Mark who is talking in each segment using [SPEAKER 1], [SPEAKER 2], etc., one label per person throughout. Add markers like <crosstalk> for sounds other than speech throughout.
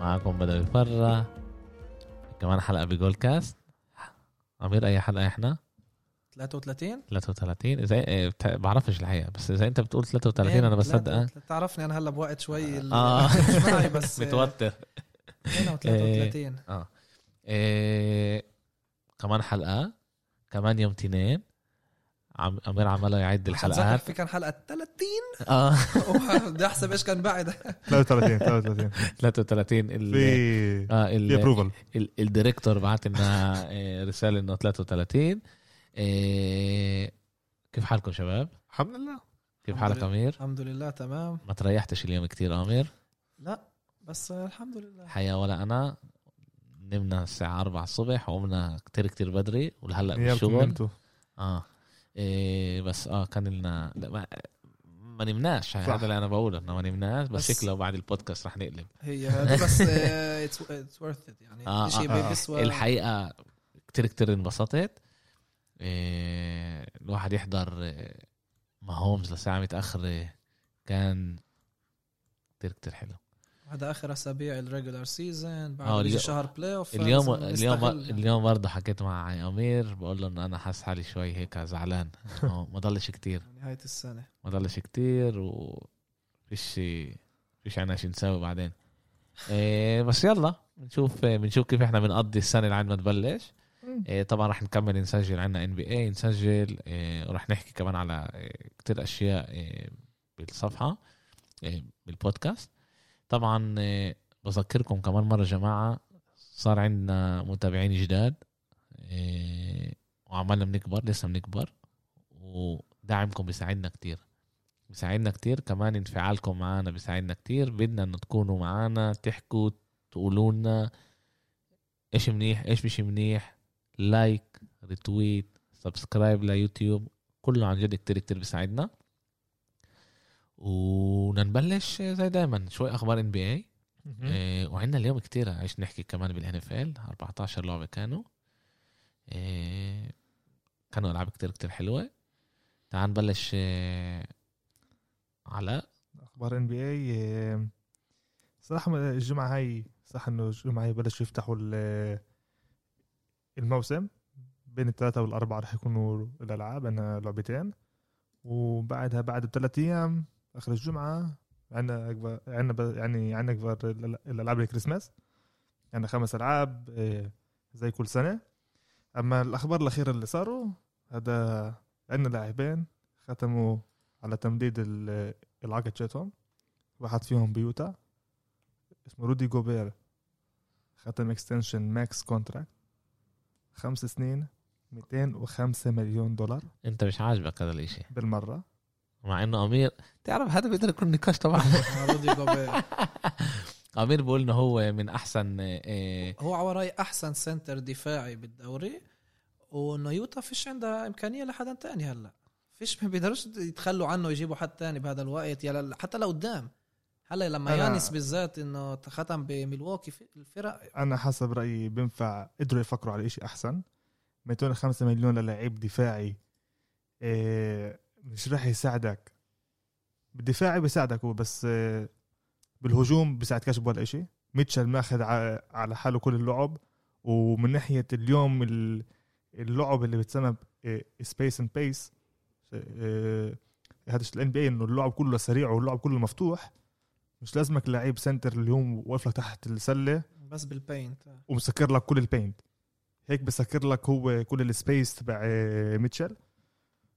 [SPEAKER 1] معكم بدوي فرة كمان حلقة بجول كاست عمير أي حلقة إحنا
[SPEAKER 2] 33
[SPEAKER 1] 33 إذا إيه، بت- بعرفش الحقيقة بس إذا أنت بتقول 33 أنا آه. بصدقك
[SPEAKER 2] تعرفني انا هلا بوقت شوي ال-
[SPEAKER 1] آه.
[SPEAKER 2] مش معي
[SPEAKER 1] <laughs>
[SPEAKER 2] بس
[SPEAKER 1] متوتر <laughs>
[SPEAKER 2] 33
[SPEAKER 1] اه إيه كمان حلقه كمان يوم تنين عم امير عماله يعد
[SPEAKER 2] الحلقات
[SPEAKER 1] الحلقات
[SPEAKER 2] في كان حلقه 30 <laughs>
[SPEAKER 1] اه <laughs>
[SPEAKER 2] بدي احسب ايش كان بعد
[SPEAKER 3] 33 33
[SPEAKER 1] 33 ال
[SPEAKER 3] في
[SPEAKER 1] اه ال-
[SPEAKER 3] في ابروفل
[SPEAKER 1] ال- الديريكتور بعت لنا إيه، رساله انه 33 إيه كيف حالكم شباب؟
[SPEAKER 3] الحمد لله
[SPEAKER 1] كيف
[SPEAKER 2] الحمد
[SPEAKER 1] حالك
[SPEAKER 2] لله.
[SPEAKER 1] امير؟
[SPEAKER 2] الحمد لله تمام
[SPEAKER 1] ما تريحتش اليوم كتير امير
[SPEAKER 2] لا بس الحمد لله
[SPEAKER 1] حيا ولا انا نمنا الساعه 4 الصبح وقمنا كتير كتير بدري ولهلا
[SPEAKER 3] نيابكم
[SPEAKER 1] بالشغل
[SPEAKER 3] انتوا
[SPEAKER 1] اه إيه بس اه كان لنا لا ما, ما نمناش
[SPEAKER 3] صح.
[SPEAKER 1] هذا اللي انا بقوله انه ما نمناش بس,
[SPEAKER 2] بس-
[SPEAKER 1] شكله بعد البودكاست رح نقلب
[SPEAKER 2] هي هذا
[SPEAKER 1] <laughs>
[SPEAKER 2] بس آه، اتس ورث ات يعني
[SPEAKER 1] آه،
[SPEAKER 2] شيء
[SPEAKER 1] آه، آه.
[SPEAKER 2] بيسوى
[SPEAKER 1] الحقيقه كتير كتير انبسطت إيه الواحد يحضر إيه، ماهومز لساعه متاخره كان كتير كتير حلو
[SPEAKER 2] هذا اخر اسابيع الريجولار سيزون
[SPEAKER 1] آه،
[SPEAKER 2] بعد بيجي
[SPEAKER 1] اليوم-
[SPEAKER 2] شهر بلاي اوف
[SPEAKER 1] اليوم اليوم اليوم برضه حكيت مع امير بقول له انه انا حاسس حالي شوي هيك زعلان <laughs> إنه ما ضلش كتير
[SPEAKER 2] نهايه السنه
[SPEAKER 1] ما ضلش كتير وفيش فيش عنا شي نساوي بعدين إيه بس يلا بنشوف بنشوف كيف احنا بنقضي السنه اللي عاد ما تبلش إيه طبعا رح نكمل نسجل عنا ان بي اي نسجل إيه ورح نحكي كمان على إيه كتير اشياء إيه بالصفحه إيه بالبودكاست طبعا إيه بذكركم كمان مره جماعه صار عندنا متابعين جداد إيه وعمالنا بنكبر لسه بنكبر ودعمكم بيساعدنا كتير بيساعدنا كتير كمان انفعالكم معانا بيساعدنا كتير بدنا انه تكونوا معانا تحكوا تقولوا لنا ايش منيح ايش مش منيح لايك ريتويت سبسكرايب ليوتيوب كله عن جد كتير كتير بيساعدنا ونبلش زي دايما شوي اخبار ان بي اي إيه وعندنا اليوم كتير عشان نحكي كمان بالان اف ال 14 لعبه كانوا إيه كانوا العاب كتير كتير حلوه تعال نبلش إيه على
[SPEAKER 3] اخبار ان بي اي صراحه ما- الجمعه هاي صح انه الجمعه هاي بلشوا يفتحوا ال- الموسم بين الثلاثه والاربعه رح يكونوا الالعاب عندنا لعبتين وبعدها بعد بثلاث ايام اخر الجمعه عندنا أكبر- عندنا ب- يعني عندنا اكبر الأل- الالعاب الكريسماس عندنا خمس العاب إيه، زي كل سنه اما الاخبار الاخيره اللي صاروا هذا عندنا لاعبين ختموا على تمديد ال- العقد تاعتهم واحد فيهم بيوتا اسمه رودي جوبير ختم اكستنشن ماكس كونتراكت خمس سنين 205 مليون دولار
[SPEAKER 1] انت مش عاجبك هذا الاشي
[SPEAKER 3] بالمره
[SPEAKER 1] مع انه امير تعرف هذا بيقدر يكون نقاش
[SPEAKER 2] <laughs>
[SPEAKER 1] طبعا
[SPEAKER 2] <laughs> رودي جوبير
[SPEAKER 1] امير بيقول انه هو من احسن إيه
[SPEAKER 2] هو على رايي احسن سنتر دفاعي بالدوري وانه يوتا فيش عندها امكانيه لحدا تاني هلا فيش ما بيقدروش يتخلوا عنه يجيبوا حد تاني بهذا الوقت يلا حتى لو قدام هلا لما
[SPEAKER 3] أنا-
[SPEAKER 2] يانس بالذات انه ختم بميلواكي في- الفرق
[SPEAKER 3] انا حسب رايي بينفع قدروا يفكروا على شيء احسن 205 مليون للعيب دفاعي إيه، مش راح يساعدك بالدفاعي بيساعدك هو بس إيه، بالهجوم بيساعدكش ولا شيء ميتشل ماخذ ع- على حاله كل اللعب ومن ناحيه اليوم ال- اللعب اللي بتسمى آه، سبيس اند بيس آه، هذا الان بي انه اللعب كله سريع واللعب كله مفتوح مش لازمك لعيب سنتر اليوم واقف لك تحت السله
[SPEAKER 2] بس بالبينت
[SPEAKER 3] ومسكر لك كل البينت هيك بسكر لك هو كل السبيس تبع آه، ميتشل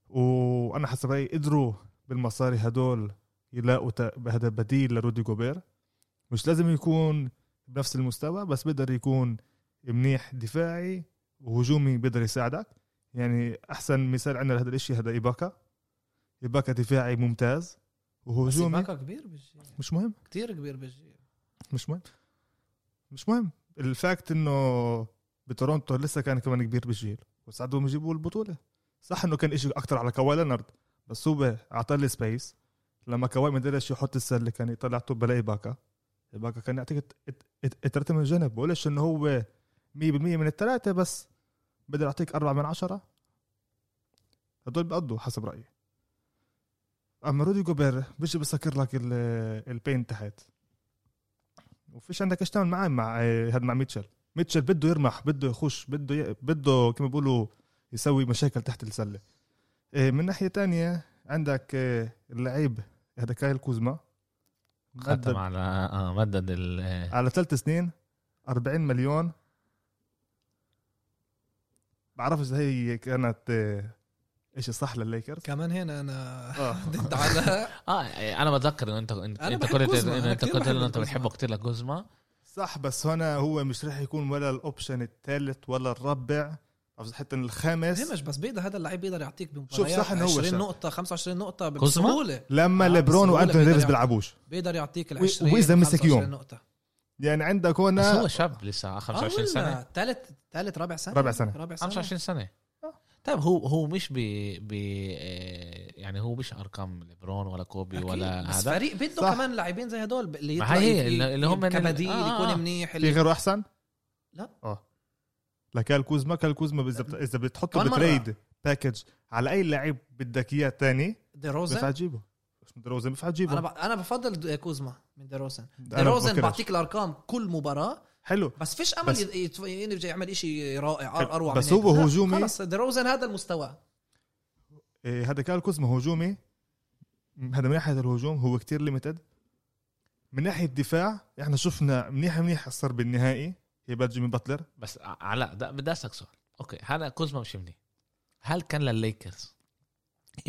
[SPEAKER 3] وانا حسب رايي قدروا بالمصاري هدول يلاقوا تا- هذا بديل لرودي جوبير مش لازم يكون بنفس المستوى بس بيقدر يكون منيح دفاعي وهجومي بيقدر يساعدك يعني احسن مثال عندنا لهذا الاشي هذا ايباكا ايباكا دفاعي ممتاز
[SPEAKER 2] بس
[SPEAKER 3] وهجومي
[SPEAKER 2] باكا كبير بالجي
[SPEAKER 3] مش مهم
[SPEAKER 2] كثير كبير بالجي
[SPEAKER 3] مش مهم مش مهم الفاكت انه بتورونتو لسه كان كمان كبير بالجيل وساعدهم يجيبوا البطوله صح انه كان إشي اكتر على كواي لينارد بس هو اعطى لي سبيس لما كواي ما قدرش يحط السله كان طلعته بلاقي باكا باكا كان يعطيك الت- الت- الت- التلاته من الجنب بقولش انه هو 100% من الثلاثه بس بقدر يعطيك أربعة من عشرة هدول بقضوا حسب رأيي اما رودي جوبير بيجي بسكر لك ال- البين تحت وفيش عندك ايش تعمل معاه مع آه، هاد مع ميتشل ميتشل بده يرمح بده يخش بده ي... بده كما بيقولوا يسوي مشاكل تحت السله آه، من ناحيه تانية عندك آه، اللعيب هذا كايل كوزما
[SPEAKER 1] ختم
[SPEAKER 3] مدد
[SPEAKER 1] على اه مدد ال آه،
[SPEAKER 3] على ثلاث سنين 40 مليون بعرفش إذا هي كانت آه، ايش
[SPEAKER 2] <laughs>
[SPEAKER 3] صح للليكرز
[SPEAKER 2] كمان هنا انا
[SPEAKER 3] اه
[SPEAKER 2] <laughs> ضد
[SPEAKER 3] <laughs>
[SPEAKER 2] على
[SPEAKER 1] اه انا بتذكر انه انت انت
[SPEAKER 2] أنا
[SPEAKER 1] انت
[SPEAKER 2] بحب
[SPEAKER 1] قلت
[SPEAKER 2] كوزما، أنا
[SPEAKER 1] انه انت
[SPEAKER 2] كتير
[SPEAKER 1] قلت
[SPEAKER 2] بحب
[SPEAKER 1] انه انت
[SPEAKER 2] كوزما.
[SPEAKER 1] بتحبه كثير لكوزما
[SPEAKER 3] صح بس هنا هو مش رح يكون ولا الاوبشن الثالث ولا الرابع او حتى الخامس
[SPEAKER 2] همش بس بيقدر هذا اللعيب بيقدر يعطيك
[SPEAKER 3] شوف
[SPEAKER 2] بمباريات
[SPEAKER 3] صح إنه هو
[SPEAKER 2] 20
[SPEAKER 3] شاب.
[SPEAKER 2] نقطة 25 نقطة
[SPEAKER 1] كوزما؟
[SPEAKER 2] بسهولة
[SPEAKER 3] لما
[SPEAKER 2] آه،
[SPEAKER 3] ليبرون
[SPEAKER 2] بس هو
[SPEAKER 3] وانتوني
[SPEAKER 2] اللي
[SPEAKER 3] ديفيس
[SPEAKER 2] بيقدر
[SPEAKER 3] بيلعبوش
[SPEAKER 2] بيقدر يعطيك ال
[SPEAKER 3] و-
[SPEAKER 2] 20
[SPEAKER 3] وإذا مسك يوم.
[SPEAKER 2] 25 نقطة
[SPEAKER 3] يعني
[SPEAKER 1] بس
[SPEAKER 3] عندك هنا
[SPEAKER 1] هو شاب لسه 25 سنه
[SPEAKER 2] ثالث ثالث رابع سنة
[SPEAKER 3] رابع سنة.
[SPEAKER 2] رابع سنة
[SPEAKER 1] 25 سنه
[SPEAKER 3] آه.
[SPEAKER 1] طيب هو هو مش ب ب آه، يعني هو مش ارقام ليبرون ولا كوبي
[SPEAKER 2] أكيد.
[SPEAKER 1] ولا
[SPEAKER 2] بس
[SPEAKER 1] هذا
[SPEAKER 2] فريق بده
[SPEAKER 3] صح.
[SPEAKER 2] كمان لاعبين زي هدول اللي
[SPEAKER 1] ما
[SPEAKER 2] يطلع
[SPEAKER 1] هي
[SPEAKER 2] يفيد،
[SPEAKER 1] اللي- اللي هم من-
[SPEAKER 2] كبديل
[SPEAKER 1] آه، آه.
[SPEAKER 2] يكون منيح
[SPEAKER 3] في
[SPEAKER 2] اللي
[SPEAKER 3] غيره احسن؟
[SPEAKER 2] لا.
[SPEAKER 3] اه لكال كوزما كال كوزما اذا بت- اذا بتحطه
[SPEAKER 2] كمان مرة.
[SPEAKER 3] بتريد باكج على اي لعيب بدك اياه ثاني بينفع
[SPEAKER 2] ديروزن
[SPEAKER 3] تجيبه مش دروزن بينفع
[SPEAKER 2] انا
[SPEAKER 3] تجيبه
[SPEAKER 2] ب... انا بفضل كوزما من ديروزن
[SPEAKER 3] أنا
[SPEAKER 2] ديروزن
[SPEAKER 3] بفكرش.
[SPEAKER 2] بعطيك الارقام كل مباراة
[SPEAKER 3] حلو
[SPEAKER 2] بس فيش امل
[SPEAKER 3] بس-
[SPEAKER 2] بس... يت... يت... يعمل شيء رائع أر- اروع
[SPEAKER 3] بس
[SPEAKER 2] من هيك.
[SPEAKER 3] هو
[SPEAKER 2] لا،
[SPEAKER 3] هجومي.
[SPEAKER 2] خلص ديروزن هذا المستوى
[SPEAKER 3] إيه، هذا كال كوزما هجومي م- هذا من ناحيه الهجوم هو كتير ليميتد من ناحيه الدفاع احنا شفنا منيح منيح صار بالنهائي هي جيمي باتلر
[SPEAKER 1] بس علاء ده- بدي اسالك سؤال اوكي هلا كوزما مش منيح هل كان للليكرز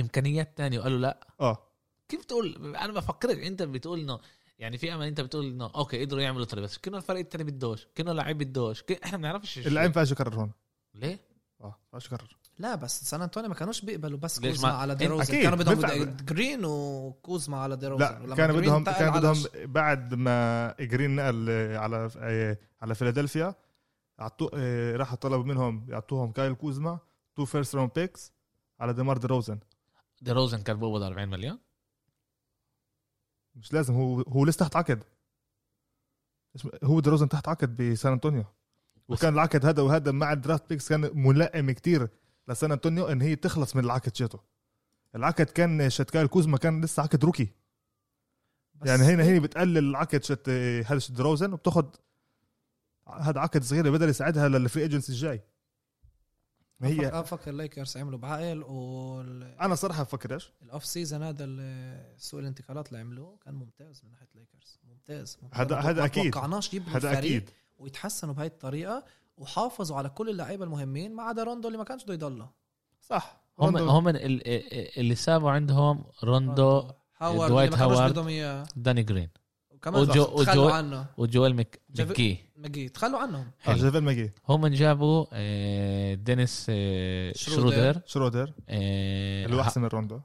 [SPEAKER 1] امكانيات تانية وقالوا لا
[SPEAKER 3] اه
[SPEAKER 1] كيف تقول انا بفكرك انت بتقول انه يعني في امل انت بتقول انه اوكي قدروا يعملوا طريقه بس كنا الفريق التاني بدوش كنا لعيب بدوش كن- احنا ما بنعرفش شو-
[SPEAKER 3] اللعيب فاش يكرر هون
[SPEAKER 1] ليه
[SPEAKER 3] اه فاش يكرر
[SPEAKER 2] لا بس سان انطونيو ما كانوش بيقبلوا بس
[SPEAKER 1] ليش
[SPEAKER 2] كوزما
[SPEAKER 1] ما-
[SPEAKER 2] على ديروزن
[SPEAKER 3] أكيد،
[SPEAKER 2] كانوا بدهم
[SPEAKER 3] بينفع-
[SPEAKER 2] د- جرين وكوزما على ديروزن
[SPEAKER 3] لا كان بدهم كان بدهم بعد ما جرين نقل آه، على آه، على فيلادلفيا عطو آه، راح طلبوا منهم يعطوهم كايل كوزما تو فيرست راوند بيكس على ديمار دي روزن
[SPEAKER 1] دي روزن كان بقبض 40 مليون
[SPEAKER 3] مش لازم هو هو لسه تحت عقد اسم- هو دي روزن تحت عقد بسان انطونيو وكان العقد هذا وهذا مع الدرافت بيكس كان ملائم كتير لسان انطونيو ان هي تخلص من العقد شاتو العقد كان شت كايل كوزما كان لسه عقد روكي يعني هنا
[SPEAKER 1] إيه؟
[SPEAKER 3] هي بتقلل عقد شت آه، هذا شت دروزن وبتاخذ هذا عقد صغير بدل يساعدها للفري ايجنسي الجاي ما هي
[SPEAKER 2] هي فكر الليكرز عملوا بعقل والاوف
[SPEAKER 3] انا صراحه بفكرش
[SPEAKER 2] سيزون هذا ال- سوق الانتقالات اللي عملوه كان ممتاز من ناحيه الليكرز ممتاز ممتاز.
[SPEAKER 3] هذا-
[SPEAKER 2] ما
[SPEAKER 3] هذا
[SPEAKER 2] توقع-
[SPEAKER 3] أكيد.
[SPEAKER 2] ما توقعناش يبنوا
[SPEAKER 3] هذا
[SPEAKER 2] الفريق
[SPEAKER 3] اكيد
[SPEAKER 2] ويتحسنوا بهي الطريقه وحافظوا على كل اللعيبه المهمين ما عدا روندو اللي ما كانش بده يضله
[SPEAKER 3] صح
[SPEAKER 1] هم
[SPEAKER 3] روندو-
[SPEAKER 1] هم ال- ال- اللي سابوا عندهم روندو
[SPEAKER 2] هاورد
[SPEAKER 1] دوايت
[SPEAKER 2] اللي ما كانوش
[SPEAKER 1] هاورد.
[SPEAKER 2] بدهم اياه
[SPEAKER 1] داني جرين
[SPEAKER 2] كمان
[SPEAKER 1] وجو-
[SPEAKER 2] وجو
[SPEAKER 1] وجو-
[SPEAKER 2] تخلوا عنه
[SPEAKER 1] وجوال مك...
[SPEAKER 2] جاب-
[SPEAKER 1] مكي
[SPEAKER 2] مجي تخلوا عنهم
[SPEAKER 3] آه،
[SPEAKER 1] حلو.
[SPEAKER 3] جافيل ماجي
[SPEAKER 1] هم جابوا آه، دينيس آه،
[SPEAKER 2] شرودر.
[SPEAKER 1] شرودر
[SPEAKER 3] شرودر
[SPEAKER 1] آه،
[SPEAKER 3] اللي هو احسن من روندو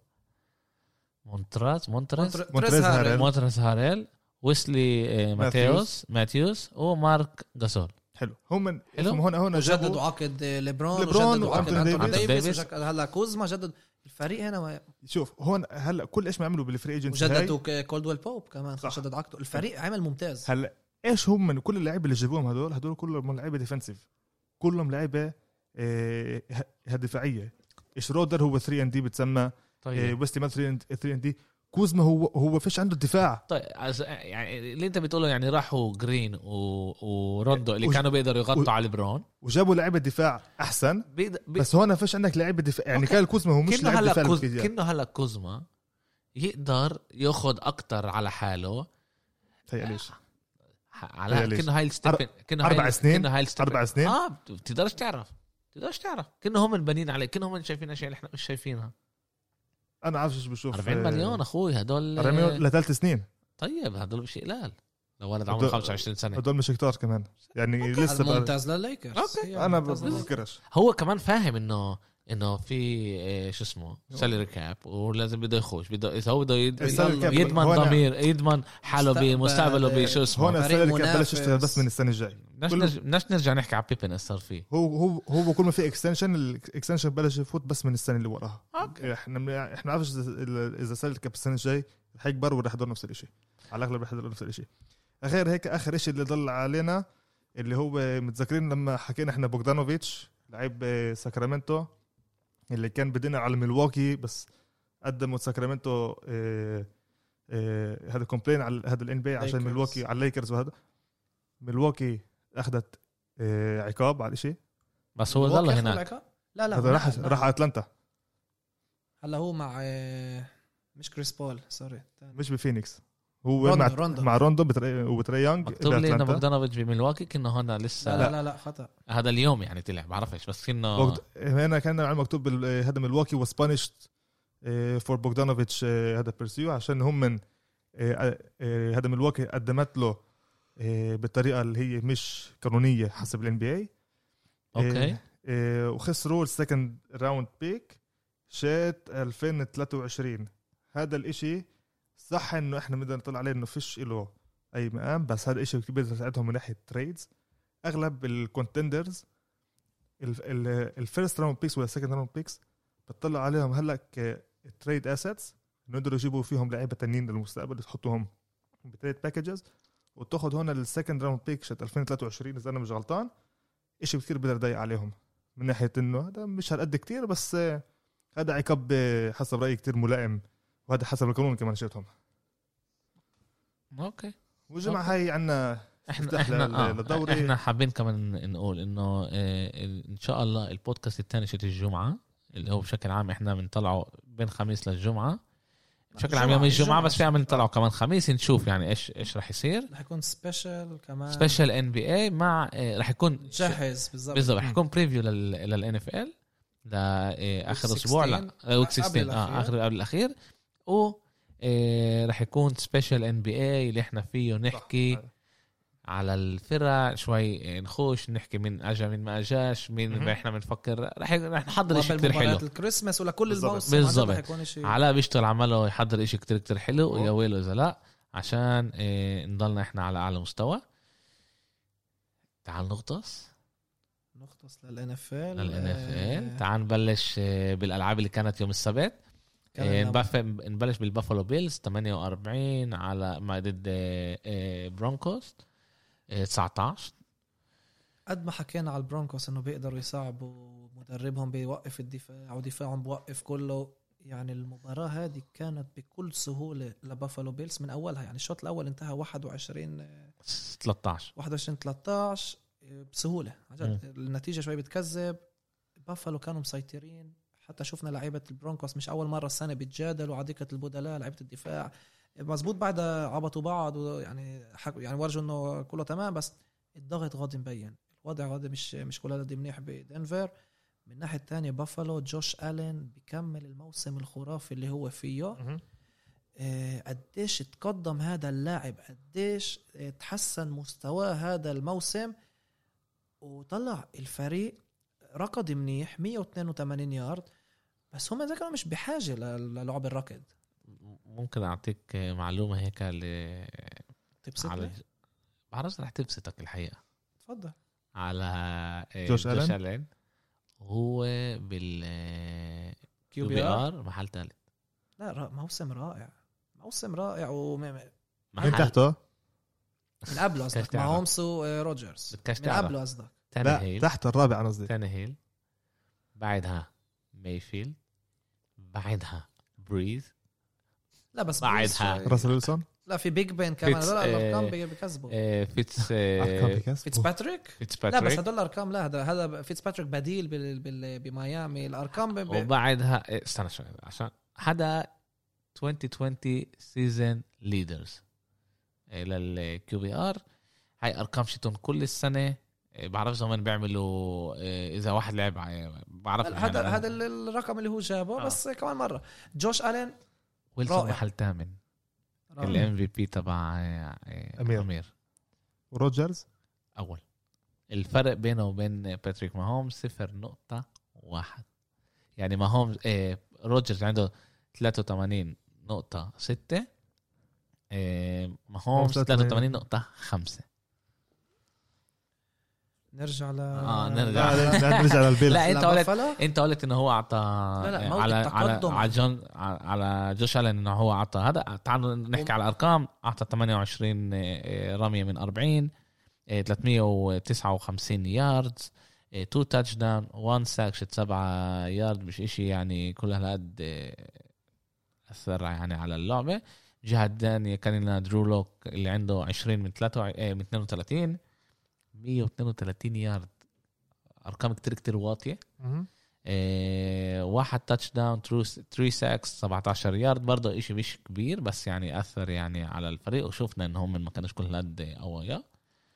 [SPEAKER 1] مونتراز مونتراز
[SPEAKER 2] مونتر-
[SPEAKER 3] مونتريز
[SPEAKER 2] تريز
[SPEAKER 3] هارل.
[SPEAKER 2] هارل.
[SPEAKER 1] مونتراز هاريل ويسلي آه، ماتيوس ماتيوس ومارك جاسول
[SPEAKER 3] حلو هم
[SPEAKER 1] حلو.
[SPEAKER 3] هم هون هون
[SPEAKER 2] جددوا
[SPEAKER 3] جابوا
[SPEAKER 2] عقد ليبرون
[SPEAKER 3] آه، ليبرون
[SPEAKER 2] وجددوا عقد
[SPEAKER 3] وأنتوني
[SPEAKER 2] انتوني
[SPEAKER 1] ديفيس.
[SPEAKER 2] ديفيس
[SPEAKER 1] ديفيس.
[SPEAKER 2] وجك- هلا كوزما جدد الفريق هنا ما-
[SPEAKER 3] شوف هون هلا كل ايش ما عملوا بالفري ايجنسي هاي
[SPEAKER 2] وجددوا ك- كولدويل بوب كمان
[SPEAKER 3] صح.
[SPEAKER 2] جدد عقده الفريق عمل ممتاز
[SPEAKER 3] هلا ايش هم من كل اللعيبه اللي جابوهم هدول هدول كلهم لعيبه ديفنسيف كلهم لعيبه آه، ه- ه- دفاعيه شرودر هو 3 ان دي بتسمى إيه،
[SPEAKER 1] طيب
[SPEAKER 3] ويستي مان 3 ان دي كوزما هو هو فيش عنده الدفاع
[SPEAKER 1] طيب عز- يعني اللي انت بتقوله يعني راحوا جرين و... وروندو اللي
[SPEAKER 3] وج-
[SPEAKER 1] كانوا بيقدروا
[SPEAKER 3] و-
[SPEAKER 1] يغطوا على ليبرون
[SPEAKER 3] وجابوا لعيبه دفاع احسن
[SPEAKER 1] بيقد- بي-
[SPEAKER 3] بس هون فيش عندك لعيبه دفاع يعني
[SPEAKER 1] أوكي.
[SPEAKER 3] كان كوزما هو مش
[SPEAKER 1] كأنه
[SPEAKER 3] لعيب
[SPEAKER 1] هلا
[SPEAKER 3] دفاع
[SPEAKER 1] كوز...
[SPEAKER 3] بالكتير.
[SPEAKER 1] كأنه هلا كوزما يقدر ياخذ اكثر على حاله
[SPEAKER 3] تخيل طيب، ليش
[SPEAKER 1] آه، ح- على
[SPEAKER 3] إيه، ليش؟
[SPEAKER 1] كأنه هاي الستيبن كأنه هاي-
[SPEAKER 3] أربع سنين؟
[SPEAKER 1] كأنه هاي الستيبن
[SPEAKER 3] اربع سنين
[SPEAKER 1] اه بت- بتقدرش تعرف بتقدرش تعرف كأنه هم البنين عليه كأنه هم شايفين اشياء اللي احنا مش شايفينها
[SPEAKER 3] انا عارف ايش بشوف
[SPEAKER 1] 40
[SPEAKER 3] آه،
[SPEAKER 1] مليون آه. اخوي هدول
[SPEAKER 3] 40 مليون لثلاث سنين
[SPEAKER 1] طيب هدول مش قلال لو ولد
[SPEAKER 3] هدول-
[SPEAKER 1] عمره 25 سنه
[SPEAKER 3] هدول مش كتار كمان يعني لسه
[SPEAKER 2] هذا
[SPEAKER 3] بقى-
[SPEAKER 2] ممتاز للليكرز
[SPEAKER 1] أوكي.
[SPEAKER 2] هي
[SPEAKER 3] انا
[SPEAKER 2] ممتاز للليكرز.
[SPEAKER 3] بفكرش
[SPEAKER 1] هو كمان فاهم انه انه في إيه، شو اسمه سالري كاب ولازم بده يخش بده اذا هو بده يد-
[SPEAKER 2] السالري
[SPEAKER 1] يضمن-
[SPEAKER 2] كاب
[SPEAKER 1] يضمن
[SPEAKER 3] هون-
[SPEAKER 1] ضمير يضمن حاله
[SPEAKER 2] مستقبل.
[SPEAKER 1] بمستقبله بشو اسمه
[SPEAKER 3] هون
[SPEAKER 2] فريق
[SPEAKER 3] السالري كاب بلش
[SPEAKER 2] منافس.
[SPEAKER 3] يشتغل بس من السنه الجاي
[SPEAKER 1] بدناش
[SPEAKER 3] كل-
[SPEAKER 1] نرج- بدناش نرجع نحكي على بيبن ايش صار فيه
[SPEAKER 3] هو هو هو كل ما في اكستنشن الاكستنشن بلش يفوت بس من السنه اللي وراها يعني
[SPEAKER 1] اوكي
[SPEAKER 3] احنا من احنا عارفش اذا اذا سالت كاب السنه الجاي رح يكبر ورح يضل نفس الشيء على الاغلب رح يضل نفس الشيء غير هيك اخر شيء اللي ضل علينا اللي هو متذكرين لما حكينا احنا بوغدانوفيتش لعيب آه، ساكرامنتو اللي كان بدنا على ميلواكي بس قدموا ساكرامنتو آه، آه، هذا كومبلين على هذا الان بي عشان
[SPEAKER 2] Lakers.
[SPEAKER 3] ميلواكي على الليكرز وهذا ملواكي اخذت آه، عقاب على شيء
[SPEAKER 1] بس هو
[SPEAKER 2] هو
[SPEAKER 1] ضل
[SPEAKER 2] كيف
[SPEAKER 1] هناك
[SPEAKER 2] العقاب؟ لا لا
[SPEAKER 3] هذا
[SPEAKER 2] هو
[SPEAKER 3] راح
[SPEAKER 2] لا.
[SPEAKER 3] راح على اتلانتا
[SPEAKER 2] هلا هو مع آه، مش كريس بول سوري تاني.
[SPEAKER 3] مش بفينيكس هو
[SPEAKER 2] روندو-
[SPEAKER 3] مع
[SPEAKER 2] روندو.
[SPEAKER 3] مع روندو بتري... وبتري يانج
[SPEAKER 1] مكتوب لي انه
[SPEAKER 3] بأتلانتا.
[SPEAKER 1] بوغدانوفيتش بملواكي كانه هنا
[SPEAKER 2] لا
[SPEAKER 1] لسه
[SPEAKER 2] لا لا, لا خطا
[SPEAKER 1] هذا اليوم يعني طلع بعرفش بس انه
[SPEAKER 3] بوغد... هنا كان على مكتوب بال- آه، هذا ملواكي وسبانيش فور بوغدانوفيتش آه، هذا بيرسيو عشان هم من آه، آه، هذا ملواكي قدمت له آه، بالطريقه اللي هي مش قانونيه حسب الان بي اي
[SPEAKER 1] اوكي
[SPEAKER 3] إيه، وخسروا السكند راوند بيك شات 2023 هذا الاشي صح انه احنا بدنا نطلع عليه انه فيش له اي مقام بس هذا الاشي كبير ساعدهم من ناحيه تريدز اغلب الكونتندرز الفيرست راوند بيكس ولا السكند راوند بيكس بتطلع عليهم هلا تريد اسيتس نقدروا يجيبوا فيهم لعيبه تانيين للمستقبل تحطوهم بتريد باكجز وتاخذ هون السكند راوند بيك شات 2023 اذا انا مش غلطان اشي كثير بقدر ضايق عليهم من ناحيه انه هذا مش هالقد كتير بس آه، هذا عقاب آه، حسب رايي كتير ملائم وهذا حسب القانون كمان شفتهم
[SPEAKER 1] اوكي
[SPEAKER 3] والجمعه هاي عنا
[SPEAKER 1] احنا
[SPEAKER 3] افتح لل-
[SPEAKER 1] احنا آه
[SPEAKER 3] للدوري.
[SPEAKER 1] احنا حابين كمان نقول انه آه، ال- ان شاء الله البودكاست الثاني شت الجمعه اللي هو بشكل عام احنا بنطلعه بين خميس للجمعه بشكل عام يوم
[SPEAKER 2] الجمعة-
[SPEAKER 1] الجمعه بس في
[SPEAKER 2] الجمعة.
[SPEAKER 1] عم نطلعه كمان خميس نشوف يعني ايش ايش رح يصير
[SPEAKER 2] رح يكون سبيشل كمان
[SPEAKER 1] سبيشل ان بي اي مع آه، رح يكون
[SPEAKER 2] جهز بالضبط
[SPEAKER 1] بالضبط رح يكون بريفيو للان اف ال لاخر
[SPEAKER 2] Week
[SPEAKER 1] اسبوع آه، لا
[SPEAKER 2] 16.
[SPEAKER 1] ويك
[SPEAKER 2] قبل
[SPEAKER 1] 16 اه
[SPEAKER 2] الأخير.
[SPEAKER 1] اخر قبل الاخير و آه، رح يكون سبيشال ان بي اي اللي احنا فيه نحكي على الفرق شوي نخوش نحكي من اجا من ما اجاش مين
[SPEAKER 3] مهم.
[SPEAKER 1] احنا بنفكر رح رح نحضر شيء
[SPEAKER 2] قبل
[SPEAKER 1] كثير حلو
[SPEAKER 2] مباريات الكريسماس ولكل
[SPEAKER 3] بالضبط.
[SPEAKER 2] الموسم هذا
[SPEAKER 1] بالضبط.
[SPEAKER 2] رح يكون شيء
[SPEAKER 1] علاء بيشتغل عمله يحضر إشي كتير كتير حلو
[SPEAKER 3] أوه.
[SPEAKER 1] ويا ويله اذا لا عشان آه، نضلنا احنا على اعلى مستوى تعال نغطس
[SPEAKER 2] نختص للان اف ال
[SPEAKER 1] للان اف
[SPEAKER 3] آه،
[SPEAKER 1] ال إيه، تعال نبلش آه، بالالعاب اللي كانت يوم السبت آه، نبف- نبلش بالبافالو بيلز 48 على ما ضد آه، آه، برونكوس آه، 19
[SPEAKER 2] قد ما حكينا على البرونكوس انه بيقدروا يصعبوا مدربهم بيوقف الدفاع ودفاعهم بوقف كله يعني المباراة هذه كانت بكل سهولة لبافالو بيلز من أولها يعني الشوط الأول انتهى 21
[SPEAKER 1] 13
[SPEAKER 2] 21 13 آه، بسهولة عن جد النتيجة شوي بتكذب بافالو كانوا مسيطرين حتى شفنا لعيبة البرونكوس مش أول مرة السنة بيتجادلوا على دكة البدلاء لعيبة الدفاع مزبوط بعدها عبطوا بعض ويعني حكوا يعني ورجوا انه كله تمام بس الضغط غادي مبين الوضع غادي مش مش كل هذا منيح بدنفر من الناحية الثانية بافالو جوش ألين بكمل الموسم الخرافي اللي هو فيه آه، قديش تقدم هذا اللاعب قديش آه، تحسن مستواه هذا الموسم وطلع الفريق ركض منيح 182 يارد بس هم ذا كانوا مش بحاجه ل- للعب الركض
[SPEAKER 1] ممكن اعطيك آه، معلومه هيك ل- على
[SPEAKER 2] تبسطني
[SPEAKER 1] بعرف رح تبسطك الحقيقه
[SPEAKER 2] تفضل
[SPEAKER 1] على آه،
[SPEAKER 3] جوش ألن؟
[SPEAKER 1] ألن. هو بال كيو بي ار محل ثالث
[SPEAKER 2] لا را- موسم رائع موسم رائع ومن
[SPEAKER 3] مين
[SPEAKER 1] محل
[SPEAKER 3] تحته؟
[SPEAKER 2] قبله
[SPEAKER 1] بدكش
[SPEAKER 2] قصدك مع
[SPEAKER 1] تعرف.
[SPEAKER 2] هومس وروجرز
[SPEAKER 1] بدكش
[SPEAKER 2] من
[SPEAKER 1] تعرف.
[SPEAKER 2] قبله قصدك
[SPEAKER 1] تاني
[SPEAKER 3] لا
[SPEAKER 1] هيل
[SPEAKER 3] تحت الرابع انا قصدي
[SPEAKER 1] تاني هيل بعدها مايفيلد بعدها بريز
[SPEAKER 2] لا بس
[SPEAKER 1] بعدها.
[SPEAKER 2] بليز-
[SPEAKER 3] راسل ويلسون
[SPEAKER 2] لا في بيج بين كمان
[SPEAKER 1] فيتس-
[SPEAKER 2] لا لا، الارقام
[SPEAKER 1] آه،
[SPEAKER 2] بي- بيكذبوا
[SPEAKER 1] آه، فيتس
[SPEAKER 3] <laughs> أرقام بكسبوا.
[SPEAKER 2] فيتس باتريك
[SPEAKER 1] فيتس
[SPEAKER 2] لا بس
[SPEAKER 1] باتريك
[SPEAKER 2] هدول الارقام لا هذا هذا فيتس باتريك بديل بال بال بميامي الارقام ب... ب...
[SPEAKER 1] وبعدها آه، استنى شوي عشان هذا 2020 سيزون ليدرز آه، للكيو بي ار هاي ارقام شتون كل السنه آه، بعرف زمان بيعملوا آه، اذا واحد لعب آه، بعرف
[SPEAKER 2] هذا
[SPEAKER 1] يعني أنا-
[SPEAKER 2] هذا ال- الرقم اللي هو جابه
[SPEAKER 1] آه.
[SPEAKER 2] آه. بس كمان مره جوش الين
[SPEAKER 1] ويلسون
[SPEAKER 2] رائع. آه.
[SPEAKER 1] محل ثامن
[SPEAKER 2] رائع.
[SPEAKER 1] الام في بي تبع آه، آه،
[SPEAKER 3] أمير.
[SPEAKER 1] امير
[SPEAKER 3] وروجرز
[SPEAKER 1] اول الفرق بينه وبين باتريك ماهوم صفر نقطة واحد يعني ماهوم آه روجرز عنده 83 نقطة ستة آه ماهوم 83
[SPEAKER 3] 83
[SPEAKER 1] نقطة خمسة
[SPEAKER 2] نرجع ل
[SPEAKER 1] آه، نرجع.
[SPEAKER 3] لا لا، لا، نرجع
[SPEAKER 2] <laughs>
[SPEAKER 3] للبيل
[SPEAKER 1] لا انت قلت
[SPEAKER 2] قلت
[SPEAKER 1] انت قلت انه هو اعطى
[SPEAKER 2] لا، لا، موت
[SPEAKER 1] على على
[SPEAKER 2] التقدم.
[SPEAKER 1] على جون على جوش الن انه هو اعطى هذا تعالوا نحكي على الارقام اعطى 28 آه، رميه من 40 آه، 359 يارد 2 تاتش داون 1 ساك شت 7 يارد مش اشي يعني كل هالقد آه، اثر يعني على اللعبه الجهه الثانيه كان لنا درو لوك اللي عنده 20 آه، من 3 من 32 132 يارد ارقام كتير كتير واطيه
[SPEAKER 3] مهم.
[SPEAKER 1] إيه واحد تاتش داون ترو 3 ساكس 17 يارد برضه إشي مش كبير بس يعني اثر يعني على الفريق وشفنا ان هم ما كانوش كل قد قوايا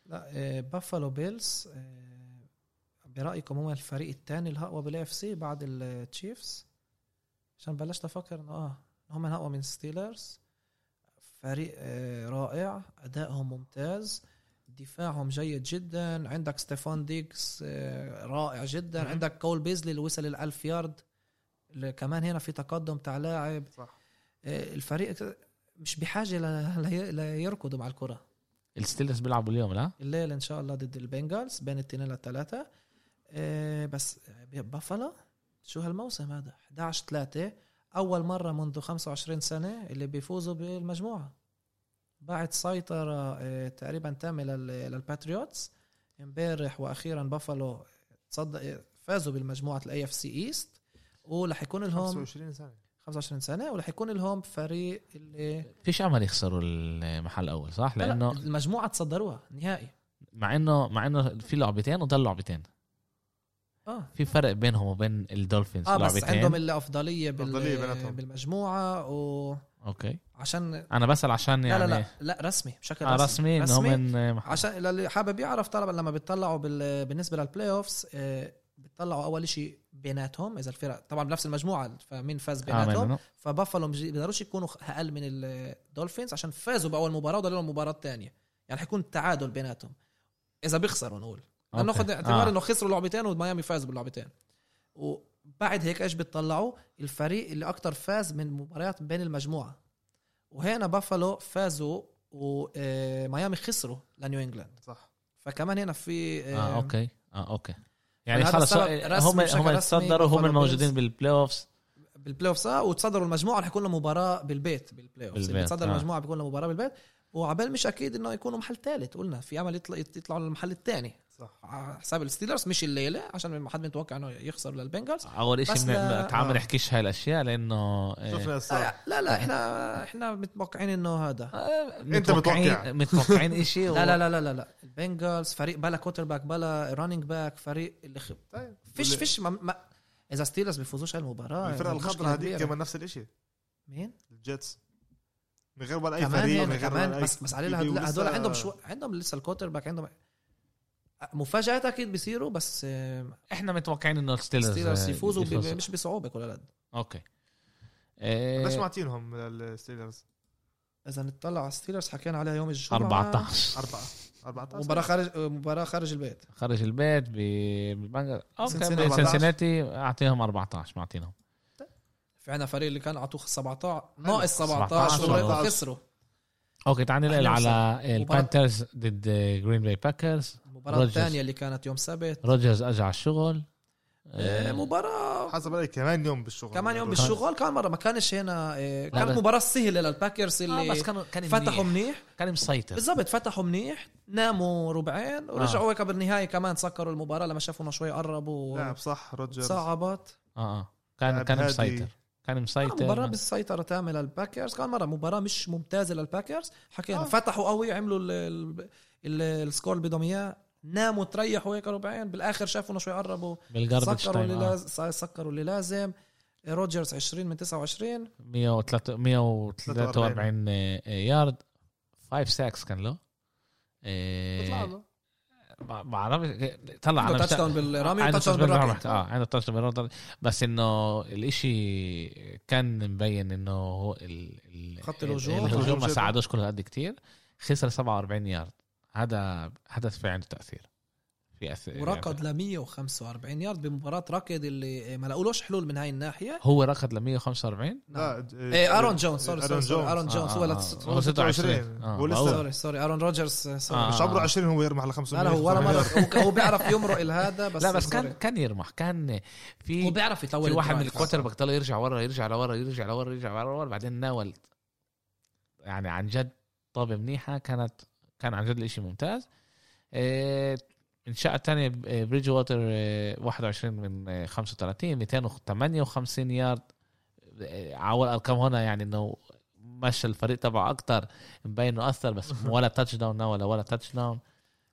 [SPEAKER 2] لا آه، بافالو بيلز برايكم هم آه، الفريق الثاني الاقوى بالاف سي بعد التشيفز عشان بلاش افكر انه اه هم الاقوى من ستيلرز فريق آه، رائع ادائهم ممتاز دفاعهم جيد جدا عندك ستيفان ديكس آه، رائع جدا
[SPEAKER 3] مم.
[SPEAKER 2] عندك كول بيزلي اللي وصل الألف يارد اللي كمان هنا في تقدم تاع لاعب
[SPEAKER 3] صح
[SPEAKER 2] آه، الفريق مش بحاجه ل- ل- ليركضوا مع الكره
[SPEAKER 1] الستيلرز بيلعبوا اليوم لا
[SPEAKER 2] الليل ان شاء الله ضد البنجالز بين الاثنين للثلاثه آه، بس بافالا شو هالموسم هذا 11 3 اول مره منذ 25 سنه اللي بيفوزوا بالمجموعه بعد سيطره آه، تقريبا تامه لل- للباتريوتس امبارح واخيرا بافالو تصدق فازوا بالمجموعه الاي اف سي ايست ورح يكون لهم
[SPEAKER 3] 25 سنه
[SPEAKER 2] 25 سنه ورح يكون لهم فريق اللي
[SPEAKER 1] فيش امل يخسروا المحل الاول صح
[SPEAKER 2] لا، لا،
[SPEAKER 1] لانه
[SPEAKER 2] المجموعه تصدروها نهائي
[SPEAKER 1] مع انه مع انه في لعبتين وضل لعبتين
[SPEAKER 2] اه
[SPEAKER 1] في فرق بينهم وبين الدولفينز
[SPEAKER 2] اه بس
[SPEAKER 1] لعبتين
[SPEAKER 2] عندهم الافضليه بال...
[SPEAKER 3] أفضلية بيناتهم.
[SPEAKER 2] بالمجموعه وعشان
[SPEAKER 1] اوكي
[SPEAKER 2] يعني...
[SPEAKER 1] انا بسال عشان يعني
[SPEAKER 2] لا لا لا لا رسمي بشكل
[SPEAKER 1] آه رسمي ان هم من محل
[SPEAKER 2] عشان للي حابب يعرف طبعا لما بتطلعوا بال... بالنسبه للبلاي اوفز آه بتطلعوا اول شيء بيناتهم اذا الفرق طبعا بنفس المجموعه فمين
[SPEAKER 1] آه،
[SPEAKER 2] فاز بيناتهم
[SPEAKER 1] آمنوا.
[SPEAKER 2] فبافالو مش- بيقدروش يكونوا اقل من الدولفينز عشان فازوا باول مباراه وضلوا لهم مباراه ثانيه يعني حيكون تعادل بيناتهم اذا بيخسروا نقول
[SPEAKER 1] أوكي.
[SPEAKER 2] ناخذ اعتبار
[SPEAKER 1] آه.
[SPEAKER 2] انه خسروا لعبتين وميامي فاز باللعبتين وبعد هيك ايش بتطلعوا الفريق اللي اكتر فاز من مباريات بين المجموعه وهنا بافالو فازوا وميامي خسروا لنيو انجلاند
[SPEAKER 3] صح
[SPEAKER 2] فكمان هنا في آه،
[SPEAKER 1] اه اوكي اه اوكي يعني
[SPEAKER 2] هذا
[SPEAKER 1] خلص
[SPEAKER 2] السبب رسمي
[SPEAKER 1] هم
[SPEAKER 2] بشكل
[SPEAKER 1] هم
[SPEAKER 2] رسمي
[SPEAKER 1] تصدروا هم
[SPEAKER 2] Buffalo
[SPEAKER 1] الموجودين
[SPEAKER 2] Bills.
[SPEAKER 1] بالبلاي اوفز
[SPEAKER 2] بالبلاي اوف آه، وتصدروا المجموعه رح يكون لهم مباراه بالبيت بالبلاي اوف اللي
[SPEAKER 1] بالبيت،
[SPEAKER 2] تصدر
[SPEAKER 1] آه.
[SPEAKER 2] المجموعه بيكون له مباراه بالبيت وعبال مش اكيد انه يكونوا محل ثالث قلنا في امل يطلع يطلعوا للمحل الثاني
[SPEAKER 3] صح
[SPEAKER 2] على حساب الستيلرز مش الليله عشان ما حد متوقع انه يخسر للبنجلز
[SPEAKER 1] اول
[SPEAKER 2] بس
[SPEAKER 1] شيء
[SPEAKER 2] لا-
[SPEAKER 1] تعال
[SPEAKER 3] آه.
[SPEAKER 1] ما نحكيش هاي الاشياء لانه آه،
[SPEAKER 3] شفنا
[SPEAKER 2] لا
[SPEAKER 3] الصراحه
[SPEAKER 2] لا, لا احنا احنا متوقعين انه هذا
[SPEAKER 1] آه،
[SPEAKER 3] أنت
[SPEAKER 1] متوقعين-
[SPEAKER 3] متوقع.
[SPEAKER 1] متوقعين شيء
[SPEAKER 2] <laughs> لا لا لا لا لا, لا. البنجلز فريق بلا كوتر باك بلا رانينج باك فريق اللي خ...
[SPEAKER 3] طيب
[SPEAKER 2] فيش
[SPEAKER 3] وال-
[SPEAKER 2] فيش ما... ما... اذا ستيلرز بيفوزوش على المباراه
[SPEAKER 3] الفرقه
[SPEAKER 2] مشكلة
[SPEAKER 3] الخضراء
[SPEAKER 2] كبيرة.
[SPEAKER 3] هذيك كمان نفس الشيء
[SPEAKER 2] مين
[SPEAKER 3] الجيتس من غير ولا اي
[SPEAKER 2] كمان
[SPEAKER 3] فريق
[SPEAKER 2] هيك،
[SPEAKER 3] من غير
[SPEAKER 2] كمان
[SPEAKER 3] ولا أي-
[SPEAKER 2] بس بس عليه هدول
[SPEAKER 3] بيجوا
[SPEAKER 2] هدول
[SPEAKER 3] لسه-
[SPEAKER 2] عندهم شو عندهم لسه الكوتر باك عندهم مفاجات اكيد بيصيروا بس آه،
[SPEAKER 1] احنا متوقعين انه الستيلرز
[SPEAKER 2] ستيلرز
[SPEAKER 1] آه،
[SPEAKER 2] يفوزوا ب- مش بصعوبه كل هالقد
[SPEAKER 1] اوكي
[SPEAKER 3] ليش
[SPEAKER 1] آه،
[SPEAKER 3] معطينهم الستيلرز
[SPEAKER 2] اذا نطلع على الستيلرز حكينا عليها يوم
[SPEAKER 1] آه،
[SPEAKER 2] الجمعه
[SPEAKER 1] 14
[SPEAKER 3] أربعة 14
[SPEAKER 2] مباراه خارج مباراه خارج البيت
[SPEAKER 1] خارج البيت ب- بالبنجر
[SPEAKER 3] سنسيناتي
[SPEAKER 1] اوكي
[SPEAKER 3] 14.
[SPEAKER 1] بسنسناتي اعطيهم 14 معطينهم
[SPEAKER 2] في عندنا فريق اللي كان اعطوه 17
[SPEAKER 1] أيوة.
[SPEAKER 2] ناقص
[SPEAKER 1] 17
[SPEAKER 2] 17 وخسروا
[SPEAKER 1] اوكي تعال ننقل
[SPEAKER 2] أهلا
[SPEAKER 1] على
[SPEAKER 2] وسهلا. مباراة-
[SPEAKER 1] البانترز ضد آه، جرين باي باكرز
[SPEAKER 2] المباراه
[SPEAKER 1] روجرز.
[SPEAKER 2] الثانيه اللي كانت يوم سبت
[SPEAKER 1] روجرز اجى على الشغل
[SPEAKER 2] آه،
[SPEAKER 1] آه،
[SPEAKER 2] مباراه
[SPEAKER 3] حسب رايي كمان يوم بالشغل
[SPEAKER 2] كمان يوم بالشغل كان مره ما كانش هنا آه، كانت
[SPEAKER 1] بس-
[SPEAKER 2] مباراه سهله للباكرز
[SPEAKER 1] آه،
[SPEAKER 2] اللي
[SPEAKER 1] بس كانوا كان
[SPEAKER 2] فتحوا
[SPEAKER 1] فتحوا
[SPEAKER 2] منيح
[SPEAKER 1] كان مسيطر
[SPEAKER 2] بالضبط فتحوا منيح ناموا ربعين ورجعوا هيك بالنهايه كمان سكروا المباراه لما شافوا انه شوي قربوا
[SPEAKER 3] لعب صح روجرز
[SPEAKER 2] صعبت
[SPEAKER 1] اه اه كان
[SPEAKER 3] لاعب
[SPEAKER 1] كان
[SPEAKER 3] هادي.
[SPEAKER 1] مسيطر كان مسيطر
[SPEAKER 2] آه، مباراة بالسيطرة تامة للباكرز كان مرة مباراة مش ممتازة للباكرز حكينا
[SPEAKER 3] آه.
[SPEAKER 2] آه. فتحوا قوي عملوا ال ال ال السكور اللي بدهم اياه ناموا تريحوا هيك ربعين بالاخر شافوا انه شوي قربوا
[SPEAKER 1] بالجاربج
[SPEAKER 2] سكروا اللي
[SPEAKER 1] تايم آه.
[SPEAKER 2] لازم سكروا اللي لازم روجرز 20 من 29
[SPEAKER 1] آه، 103 143 آه، آه، يارد 5 ساكس كان له آه،
[SPEAKER 3] بيطلع له
[SPEAKER 1] ما ما بعرف طلع
[SPEAKER 2] عنده
[SPEAKER 1] أنا مش-
[SPEAKER 2] تاتش داون بالرمي
[SPEAKER 1] عنده
[SPEAKER 2] وتاتش داون
[SPEAKER 1] touchdown بالرمح.
[SPEAKER 2] بالراكت
[SPEAKER 1] اه عنده تاتش داون بالرمح. بس انه الاشي كان مبين انه هو ال... ال...
[SPEAKER 2] خط الهجوم.
[SPEAKER 1] الهجوم ما
[SPEAKER 3] الهجوم
[SPEAKER 1] ساعدوش كل هالقد كتير خسر 47 يارد هذا هذا في عنده تاثير في يعني اثر
[SPEAKER 2] وركض ل 145 يارد بمباراه ركض اللي ما لقولوش حلول من هاي الناحيه
[SPEAKER 1] هو ركض ل 145
[SPEAKER 3] لا
[SPEAKER 2] ايه ارون جونز سوري سوري
[SPEAKER 3] ارون
[SPEAKER 2] سوري، ارون
[SPEAKER 3] جونز
[SPEAKER 2] جونز هو
[SPEAKER 1] آه،
[SPEAKER 2] اللي
[SPEAKER 1] آه.
[SPEAKER 2] تس-
[SPEAKER 1] هو
[SPEAKER 3] 26.
[SPEAKER 1] 26 آه،
[SPEAKER 3] ولسه-
[SPEAKER 1] هو-
[SPEAKER 2] سوري سوري ارون روجرز سوري
[SPEAKER 1] آه.
[SPEAKER 3] مش عمره 20 هو يرمح ل 500
[SPEAKER 2] لا لا هو
[SPEAKER 1] <laughs>
[SPEAKER 2] ولا مره هو-
[SPEAKER 3] 500.
[SPEAKER 2] هو بيعرف يمرق الهذا بس
[SPEAKER 1] لا بس كان
[SPEAKER 2] سوري.
[SPEAKER 1] كان يرمح كان
[SPEAKER 2] هو
[SPEAKER 1] في
[SPEAKER 2] بيعرف يطول
[SPEAKER 1] في واحد من
[SPEAKER 2] الدرايف.
[SPEAKER 1] الكوتر باك ضل يرجع ورا يرجع لورا يرجع لورا يرجع لورا بعدين ناول يعني عن جد طابه منيحه كانت كان عن جد الاشي ممتاز آه، الشقه الثانيه بريدج ووتر آه، 21 من آه، 35 258 يارد آه، عوال ارقام هنا يعني انه مشى الفريق تبعه اكثر مبين انه اثر بس ولا تاتش داون ولا ولا تاتش داون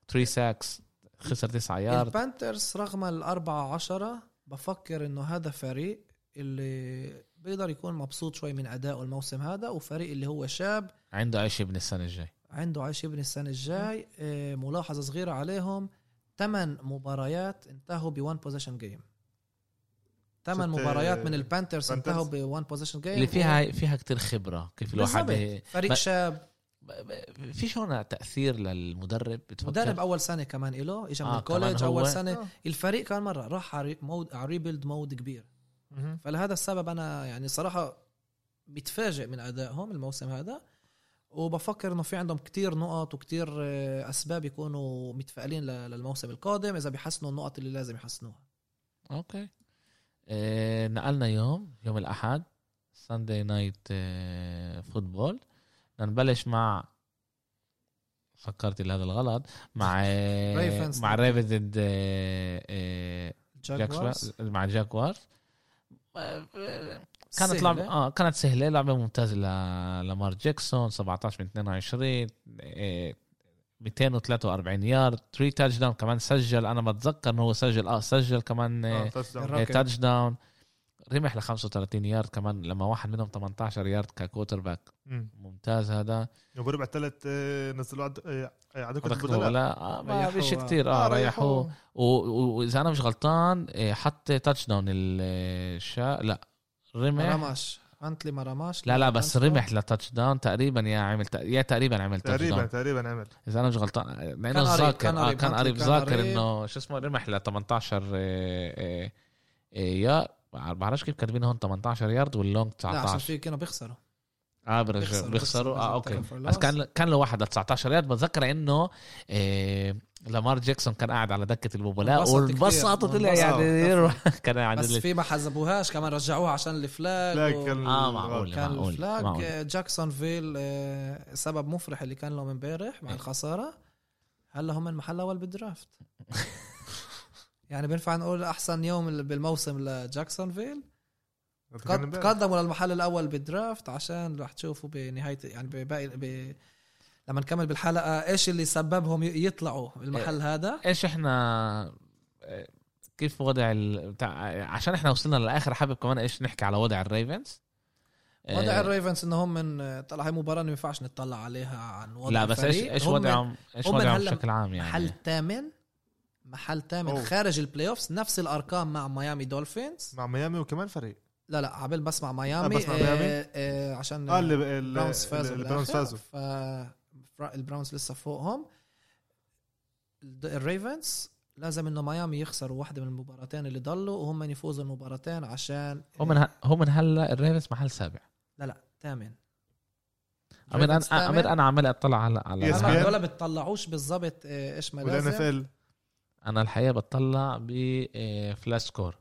[SPEAKER 1] 3 ساكس خسر تسعة
[SPEAKER 2] إيه،
[SPEAKER 1] يارد
[SPEAKER 2] البانترز رغم الأربعة عشرة بفكر إنه هذا فريق اللي بيقدر يكون مبسوط شوي من أدائه الموسم هذا وفريق اللي هو شاب
[SPEAKER 1] عنده عيش ابن السنة الجاي
[SPEAKER 2] عنده عايش ابن السنة الجاي آه، ملاحظة صغيرة عليهم ثمان مباريات انتهوا بوان بوزيشن جيم ثمان
[SPEAKER 3] ست-
[SPEAKER 2] مباريات من البانترز
[SPEAKER 3] Panthers.
[SPEAKER 2] انتهوا بوان بوزيشن جيم
[SPEAKER 1] اللي فيها فيها كتير خبرة كيف الواحد
[SPEAKER 2] فريق
[SPEAKER 1] ما-
[SPEAKER 2] شاب
[SPEAKER 1] في شو هنا تأثير للمدرب بتفكر
[SPEAKER 2] مدرب اول سنه كمان له اجى من
[SPEAKER 1] آه، كمان
[SPEAKER 2] الكوليج
[SPEAKER 1] هو.
[SPEAKER 2] اول سنه
[SPEAKER 3] آه.
[SPEAKER 2] الفريق كان مره راح على مود على ريبيلد مود كبير
[SPEAKER 3] مهم.
[SPEAKER 2] فلهذا السبب انا يعني صراحه متفاجئ من ادائهم الموسم هذا وبفكر انه في عندهم كتير نقط وكتير آه، اسباب يكونوا متفائلين ل- للموسم القادم اذا بيحسنوا النقط اللي لازم يحسنوها
[SPEAKER 1] اوكي آه نقلنا يوم يوم الاحد ساندي نايت فوتبول نبلش إيه، مع فكرت لهذا الغلط مع آه
[SPEAKER 2] Ravens.
[SPEAKER 1] مع ريفنز ضد آه، آه،
[SPEAKER 2] جاكوارز.
[SPEAKER 1] جاكسون- مع جاكوار كانت
[SPEAKER 2] سهلة.
[SPEAKER 1] لعبة اه كانت سهلة لعبة ممتازة ل... لمار جاكسون 17 من 22 آه، 243 يارد 3 تاتش داون كمان سجل انا بتذكر انه هو سجل اه سجل كمان آه،
[SPEAKER 3] آه، touchdown.
[SPEAKER 2] الرا-
[SPEAKER 1] آه،
[SPEAKER 2] راكب.
[SPEAKER 1] تاتش داون رمح ل 35 يارد كمان لما واحد منهم 18 يارد ككوتر باك
[SPEAKER 3] مم.
[SPEAKER 1] ممتاز هذا
[SPEAKER 3] وبربع الثالث آه، نزلوا عد- آه، عدوكة
[SPEAKER 1] أعتقد
[SPEAKER 3] البدلاء
[SPEAKER 1] ولا آه ما
[SPEAKER 2] ريحوه.
[SPEAKER 1] فيش كثير اه ريحوه و- و- واذا انا مش غلطان آه، حط تاتش داون الشا لا رمح
[SPEAKER 2] مرماش انتلي مرماش
[SPEAKER 1] لا لا بس رمح لتاتش داون تقريبا يا عمل يا تقريبا عمل تاتش
[SPEAKER 3] تقريبا
[SPEAKER 1] داون
[SPEAKER 3] تقريبا عمل
[SPEAKER 1] اذا انا مش غلطان آه، لانه
[SPEAKER 2] قريب،
[SPEAKER 1] ذاكر
[SPEAKER 2] كان
[SPEAKER 1] آه،
[SPEAKER 2] قريب،
[SPEAKER 1] كان
[SPEAKER 2] هانتلي
[SPEAKER 1] قريب
[SPEAKER 2] كان
[SPEAKER 1] ذاكر
[SPEAKER 2] قريب.
[SPEAKER 1] انه شو اسمه رمح ل 18 آه، آه، آه، يا بعرفش كيف كاتبين هون 18 يارد واللونج
[SPEAKER 2] لا عشان
[SPEAKER 1] 19
[SPEAKER 2] في كانوا بيخسروا
[SPEAKER 1] افرج
[SPEAKER 2] بيخسروا-
[SPEAKER 1] آه، بيخسروا اه
[SPEAKER 2] بيخسروا
[SPEAKER 1] اوكي
[SPEAKER 2] tackle for
[SPEAKER 1] بس
[SPEAKER 2] loss.
[SPEAKER 1] كان كان لواحد 19 يارد بتذكر انه إيه لامار جاكسون كان قاعد على دكه البوبولاء
[SPEAKER 2] انبسط كتير.
[SPEAKER 1] وانبسط طلع
[SPEAKER 2] انبسط.
[SPEAKER 1] يعني يروح <laughs> كان قاعد
[SPEAKER 2] بس
[SPEAKER 1] ال-
[SPEAKER 2] في ما حسبوهاش كمان رجعوها عشان الفلاج
[SPEAKER 3] لا
[SPEAKER 2] و-
[SPEAKER 3] كان
[SPEAKER 1] اه معقول
[SPEAKER 2] كان
[SPEAKER 1] معقول
[SPEAKER 2] الفلاج
[SPEAKER 1] معقول
[SPEAKER 2] آه، جاكسون فيل آه، سبب مفرح اللي كان لهم امبارح مع
[SPEAKER 1] إيه.
[SPEAKER 2] الخساره هلا هم المحل
[SPEAKER 1] <laughs>
[SPEAKER 2] الاول بالدرافت يعني بينفع نقول احسن يوم بالموسم لجاكسون فيل
[SPEAKER 3] كان امبارح.
[SPEAKER 2] تقدموا للمحل الاول بالدرافت عشان رح تشوفوا بنهايه يعني بباقي ب... لما نكمل بالحلقه ايش اللي سببهم ي- يطلعوا المحل
[SPEAKER 1] إيه.
[SPEAKER 2] هذا
[SPEAKER 1] ايش احنا إيه، كيف وضع ال... بتاع... آه، عشان احنا وصلنا للاخر حابب كمان ايش نحكي على وضع الريفنز إيه. آه،
[SPEAKER 2] وضع الريفنس انهم من طلع هاي مباراه ما ينفعش نطلع عليها عن وضع
[SPEAKER 1] لا بس ايش
[SPEAKER 2] الفريق.
[SPEAKER 1] ايش
[SPEAKER 2] هم
[SPEAKER 1] وضعهم ايش
[SPEAKER 2] هم
[SPEAKER 1] وضعهم
[SPEAKER 2] هلا
[SPEAKER 1] بشكل عام يعني
[SPEAKER 2] محل ثامن محل ثامن
[SPEAKER 3] أوه.
[SPEAKER 2] خارج البلاي اوفز نفس الارقام مع ميامي دولفينز
[SPEAKER 3] مع ميامي وكمان فريق
[SPEAKER 2] لا لا عبال بس مع ميامي
[SPEAKER 3] آه، بس مع ميامي.
[SPEAKER 2] آه، آه، عشان
[SPEAKER 3] اه اللي
[SPEAKER 2] البراونز فازوا
[SPEAKER 3] البراونز فازوا
[SPEAKER 2] ف البراونز لسه فوقهم الد- الريفنز لازم انه ميامي يخسروا واحده من المباراتين اللي ضلوا وهم يفوزوا المباراتين عشان
[SPEAKER 1] هم من ه... هم من هلا الريفنز محل سابع
[SPEAKER 2] لا لا ثامن
[SPEAKER 1] امير
[SPEAKER 2] الريفنز
[SPEAKER 1] انا امير
[SPEAKER 2] ثامن.
[SPEAKER 1] انا عمال اطلع على على
[SPEAKER 3] ESPN.
[SPEAKER 2] هلا هدول بتطلعوش بالضبط آه، ايش ما
[SPEAKER 3] والان اف
[SPEAKER 2] لازم
[SPEAKER 3] ال
[SPEAKER 1] انا الحقيقه بطلع آه، بفلاش سكور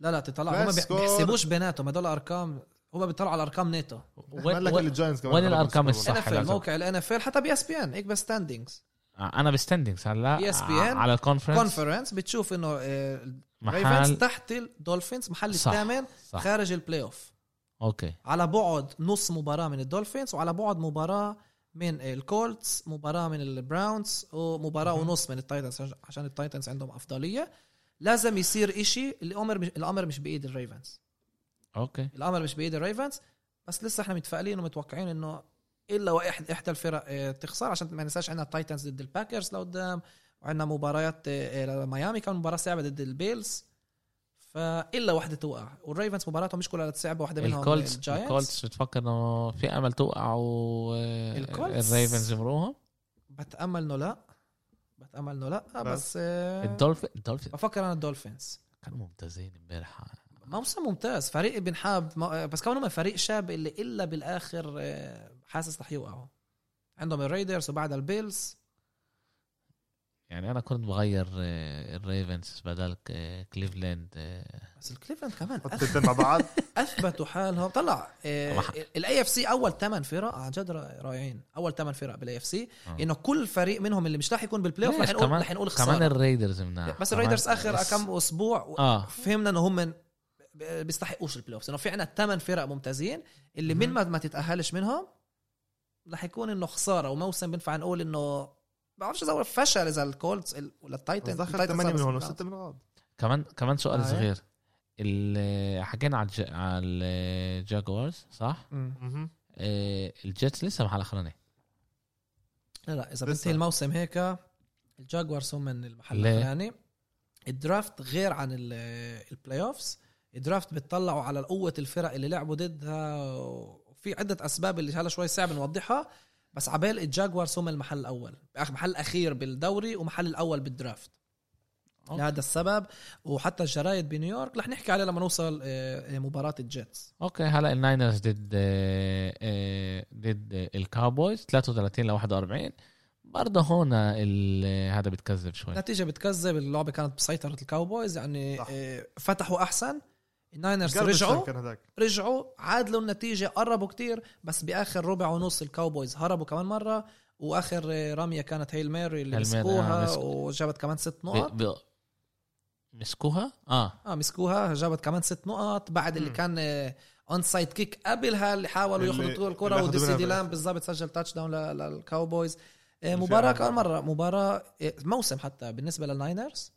[SPEAKER 2] لا لا تطلع هم
[SPEAKER 3] بس
[SPEAKER 2] بيح-
[SPEAKER 3] كور.
[SPEAKER 2] بيحسبوش بيناتهم هدول ارقام هم بيطلعوا على ارقام ناتو
[SPEAKER 1] وين-
[SPEAKER 3] لك
[SPEAKER 1] وين-
[SPEAKER 3] الجاينتس كمان
[SPEAKER 1] وين
[SPEAKER 3] خرجوا
[SPEAKER 1] الأرقام
[SPEAKER 3] من السوبر
[SPEAKER 2] ان
[SPEAKER 1] الصح؟
[SPEAKER 3] بول.
[SPEAKER 2] اف
[SPEAKER 1] لازم.
[SPEAKER 2] موقع الان اف حتى بي اس بي ان هيك بس ستاندينجز
[SPEAKER 1] انا بستندنجز آه، هلا
[SPEAKER 2] ESPN
[SPEAKER 1] على الكونفرنس
[SPEAKER 2] كونفرنس بتشوف انه آه، الريفنز
[SPEAKER 1] محل
[SPEAKER 2] تحت الدولفينز محل
[SPEAKER 1] صح.
[SPEAKER 2] الثامن
[SPEAKER 1] صح
[SPEAKER 2] خارج البلاي اوف
[SPEAKER 1] اوكي
[SPEAKER 2] على بعد نص مباراه من الدولفينز وعلى بعد مباراه من الكولتس مباراه من البراونز ومباراه
[SPEAKER 3] مهم.
[SPEAKER 2] ونص من التايتنز عش- عشان التايتنز عندهم افضليه لازم يصير إشي الامر مش الامر مش بايد الريفنز
[SPEAKER 1] اوكي
[SPEAKER 2] الامر مش بايد الريفنز بس لسه احنا متفائلين ومتوقعين انه الا واحد احدى الفرق آه، تخسر عشان ما ننساش عندنا التايتنز ضد الباكرز لقدام وعندنا مباريات آه، آه، ميامي كان مباراه صعبه ضد البيلز فالا واحده توقع والريفنز مباراتهم مش كلها صعبه واحده منهم
[SPEAKER 1] الكولتس
[SPEAKER 2] الجاينتس.
[SPEAKER 1] الكولتس بتفكر انه في امل توقع و
[SPEAKER 2] الكولتس.
[SPEAKER 1] الريفنز يمروهم
[SPEAKER 2] بتامل انه لا بتامل انه لا
[SPEAKER 3] بس.
[SPEAKER 2] بس آه،
[SPEAKER 1] الدولفين الدولفين
[SPEAKER 2] بفكر انا الدولفينز
[SPEAKER 1] كانوا ممتازين امبارح
[SPEAKER 2] موسم ممتاز فريق بنحب م- آه، بس كمان هم فريق شاب اللي الا بالاخر آه، حاسس رح يوقعوا عندهم الريدرز وبعدها البيلز
[SPEAKER 1] يعني انا كنت بغير آه، الريفنز بدل آه، كليفلاند آه،
[SPEAKER 2] بس الكليفلاند كمان
[SPEAKER 3] حطوا
[SPEAKER 2] أث-
[SPEAKER 3] التنتين مع بعض
[SPEAKER 2] اثبتوا حالهم طلع آه،
[SPEAKER 1] طبعاً.
[SPEAKER 2] الاي اف سي اول ثمان فرق عن جد رائع- رائعين اول ثمان فرق بالاي اف سي
[SPEAKER 1] آه.
[SPEAKER 2] انه كل فريق منهم اللي مش رح يكون بالبلاي اوف
[SPEAKER 1] ليش
[SPEAKER 2] رح نقول
[SPEAKER 1] كمان-
[SPEAKER 2] رح نقول
[SPEAKER 1] كمان
[SPEAKER 2] خساره
[SPEAKER 1] الريدرز منها
[SPEAKER 2] بس الريدرز اخر كم اسبوع
[SPEAKER 3] آه.
[SPEAKER 1] اه
[SPEAKER 2] فهمنا انه هم من بيستحقوش البلاي اوفز انه في عندنا ثمان فرق ممتازين اللي من ما ما تتاهلش منهم رح يكون انه خساره وموسم بينفع نقول انه بعرفش اذا هو فشل اذا الكولتس ال- ولا التايتنز
[SPEAKER 3] دخل
[SPEAKER 2] التايتنز
[SPEAKER 3] 8
[SPEAKER 2] صار
[SPEAKER 3] من هون
[SPEAKER 2] بس-
[SPEAKER 3] و6 من غاد
[SPEAKER 1] كمان كمان
[SPEAKER 2] آه.
[SPEAKER 1] سؤال صغير ال- حكينا على الج- على الجاكوارز صح؟
[SPEAKER 3] مهم.
[SPEAKER 1] آه، الجيتس لسه محل اخراني
[SPEAKER 2] لا لا اذا
[SPEAKER 3] لسه.
[SPEAKER 2] بنتهي الموسم هيك الجاكوارز هم من المحل
[SPEAKER 1] ليه؟
[SPEAKER 2] الثاني الدرافت غير عن ال- البلاي اوفز الدرافت بتطلعوا على قوة الفرق اللي لعبوا ضدها وفي عدة أسباب اللي هلا شوي صعب نوضحها بس عبال الجاكوارز هم المحل الأول أخ- محل أخير بالدوري ومحل الأول بالدرافت
[SPEAKER 1] أوكي.
[SPEAKER 2] لهذا السبب وحتى الجرايد بنيويورك رح نحكي عليه لما نوصل آه، آه، مباراة الجيتس
[SPEAKER 1] اوكي هلا الناينرز ضد آه، آه، ضد الكاوبويز 33 ل 41 برضه هون ال- آه، هذا بتكذب شوي
[SPEAKER 2] النتيجة بتكذب اللعبة كانت بسيطرة الكاوبويز يعني
[SPEAKER 3] صح.
[SPEAKER 2] آه، فتحوا أحسن الناينرز
[SPEAKER 3] garbage
[SPEAKER 2] رجعوا
[SPEAKER 3] time كان هذاك
[SPEAKER 2] رجعوا عادلوا النتيجة قربوا كتير بس بآخر ربع ونص الكاوبويز هربوا كمان مرة وآخر آه، رمية كانت هيل ماري اللي
[SPEAKER 1] هيل ماري، آه،
[SPEAKER 2] مسكوها
[SPEAKER 1] مسك-
[SPEAKER 2] وجابت كمان ست نقط
[SPEAKER 1] ب- ب- مسكوها اه
[SPEAKER 2] اه مسكوها جابت كمان ست نقط بعد اللي
[SPEAKER 3] مم.
[SPEAKER 2] كان آه، اون سايد كيك قبلها اللي حاولوا
[SPEAKER 3] اللي-
[SPEAKER 2] ياخذوا طول
[SPEAKER 3] اللي
[SPEAKER 2] الكرة
[SPEAKER 3] أخذوا
[SPEAKER 2] وديسي
[SPEAKER 3] منها
[SPEAKER 2] ديلان
[SPEAKER 3] بالآخر.
[SPEAKER 2] بالضبط سجل تاتش داون لل- للكاوبويز آه،
[SPEAKER 3] اللي
[SPEAKER 2] مباراة
[SPEAKER 3] فعلا.
[SPEAKER 2] كمان مرة مباراة آه، موسم حتى بالنسبة للناينرز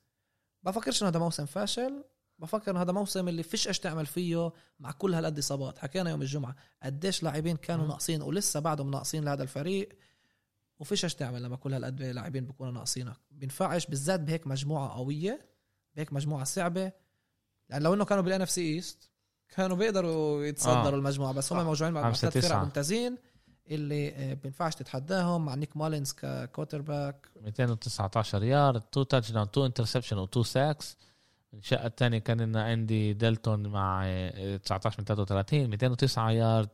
[SPEAKER 2] بفكرش انه هذا موسم فاشل بفكر انه هذا موسم اللي فيش ايش تعمل فيه مع كل هالقد اصابات حكينا يوم الجمعه قديش لاعبين كانوا
[SPEAKER 1] مم.
[SPEAKER 2] ناقصين ولسه بعدهم ناقصين لهذا الفريق وفيش ايش تعمل لما كل هالقد لاعبين بيكونوا ناقصينك بينفعش بالذات بهيك مجموعه قويه بهيك مجموعه صعبه يعني لو انه كانوا بالان اف سي ايست كانوا بيقدروا يتصدروا
[SPEAKER 1] آه.
[SPEAKER 2] آه. المجموعه بس هم
[SPEAKER 1] صح.
[SPEAKER 2] موجوعين مع مع
[SPEAKER 1] خمسة
[SPEAKER 2] ثلاث فرق
[SPEAKER 1] تسعة.
[SPEAKER 2] ممتازين اللي آه، بينفعش تتحداهم مع نيك مالينز ككوتر باك
[SPEAKER 1] 219 يارد 2 تاتش داون 2 انترسبشن و 2 ساكس الشقه الثانيه كان إن عندي ديلتون مع آه، 19 من 33 209 يارد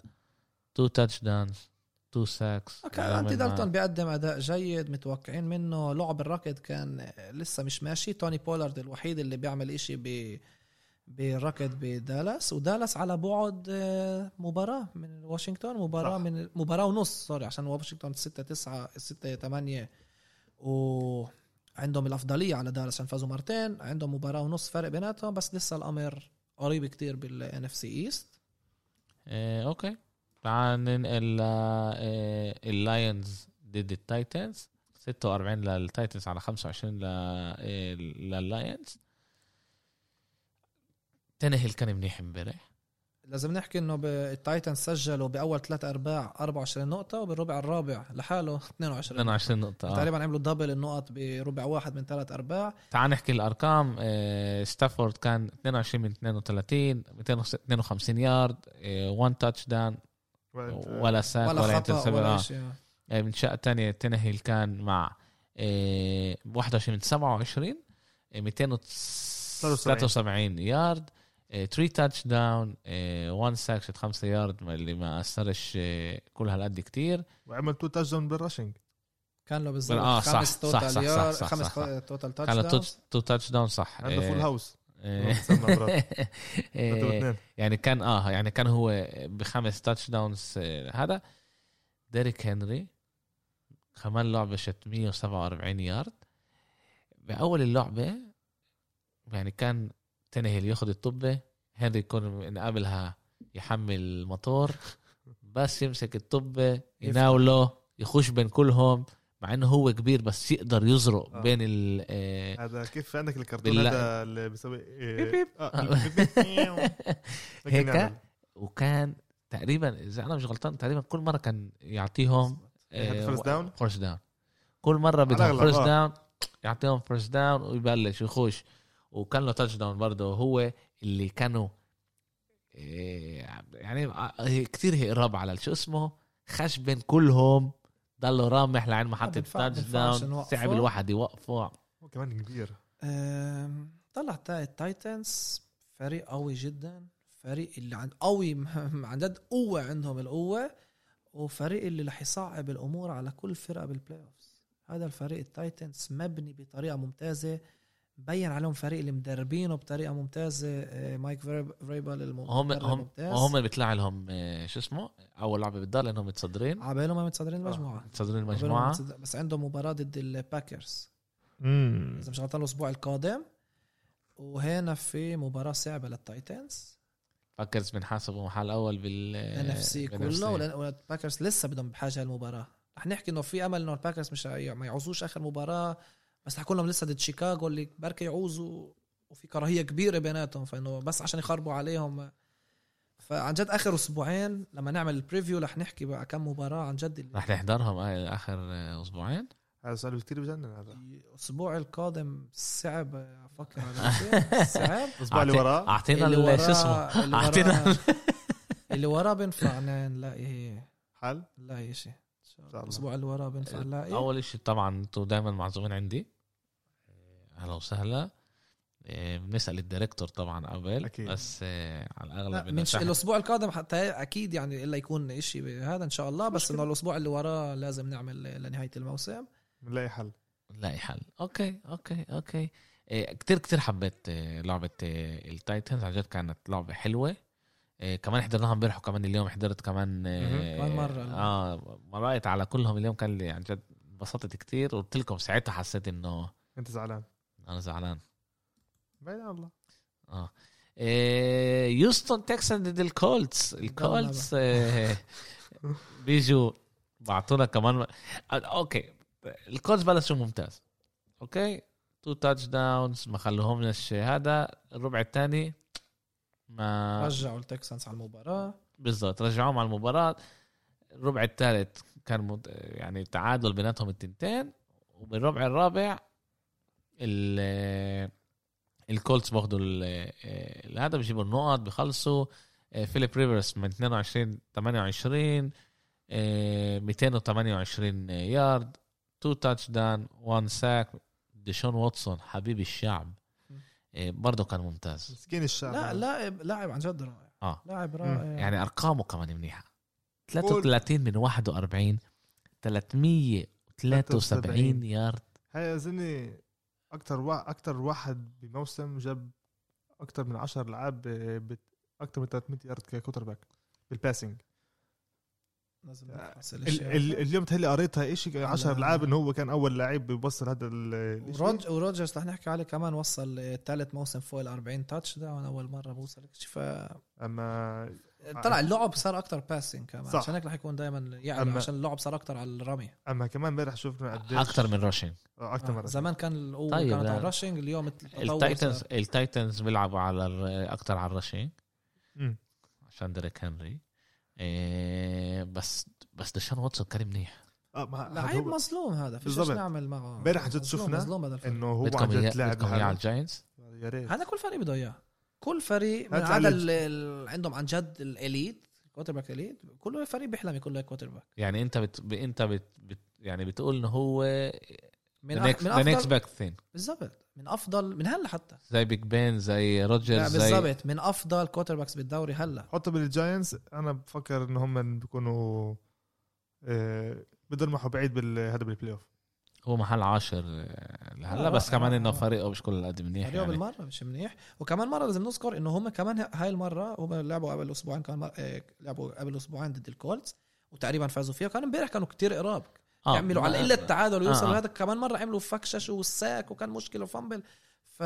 [SPEAKER 1] 2 تاتش داونز 2 ساكس
[SPEAKER 2] كان انتي دالتون بيقدم اداء جيد متوقعين منه لعب الركض كان لسه مش ماشي توني بولارد الوحيد اللي بيعمل اشي ب بالركض بدالاس ودالاس على بعد آه، مباراة من واشنطن مباراة
[SPEAKER 3] صح.
[SPEAKER 2] صح. من مباراة ونص سوري عشان واشنطن 6 9 6 8 وعندهم الأفضلية على دالاس عشان فازوا مرتين عندهم مباراة ونص فرق بيناتهم بس لسه الأمر قريب كتير بالان اف سي ايست
[SPEAKER 1] آه، اوكي تعال ننقل ل، آه، اللاينز ضد التايتنز 46 للتايتنز على 25 ل- آه، لللاينز تنهل كان منيح امبارح
[SPEAKER 2] لازم نحكي انه ب- التايتنز سجلوا باول ثلاث ارباع 24 نقطة وبالربع الرابع لحاله 22 نقطة
[SPEAKER 1] 22 نقطة آه.
[SPEAKER 2] تقريبا عملوا دبل النقط بربع واحد من ثلاث ارباع
[SPEAKER 1] تعال نحكي الارقام آه، ستافورد كان 22 من 32 252 يارد 1 تاتش داون آه، ولا ساك
[SPEAKER 2] طيب. ولا,
[SPEAKER 1] ولا,
[SPEAKER 2] ولا خطا
[SPEAKER 1] interception.
[SPEAKER 2] ولا
[SPEAKER 1] آه.
[SPEAKER 2] شيء
[SPEAKER 1] آه، من شقه ثانيه تنهيل كان مع آه، 21 من 27 آه، 273 يارد آه، 3 تاتش داون 1 ساك 5 يارد ما- اللي ما اثرش آه، كل هالقد كتير
[SPEAKER 3] وعمل تو تاتش داون بالراشنج
[SPEAKER 2] كان له بالظبط
[SPEAKER 1] آه، صح،
[SPEAKER 2] خمس
[SPEAKER 1] صح،
[SPEAKER 2] توتال
[SPEAKER 1] صح، صح،
[SPEAKER 2] يار-
[SPEAKER 1] صح، صح،
[SPEAKER 2] خمس
[SPEAKER 1] صح.
[SPEAKER 2] خ- توتال تاتش
[SPEAKER 1] كان
[SPEAKER 2] داون
[SPEAKER 1] تو تاتش داون صح
[SPEAKER 3] عنده فول
[SPEAKER 1] آه،
[SPEAKER 3] هاوس
[SPEAKER 1] آه،
[SPEAKER 3] <laughs>
[SPEAKER 1] <laughs>
[SPEAKER 3] عنده
[SPEAKER 1] آه،
[SPEAKER 3] اثنين
[SPEAKER 1] يعني كان اه يعني كان هو بخمس تاتش داونز آه، هذا ديريك هنري كمان لعبة شت 147 يارد بأول اللعبة يعني كان تنهل ياخد الطبة هنري يكون من قبلها يحمل الموتور بس يمسك الطبة يناوله يخش بين كلهم مع انه هو كبير بس يقدر يزرق
[SPEAKER 3] آه.
[SPEAKER 1] بين ال آه،
[SPEAKER 3] هذا كيف عندك الكرتون
[SPEAKER 1] بالله.
[SPEAKER 3] هذا اللي بيسوي آه،
[SPEAKER 1] بيب بيب. <laughs> هيك؟
[SPEAKER 3] يعني،
[SPEAKER 1] وكان تقريبا اذا انا مش غلطان تقريبا كل مره كان يعطيهم آه،
[SPEAKER 3] ياخد يعني first down؟
[SPEAKER 1] فيرست داون كل مره بدهم
[SPEAKER 3] الأغلب،
[SPEAKER 1] فيرست
[SPEAKER 3] آه.
[SPEAKER 1] داون يعطيهم فيرست داون ويبلش يخش وكان له تاتش داون برضه هو اللي كانوا إيه، يعني كثير هراب على شو اسمه خش بين كلهم ضلوا رامح لعين ما حط
[SPEAKER 2] بنفع-
[SPEAKER 1] التاتش
[SPEAKER 2] بنفعش
[SPEAKER 1] داون
[SPEAKER 2] نوقفه.
[SPEAKER 1] صعب الواحد يوقفه
[SPEAKER 3] هو كمان كبير
[SPEAKER 2] أم، طلع تا- التايتنز فريق قوي جدا فريق اللي عن قوي <laughs> عن جد قوه عندهم القوه وفريق اللي رح يصعب الامور على كل فرقه بالبلاي اوفز هذا الفريق التايتنز مبني بطريقه ممتازه بين عليهم فريق اللي مدربينه بطريقه ممتازه آه، مايك فيرب- فيربال المدرب
[SPEAKER 1] هم هم
[SPEAKER 2] ممتاز.
[SPEAKER 1] هم بيطلع لهم إيه، شو اسمه اول لعبه بتضل انهم متصدرين
[SPEAKER 2] عبالهم ما متصدرين
[SPEAKER 1] آه،
[SPEAKER 2] المجموعه
[SPEAKER 1] متصدرين
[SPEAKER 2] عبالهم
[SPEAKER 1] المجموعه
[SPEAKER 2] متصدر- بس عندهم مباراه ضد الباكرز اذا مش غلطان الاسبوع القادم وهنا في مباراه صعبه للتايتنز
[SPEAKER 1] باكرز بنحاسبوا محل اول بال
[SPEAKER 2] ان اف سي
[SPEAKER 1] بال
[SPEAKER 2] كله
[SPEAKER 1] NFC.
[SPEAKER 2] والباكرز لسه بدهم بحاجه هالمباراه رح نحكي انه في امل انه الباكرز مش هي- ما يعوزوش اخر مباراه بس حكوا لهم لسه ضد شيكاغو اللي بركي يعوزوا وفي كراهيه كبيره بيناتهم فانه بس عشان يخربوا عليهم فعن جد اخر اسبوعين لما نعمل البريفيو رح نحكي بقى كم مباراه عن جد اللي
[SPEAKER 1] رح نحضرهم آ- اخر آه، اسبوعين
[SPEAKER 3] هذا سؤال كثير بجنن هذا
[SPEAKER 2] الاسبوع القادم صعب افكر على شيء. صعب
[SPEAKER 3] الاسبوع اللي
[SPEAKER 1] أعطي-
[SPEAKER 3] وراه
[SPEAKER 1] اعطينا
[SPEAKER 2] آه، اللي
[SPEAKER 1] ال- شو
[SPEAKER 2] وراه-
[SPEAKER 1] اسمه
[SPEAKER 2] اللي
[SPEAKER 1] أعطينا
[SPEAKER 2] وراه- اللي وراه بنفع ن- نلاقي
[SPEAKER 3] حل
[SPEAKER 2] نلاقي شيء
[SPEAKER 3] الله.
[SPEAKER 2] الاسبوع اللي وراه بنفع نلاقي
[SPEAKER 1] اول شيء طبعا انتوا دائما معزومين عندي آه، اهلا وسهلا إيه، بنسال الديريكتور طبعا قبل
[SPEAKER 3] أكيد.
[SPEAKER 1] بس إيه، على
[SPEAKER 2] لا،
[SPEAKER 1] الاغلب
[SPEAKER 2] منش...
[SPEAKER 1] بنرتاح.
[SPEAKER 2] الاسبوع القادم حتى اكيد يعني الا يكون شيء هذا ان شاء الله بس انه الاسبوع اللي وراه لازم نعمل لنهايه الموسم
[SPEAKER 3] بنلاقي حل
[SPEAKER 1] نلاقي حل اوكي اوكي اوكي إيه، كتير كتير حبيت إيه، لعبة إيه، التايتنز عن جد كانت لعبة حلوة إيه، كمان حضرناها امبارح وكمان اليوم حضرت كمان إيه،
[SPEAKER 3] مهم.
[SPEAKER 2] كمان مرة.
[SPEAKER 1] اه مرقت على كلهم اليوم كان لي عن جد انبسطت كتير وقلت لكم ساعتها حسيت انه
[SPEAKER 3] انت زعلان
[SPEAKER 1] انا زعلان
[SPEAKER 3] بعيد عن الله
[SPEAKER 1] اه إيه، يوستن تكسان ضد الكولتس الكولتس إيه، بيجوا بعطونا كمان آه، م- اوكي الكولتس بلشوا ممتاز اوكي تو تاتش داونز ما خلوهمش هذا الربع الثاني ما
[SPEAKER 2] رجعوا التكسانس على المباراه
[SPEAKER 1] بالضبط رجعوهم على المباراه الربع الثالث كان مد... يعني تعادل بيناتهم التنتين وبالربع الرابع ال الكولتس باخدوا ال- ال- هذا بيجيبوا النقط بيخلصوا آه، فيليب ريفرس من 22 28 آه، 228 يارد تو تاتش داون وان ساك ديشون واتسون حبيب الشعب آه، برضه كان ممتاز
[SPEAKER 3] مسكين الشعب
[SPEAKER 2] لا لاعب لاعب عن جد رائع
[SPEAKER 1] اه
[SPEAKER 2] لاعب
[SPEAKER 3] مم.
[SPEAKER 2] رائع
[SPEAKER 1] يعني ارقامه كمان منيحه 33 من 41 373 يارد
[SPEAKER 3] هاي اظن اكثر وا... اكثر واحد بموسم جاب اكثر من 10 لعاب بت... اكثر من 300 يارد ككوتر باك بالباسنج
[SPEAKER 2] لازم
[SPEAKER 3] آه،
[SPEAKER 2] نحصل
[SPEAKER 3] ال...
[SPEAKER 2] إشي.
[SPEAKER 3] ال... اليوم تهيألي قريتها شيء
[SPEAKER 2] على-
[SPEAKER 3] 10 لعاب انه هو كان اول لعيب بيوصل هذا ال... الإشي.
[SPEAKER 2] وروج وروجرز رح نحكي عليه كمان وصل ثالث موسم فوق ال 40 تاتش داون اول مره بوصل هيك شي، ف
[SPEAKER 3] اما
[SPEAKER 2] آه، طلع اللعب صار اكثر باسنج كمان
[SPEAKER 3] آه. صح.
[SPEAKER 2] صح. عشان هيك رح يكون دائما يعني
[SPEAKER 3] أما-
[SPEAKER 2] عشان اللعب صار اكثر على الرمي
[SPEAKER 3] اما كمان امبارح شفنا قديش
[SPEAKER 1] اكثر من روشن
[SPEAKER 3] اكثر
[SPEAKER 2] آه.
[SPEAKER 3] مره
[SPEAKER 2] زمان كان القوه
[SPEAKER 1] طيب،
[SPEAKER 2] طيب كانت على
[SPEAKER 1] لا.
[SPEAKER 2] الراشنج اليوم التطور
[SPEAKER 1] التايتنز
[SPEAKER 2] صار.
[SPEAKER 1] التايتنز بيلعبوا على اكثر على الرشين
[SPEAKER 3] أمم.
[SPEAKER 1] عشان ديريك هنري إيه بس بس دشان واتسون كان منيح
[SPEAKER 3] اه ما
[SPEAKER 2] آه، لعيب
[SPEAKER 3] هو-
[SPEAKER 2] مظلوم هذا فيش
[SPEAKER 3] بالضبط.
[SPEAKER 2] إيش نعمل معه
[SPEAKER 3] امبارح عن جد
[SPEAKER 2] مظلوم-
[SPEAKER 3] شفنا
[SPEAKER 2] مظلوم هذا الفريق
[SPEAKER 3] انه هو عن
[SPEAKER 1] بدكم إياه-
[SPEAKER 3] جد لاعب
[SPEAKER 1] بدكم إياه على
[SPEAKER 3] لحاله.
[SPEAKER 1] الجاينتس
[SPEAKER 3] يا ريت
[SPEAKER 2] هذا كل فريق بده اياه كل فريق من
[SPEAKER 3] هات
[SPEAKER 2] عدا
[SPEAKER 3] على
[SPEAKER 2] ال- ال- عندهم عن جد الاليت كوتر باك اليت كل فريق بيحلم يكون له كوتر باك
[SPEAKER 1] يعني انت بت... ب- انت بت... بت... يعني بتقول انه هو
[SPEAKER 2] من,
[SPEAKER 1] ذا
[SPEAKER 2] أح- من
[SPEAKER 1] نكست
[SPEAKER 2] افضل
[SPEAKER 1] باك ثين
[SPEAKER 2] بالضبط من افضل من هلا حتى
[SPEAKER 1] زي بيج بين زي
[SPEAKER 2] لا
[SPEAKER 1] روجرز زي
[SPEAKER 2] بالضبط من افضل كوتر باكس بالدوري هلا
[SPEAKER 3] حطوا بالجاينتس انا بفكر ان هم بيكونوا آه، بدهم يروحوا بعيد بال... هذا بالبلاي اوف
[SPEAKER 1] هو محل عاشر آه، لهلا
[SPEAKER 2] آه،
[SPEAKER 1] بس
[SPEAKER 2] آه،
[SPEAKER 1] كمان
[SPEAKER 2] آه،
[SPEAKER 1] انه
[SPEAKER 2] آه.
[SPEAKER 1] فريقه مش كل قد منيح
[SPEAKER 2] فريقه
[SPEAKER 1] يعني
[SPEAKER 2] بالمره مش منيح وكمان مره لازم نذكر انه هم كمان ه- هاي المره هم لعبوا قبل اسبوعين كان مر... آه، لعبوا قبل اسبوعين ضد الكولتس وتقريبا فازوا فيها وكانوا امبارح كانوا كتير قراب
[SPEAKER 1] آه،
[SPEAKER 2] يعملوا على
[SPEAKER 1] آه،
[SPEAKER 2] الا التعادل ويوصلوا
[SPEAKER 1] آه، آه.
[SPEAKER 2] آه. هذا كمان مره عملوا فكشش والساك وكان مشكله وفامبل ف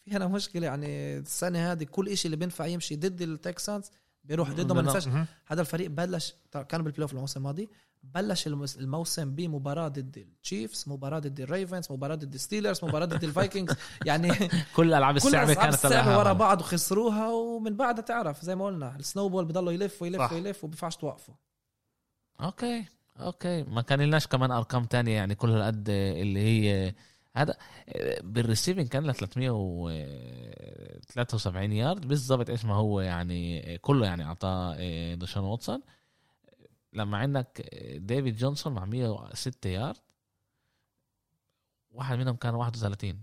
[SPEAKER 2] في هنا مشكله يعني السنه هذه كل إشي اللي بينفع يمشي ضد التكسانز بيروح ضده ما
[SPEAKER 1] بدنا-
[SPEAKER 2] ننساش هذا الفريق بلش طبعاً كان بالبلاي اوف الموسم الماضي بلش الموس- الموسم بمباراه ضد التشيفز مباراه ضد الريفنز مباراه ضد الستيلرز مباراه ضد الفايكنجز <laughs>
[SPEAKER 1] <laughs>
[SPEAKER 2] يعني
[SPEAKER 1] <laughs> كل الالعاب
[SPEAKER 2] كل
[SPEAKER 1] الصعبه
[SPEAKER 2] اصحاب
[SPEAKER 1] كانت
[SPEAKER 2] الصعبة
[SPEAKER 1] لها
[SPEAKER 2] ورا
[SPEAKER 1] عمل.
[SPEAKER 2] بعض وخسروها ومن بعدها تعرف زي ما قلنا السنو بول بضله يلف ويلف
[SPEAKER 3] صح.
[SPEAKER 2] ويلف وبينفعش توقفه
[SPEAKER 1] اوكي اوكي ما كان لناش كمان ارقام تانية يعني كل هالقد اللي هي هذا بالريسيفنج كان له 373 يارد بالضبط ايش ما هو يعني كله يعني اعطاه دشان واتسون لما عندك آه، ديفيد جونسون مع 106 يارد واحد منهم كان 31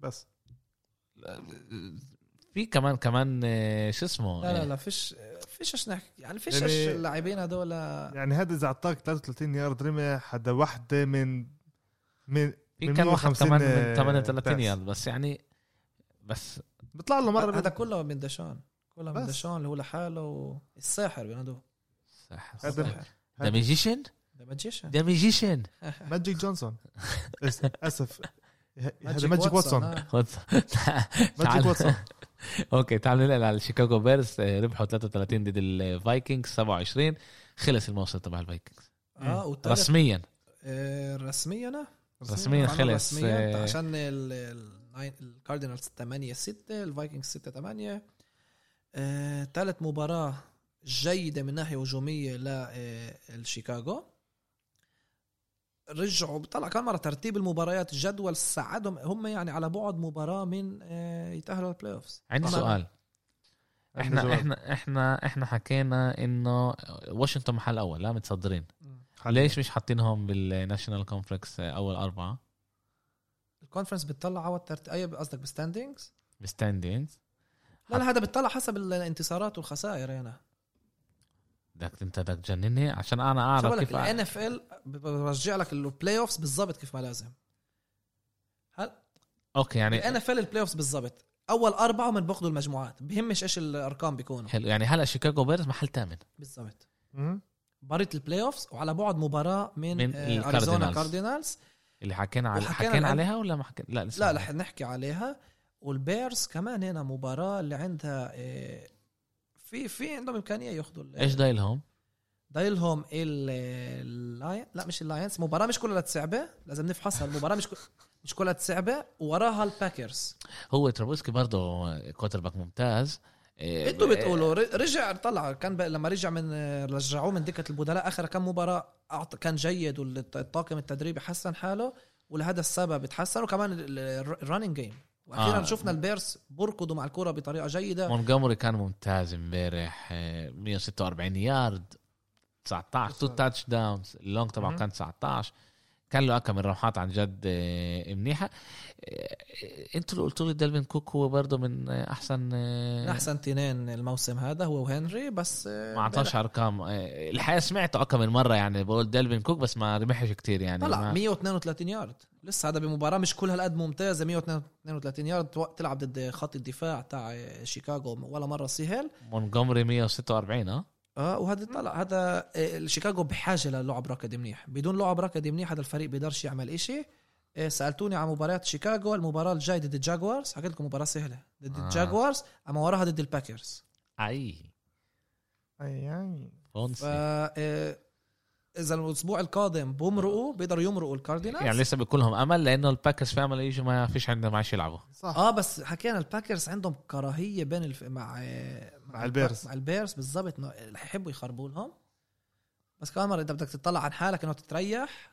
[SPEAKER 3] بس
[SPEAKER 1] في كمان كمان آه، شو اسمه
[SPEAKER 2] لا لا لا فيش فيش ايش نحكي يعني فيش
[SPEAKER 3] يعني-
[SPEAKER 2] ايش اللاعبين هذول
[SPEAKER 3] يعني هذا اذا اعطاك 33 يارد رمي حدا وحده من من
[SPEAKER 1] في
[SPEAKER 3] من آه،
[SPEAKER 1] كان واحد
[SPEAKER 3] 150
[SPEAKER 1] كمان من
[SPEAKER 3] باس.
[SPEAKER 1] 38 يارد بس يعني بس
[SPEAKER 3] بيطلع له مره
[SPEAKER 2] هذا
[SPEAKER 3] هذا
[SPEAKER 2] كله من دشان كله من
[SPEAKER 3] بس.
[SPEAKER 2] دشان اللي هو لحاله الساحر بينادوه
[SPEAKER 3] هذا-
[SPEAKER 2] الساحر
[SPEAKER 1] ذا ميجيشن
[SPEAKER 2] ذا ماجيشن
[SPEAKER 3] <laughs>
[SPEAKER 1] ذا ميجيشن
[SPEAKER 3] ماجيك
[SPEAKER 2] <laughs>
[SPEAKER 3] جونسون أس- اسف ه- هذا ماجيك واتسون
[SPEAKER 2] آه.
[SPEAKER 3] <laughs>
[SPEAKER 1] <laughs>
[SPEAKER 3] ماجيك واتسون
[SPEAKER 1] اوكي تعال ننقل على الشيكاغو بيرز آه، ربحوا 33 ضد الفايكنجز 27 خلص الموسم تبع الفايكنجز
[SPEAKER 2] اه والثالث
[SPEAKER 1] رسميا
[SPEAKER 2] آه، رسميا آه.
[SPEAKER 1] رسميا
[SPEAKER 2] طبعاً
[SPEAKER 1] خلص
[SPEAKER 2] رسميا
[SPEAKER 1] آه،
[SPEAKER 2] عشان ال- ال- الناين- الكاردينالز 8 6 الفايكنجز 6 8 ثالث آه، مباراة جيدة من ناحية هجومية آه، لشيكاغو رجعوا طلع كم مرة ترتيب المباريات جدول ساعدهم هم يعني على بعد مباراة من آه، يتأهلوا للبلاي اوفز
[SPEAKER 1] عندي
[SPEAKER 2] طبعاً.
[SPEAKER 1] سؤال
[SPEAKER 3] عندنا
[SPEAKER 1] احنا
[SPEAKER 3] جواب.
[SPEAKER 1] احنا احنا احنا حكينا انه واشنطن محل اول لا متصدرين
[SPEAKER 3] حاليا.
[SPEAKER 1] ليش مش حاطينهم بالناشونال كونفرنس اول اربعه
[SPEAKER 2] الكونفرنس بتطلع على الترتيب اي قصدك بستاندينجز
[SPEAKER 1] بالستاندينجز
[SPEAKER 2] لا لا هذا بتطلع حسب الانتصارات والخسائر يعني
[SPEAKER 1] بدك انت بدك تجنني عشان انا
[SPEAKER 2] شو
[SPEAKER 1] اعرف
[SPEAKER 2] بالك
[SPEAKER 1] كيف
[SPEAKER 2] الان اف ال برجع لك البلاي اوفز بالضبط كيف ما لازم هل
[SPEAKER 1] اوكي
[SPEAKER 2] الان
[SPEAKER 1] يعني
[SPEAKER 2] اف ال البلاي اوفز بالضبط اول اربعه من باخذوا المجموعات بهمش ايش الارقام بيكونوا
[SPEAKER 1] حلو يعني هلا شيكاغو بيرز محل ثامن
[SPEAKER 2] بالضبط
[SPEAKER 3] مم.
[SPEAKER 2] مباراه البلاي اوفز وعلى بعد مباراه من,
[SPEAKER 1] من
[SPEAKER 2] آه،
[SPEAKER 1] الكاردينالز.
[SPEAKER 2] اريزونا كاردينالز
[SPEAKER 1] اللي حكينا على
[SPEAKER 2] وحكينا
[SPEAKER 1] حكينا
[SPEAKER 2] عن-
[SPEAKER 1] عليها ولا ما حكينا لا لسه
[SPEAKER 2] لا رح نحكي عليها والبيرز كمان هنا مباراه اللي عندها آه، في في عندهم امكانيه ياخذوا ال-
[SPEAKER 1] ايش دايلهم؟
[SPEAKER 2] ضايلهم ال- اللاين لا مش اللاينز مباراة مش كلها صعبة لازم نفحصها المباراة مش كل- مش كلها صعبة وراها الباكرز
[SPEAKER 1] هو ترابوسكي برضه كوتر باك ممتاز إيه،
[SPEAKER 2] انتوا بتقولوا ر- رجع طلع كان ب... لما رجع من رجعوه من دكة البدلاء اخر كم مباراة أعط... كان جيد والطاقم التدريبي حسن حاله ولهذا السبب اتحسن وكمان الرننج جيم واخيرا
[SPEAKER 1] آه.
[SPEAKER 2] آه. شفنا البيرس بركضوا مع الكرة بطريقة جيدة
[SPEAKER 1] مونتجومري كان ممتاز امبارح آه، 146 يارد 19 تو
[SPEAKER 3] بالظبط.
[SPEAKER 1] تاتش داونز اللونج تبعه
[SPEAKER 3] مهم.
[SPEAKER 1] كان 19 كان له كم من روحات عن جد آه، منيحه آه، انتوا اللي قلتوا لي دالفين كوك هو برضه من آه، احسن
[SPEAKER 2] من
[SPEAKER 1] آه،
[SPEAKER 2] احسن تنين الموسم هذا هو وهنري بس
[SPEAKER 1] ما اعطاش ارقام آه، الحقيقه سمعته كم من مره يعني بقول دالفين كوك بس ما ربحش كتير يعني
[SPEAKER 2] طلع
[SPEAKER 1] ما
[SPEAKER 2] 132 يارد لسه هذا بمباراه مش كل هالقد ممتازه 132 يارد تو- تلعب ضد خط الدفاع تاع شيكاغو ولا مره سهل
[SPEAKER 1] مونتجومري 146 اه
[SPEAKER 2] اه وهذا طلع هذا آه، شيكاغو بحاجه للعب ركضي منيح بدون لعب ركضي منيح هذا الفريق بيقدرش يعمل إشي آه، سالتوني عن مباريات شيكاغو المباراه الجايه ضد الجاكوارز حكيت لكم مباراه سهله ضد
[SPEAKER 1] آه.
[SPEAKER 2] آه. الجاكوارز اما وراها ضد الباكرز
[SPEAKER 1] اي
[SPEAKER 3] أي- أي.
[SPEAKER 2] ف
[SPEAKER 1] فونسي
[SPEAKER 2] آه، اذا الاسبوع القادم بمرقوا بيقدروا يمرقوا الكاردينالز
[SPEAKER 1] يعني لسه بيكون لهم امل لانه الباكرز في امل يجوا ما فيش عندهم معاش يلعبوا
[SPEAKER 3] صح
[SPEAKER 2] اه بس حكينا الباكرز عندهم كراهيه بين الف... مع آه،
[SPEAKER 3] مع البيرز.
[SPEAKER 2] مع البيرز بالضبط إنه يحبوا يخربوا لهم بس كمان مره انت بدك تطلع عن حالك انه تتريح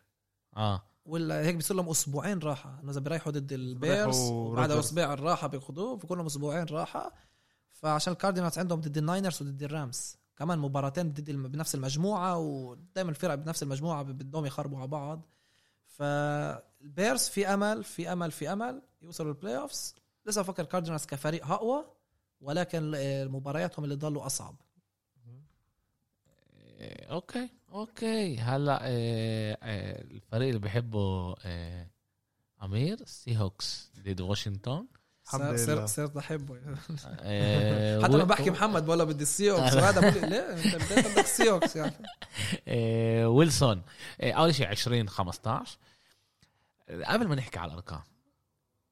[SPEAKER 1] اه
[SPEAKER 2] ولا هيك بيصير لهم اسبوعين راحه انه اذا بيريحوا ضد البيرز
[SPEAKER 3] بيريحوا
[SPEAKER 2] وبعد
[SPEAKER 3] روجرز.
[SPEAKER 2] اسبوع الراحه بياخذوه بيكون لهم اسبوعين راحه فعشان الكاردينالز عندهم ضد الناينرز وضد الرامز كمان مباراتين ضد الم- بنفس المجموعه ودائما الفرق بنفس المجموعه بدهم يخربوا على بعض فالبيرز في امل في امل في امل يوصلوا البلاي اوفز لسه بفكر الكاردينالز كفريق اقوى ولكن ال- مبارياتهم اللي ضلوا اصعب
[SPEAKER 1] إيه، اوكي اوكي هلا إيه، إيه، الفريق اللي بحبه إيه، امير السي هوكس ضد
[SPEAKER 2] <laughs>
[SPEAKER 1] واشنطن
[SPEAKER 3] الحمد
[SPEAKER 2] صار- صار-
[SPEAKER 3] لله.
[SPEAKER 2] صرت احبه
[SPEAKER 1] إيه،
[SPEAKER 2] حتى
[SPEAKER 1] و-
[SPEAKER 2] لما بحكي محمد بقول له بدي السيوكس وهذا بقول لي ليه انت بديت بدك السيوكس يعني
[SPEAKER 1] إيه، ويلسون إيه، اول شيء 20 15 قبل ما نحكي على الارقام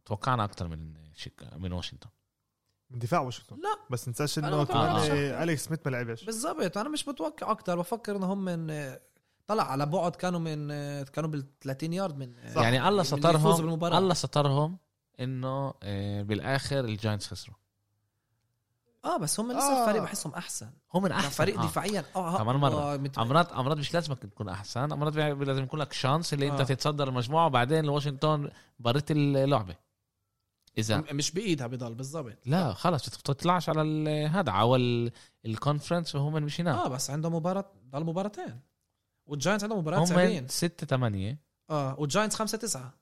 [SPEAKER 1] توقعنا اكثر من شيكا من واشنطن
[SPEAKER 3] من دفاع واشنطن
[SPEAKER 2] لا.
[SPEAKER 3] بس ننساش
[SPEAKER 2] أنا
[SPEAKER 3] انه
[SPEAKER 2] ما
[SPEAKER 3] كمان
[SPEAKER 1] بعرفش.
[SPEAKER 3] آه، اليكس سميث ما لعبش
[SPEAKER 2] بالضبط انا مش متوقع اكثر بفكر انهم من طلع على بعد كانوا من كانوا بال 30 يارد من
[SPEAKER 3] صح.
[SPEAKER 1] يعني الله
[SPEAKER 2] من اللي يفوز
[SPEAKER 1] سترهم
[SPEAKER 2] بالمباراة.
[SPEAKER 1] الله سترهم انه إيه، بالاخر الجاينتس خسروا
[SPEAKER 2] اه بس هم لسه
[SPEAKER 3] آه.
[SPEAKER 2] الفريق بحسهم احسن
[SPEAKER 1] هم من
[SPEAKER 2] احسن
[SPEAKER 1] احسن
[SPEAKER 2] يعني فريق
[SPEAKER 1] آه.
[SPEAKER 2] دفاعيا اه
[SPEAKER 1] كمان مرة.
[SPEAKER 2] آه، مت-
[SPEAKER 1] امراض امراض مش لازم تكون احسن امراض بي- لازم يكون لك شانس اللي انت
[SPEAKER 2] آه.
[SPEAKER 1] تتصدر المجموعه وبعدين واشنطن بريت اللعبه اذا
[SPEAKER 2] م- مش بايدها بضل بالضبط
[SPEAKER 1] لا خلص تطلعش على ال- هذا على ال- الكونفرنس وهم مش هناك
[SPEAKER 2] اه بس عندهم مباراه ضل مباراتين والجاينتس عندهم مباراه
[SPEAKER 1] هم
[SPEAKER 2] صعبين
[SPEAKER 1] 6 8
[SPEAKER 2] اه والجاينتس 5 9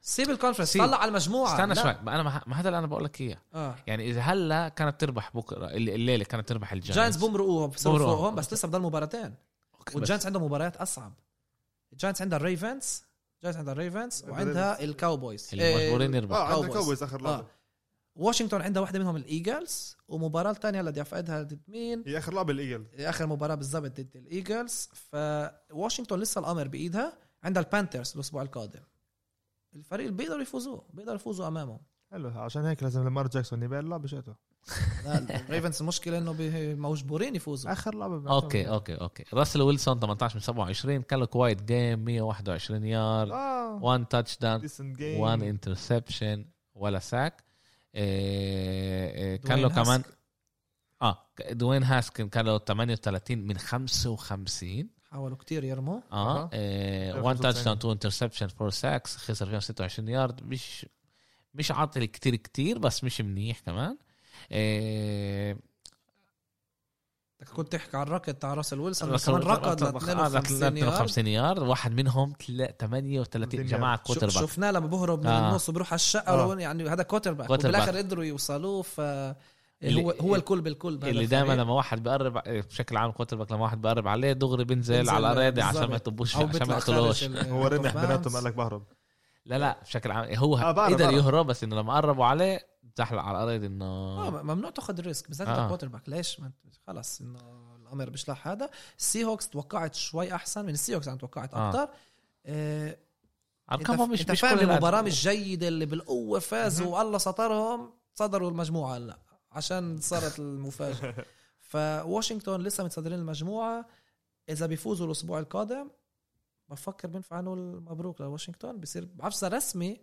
[SPEAKER 2] سيب الكونفرنس
[SPEAKER 1] سيب.
[SPEAKER 2] طلع على المجموعه
[SPEAKER 1] استنى
[SPEAKER 2] لا.
[SPEAKER 1] شوي ما انا ما ما هذا اللي انا بقول لك اياه
[SPEAKER 2] اه
[SPEAKER 1] يعني اذا هلا كانت تربح بكره الل- الليله كانت تربح
[SPEAKER 2] جاينتس
[SPEAKER 1] الجاينتس
[SPEAKER 2] بمرقوهم بصيروا
[SPEAKER 1] بمرقوهم.
[SPEAKER 2] فوقهم بس لسه بضل مباراتين
[SPEAKER 1] أوكي، بس-
[SPEAKER 2] والجاينتس عندهم مباريات اصعب الجاينتس عندها الريفنز جاينتس عندها الريفنز وعندها الكاوبويز
[SPEAKER 1] اللي مجبورين
[SPEAKER 3] اه
[SPEAKER 1] يربحوا
[SPEAKER 2] Cowboys.
[SPEAKER 3] عندك كاوبويز اخر
[SPEAKER 2] آه.
[SPEAKER 3] لعبه
[SPEAKER 2] واشنطن عندها واحده منهم الايجلز ومباراه الثانيه اللي دفعتها ضد مين
[SPEAKER 3] هي اخر لعبه الايجل
[SPEAKER 2] اخر مباراه بالضبط ضد الايجلز فواشنطن لسه الامر بايدها عندها البانترز الاسبوع القادم الفريق اللي بيقدروا يفوزوا بيقدروا يفوزوا امامهم
[SPEAKER 3] حلو عشان هيك لازم لامار جاكسون يبيع اللعبه شاته
[SPEAKER 1] <laughs>
[SPEAKER 2] لا الريفنز المشكله انه بي- مجبورين يفوزوا
[SPEAKER 3] اخر لعبه
[SPEAKER 1] اوكي اوكي اوكي راسل ويلسون 18 من 27 كان له كوايت جيم 121 يارد
[SPEAKER 3] اه
[SPEAKER 1] 1 تاتش داون
[SPEAKER 3] ديسنت جيم
[SPEAKER 1] 1 انترسبشن ولا ساك كان له
[SPEAKER 2] دوين
[SPEAKER 1] كمان
[SPEAKER 2] هاسك
[SPEAKER 1] اه دوين هاسكن كان له 38 من 55
[SPEAKER 2] حاولوا كتير يرموا
[SPEAKER 1] اه
[SPEAKER 3] أها.
[SPEAKER 1] 1
[SPEAKER 3] خمسة
[SPEAKER 1] تاتش داون
[SPEAKER 3] وتسعين.
[SPEAKER 1] 2 انترسبشن 4 ساكس خسر فيهم 26 يارد مش مش عاطل كتير كتير بس مش منيح كمان آه،
[SPEAKER 2] انت كنت تحكي عن الركض تاع راسل ويلسون
[SPEAKER 1] راسل
[SPEAKER 2] كمان
[SPEAKER 1] ويلسون
[SPEAKER 2] ركض ل
[SPEAKER 1] أطلق- آه،
[SPEAKER 2] 52 يارد
[SPEAKER 1] 52 يارد واحد منهم تلا- 38
[SPEAKER 3] يارد.
[SPEAKER 1] جماعه
[SPEAKER 2] شو-
[SPEAKER 1] كوتر باك
[SPEAKER 2] شفناه لما بهرب من
[SPEAKER 1] آه.
[SPEAKER 2] النص وبروح على الشقه
[SPEAKER 3] آه.
[SPEAKER 2] لو- يعني هذا كوتر باك
[SPEAKER 1] كوتر
[SPEAKER 2] وبالاخر
[SPEAKER 1] باك.
[SPEAKER 2] قدروا يوصلوه ف
[SPEAKER 1] اللي-
[SPEAKER 2] هو هو الكل بالكل بهذا
[SPEAKER 1] اللي دائما
[SPEAKER 2] الفريق.
[SPEAKER 1] لما واحد بقرب آه، بشكل عام كوتر باك لما واحد بقرب عليه دغري بينزل
[SPEAKER 2] بينزل
[SPEAKER 1] على الاراضي
[SPEAKER 2] بالظبط.
[SPEAKER 1] عشان ما يطبوش
[SPEAKER 2] او
[SPEAKER 1] عشان ما
[SPEAKER 2] بيطلع
[SPEAKER 1] يقتلوش
[SPEAKER 2] خارج ال-
[SPEAKER 3] هو رمح
[SPEAKER 2] out of
[SPEAKER 3] بيناتهم
[SPEAKER 2] bounds.
[SPEAKER 3] قال لك بهرب
[SPEAKER 1] لا لا بشكل عام هو
[SPEAKER 3] آه، بعرف،
[SPEAKER 1] قدر
[SPEAKER 3] بعرف.
[SPEAKER 1] يهرب بس انه لما قربوا عليه زحلق على الارض انه
[SPEAKER 2] اه ممنوع تاخذ ريسك بالذات
[SPEAKER 1] آه.
[SPEAKER 2] آه. كوتر باك ليش ما انت خلص انه الامر بيشلح هذا السي هوكس توقعت شوي احسن من السي هوكس انا توقعت
[SPEAKER 1] آه.
[SPEAKER 2] اكثر آه.
[SPEAKER 1] ارقامهم مش
[SPEAKER 2] انت
[SPEAKER 1] مش
[SPEAKER 2] فاهم
[SPEAKER 1] كل
[SPEAKER 2] المباراه
[SPEAKER 1] الأد-
[SPEAKER 2] مش جيده اللي بالقوه فازوا
[SPEAKER 3] مهم.
[SPEAKER 2] والله سطرهم صدروا المجموعه هلا عشان صارت المفاجاه فواشنطن لسه متصدرين المجموعه اذا بيفوزوا الاسبوع القادم بفكر بينفع نقول مبروك لواشنطن بصير بعرفش رسمي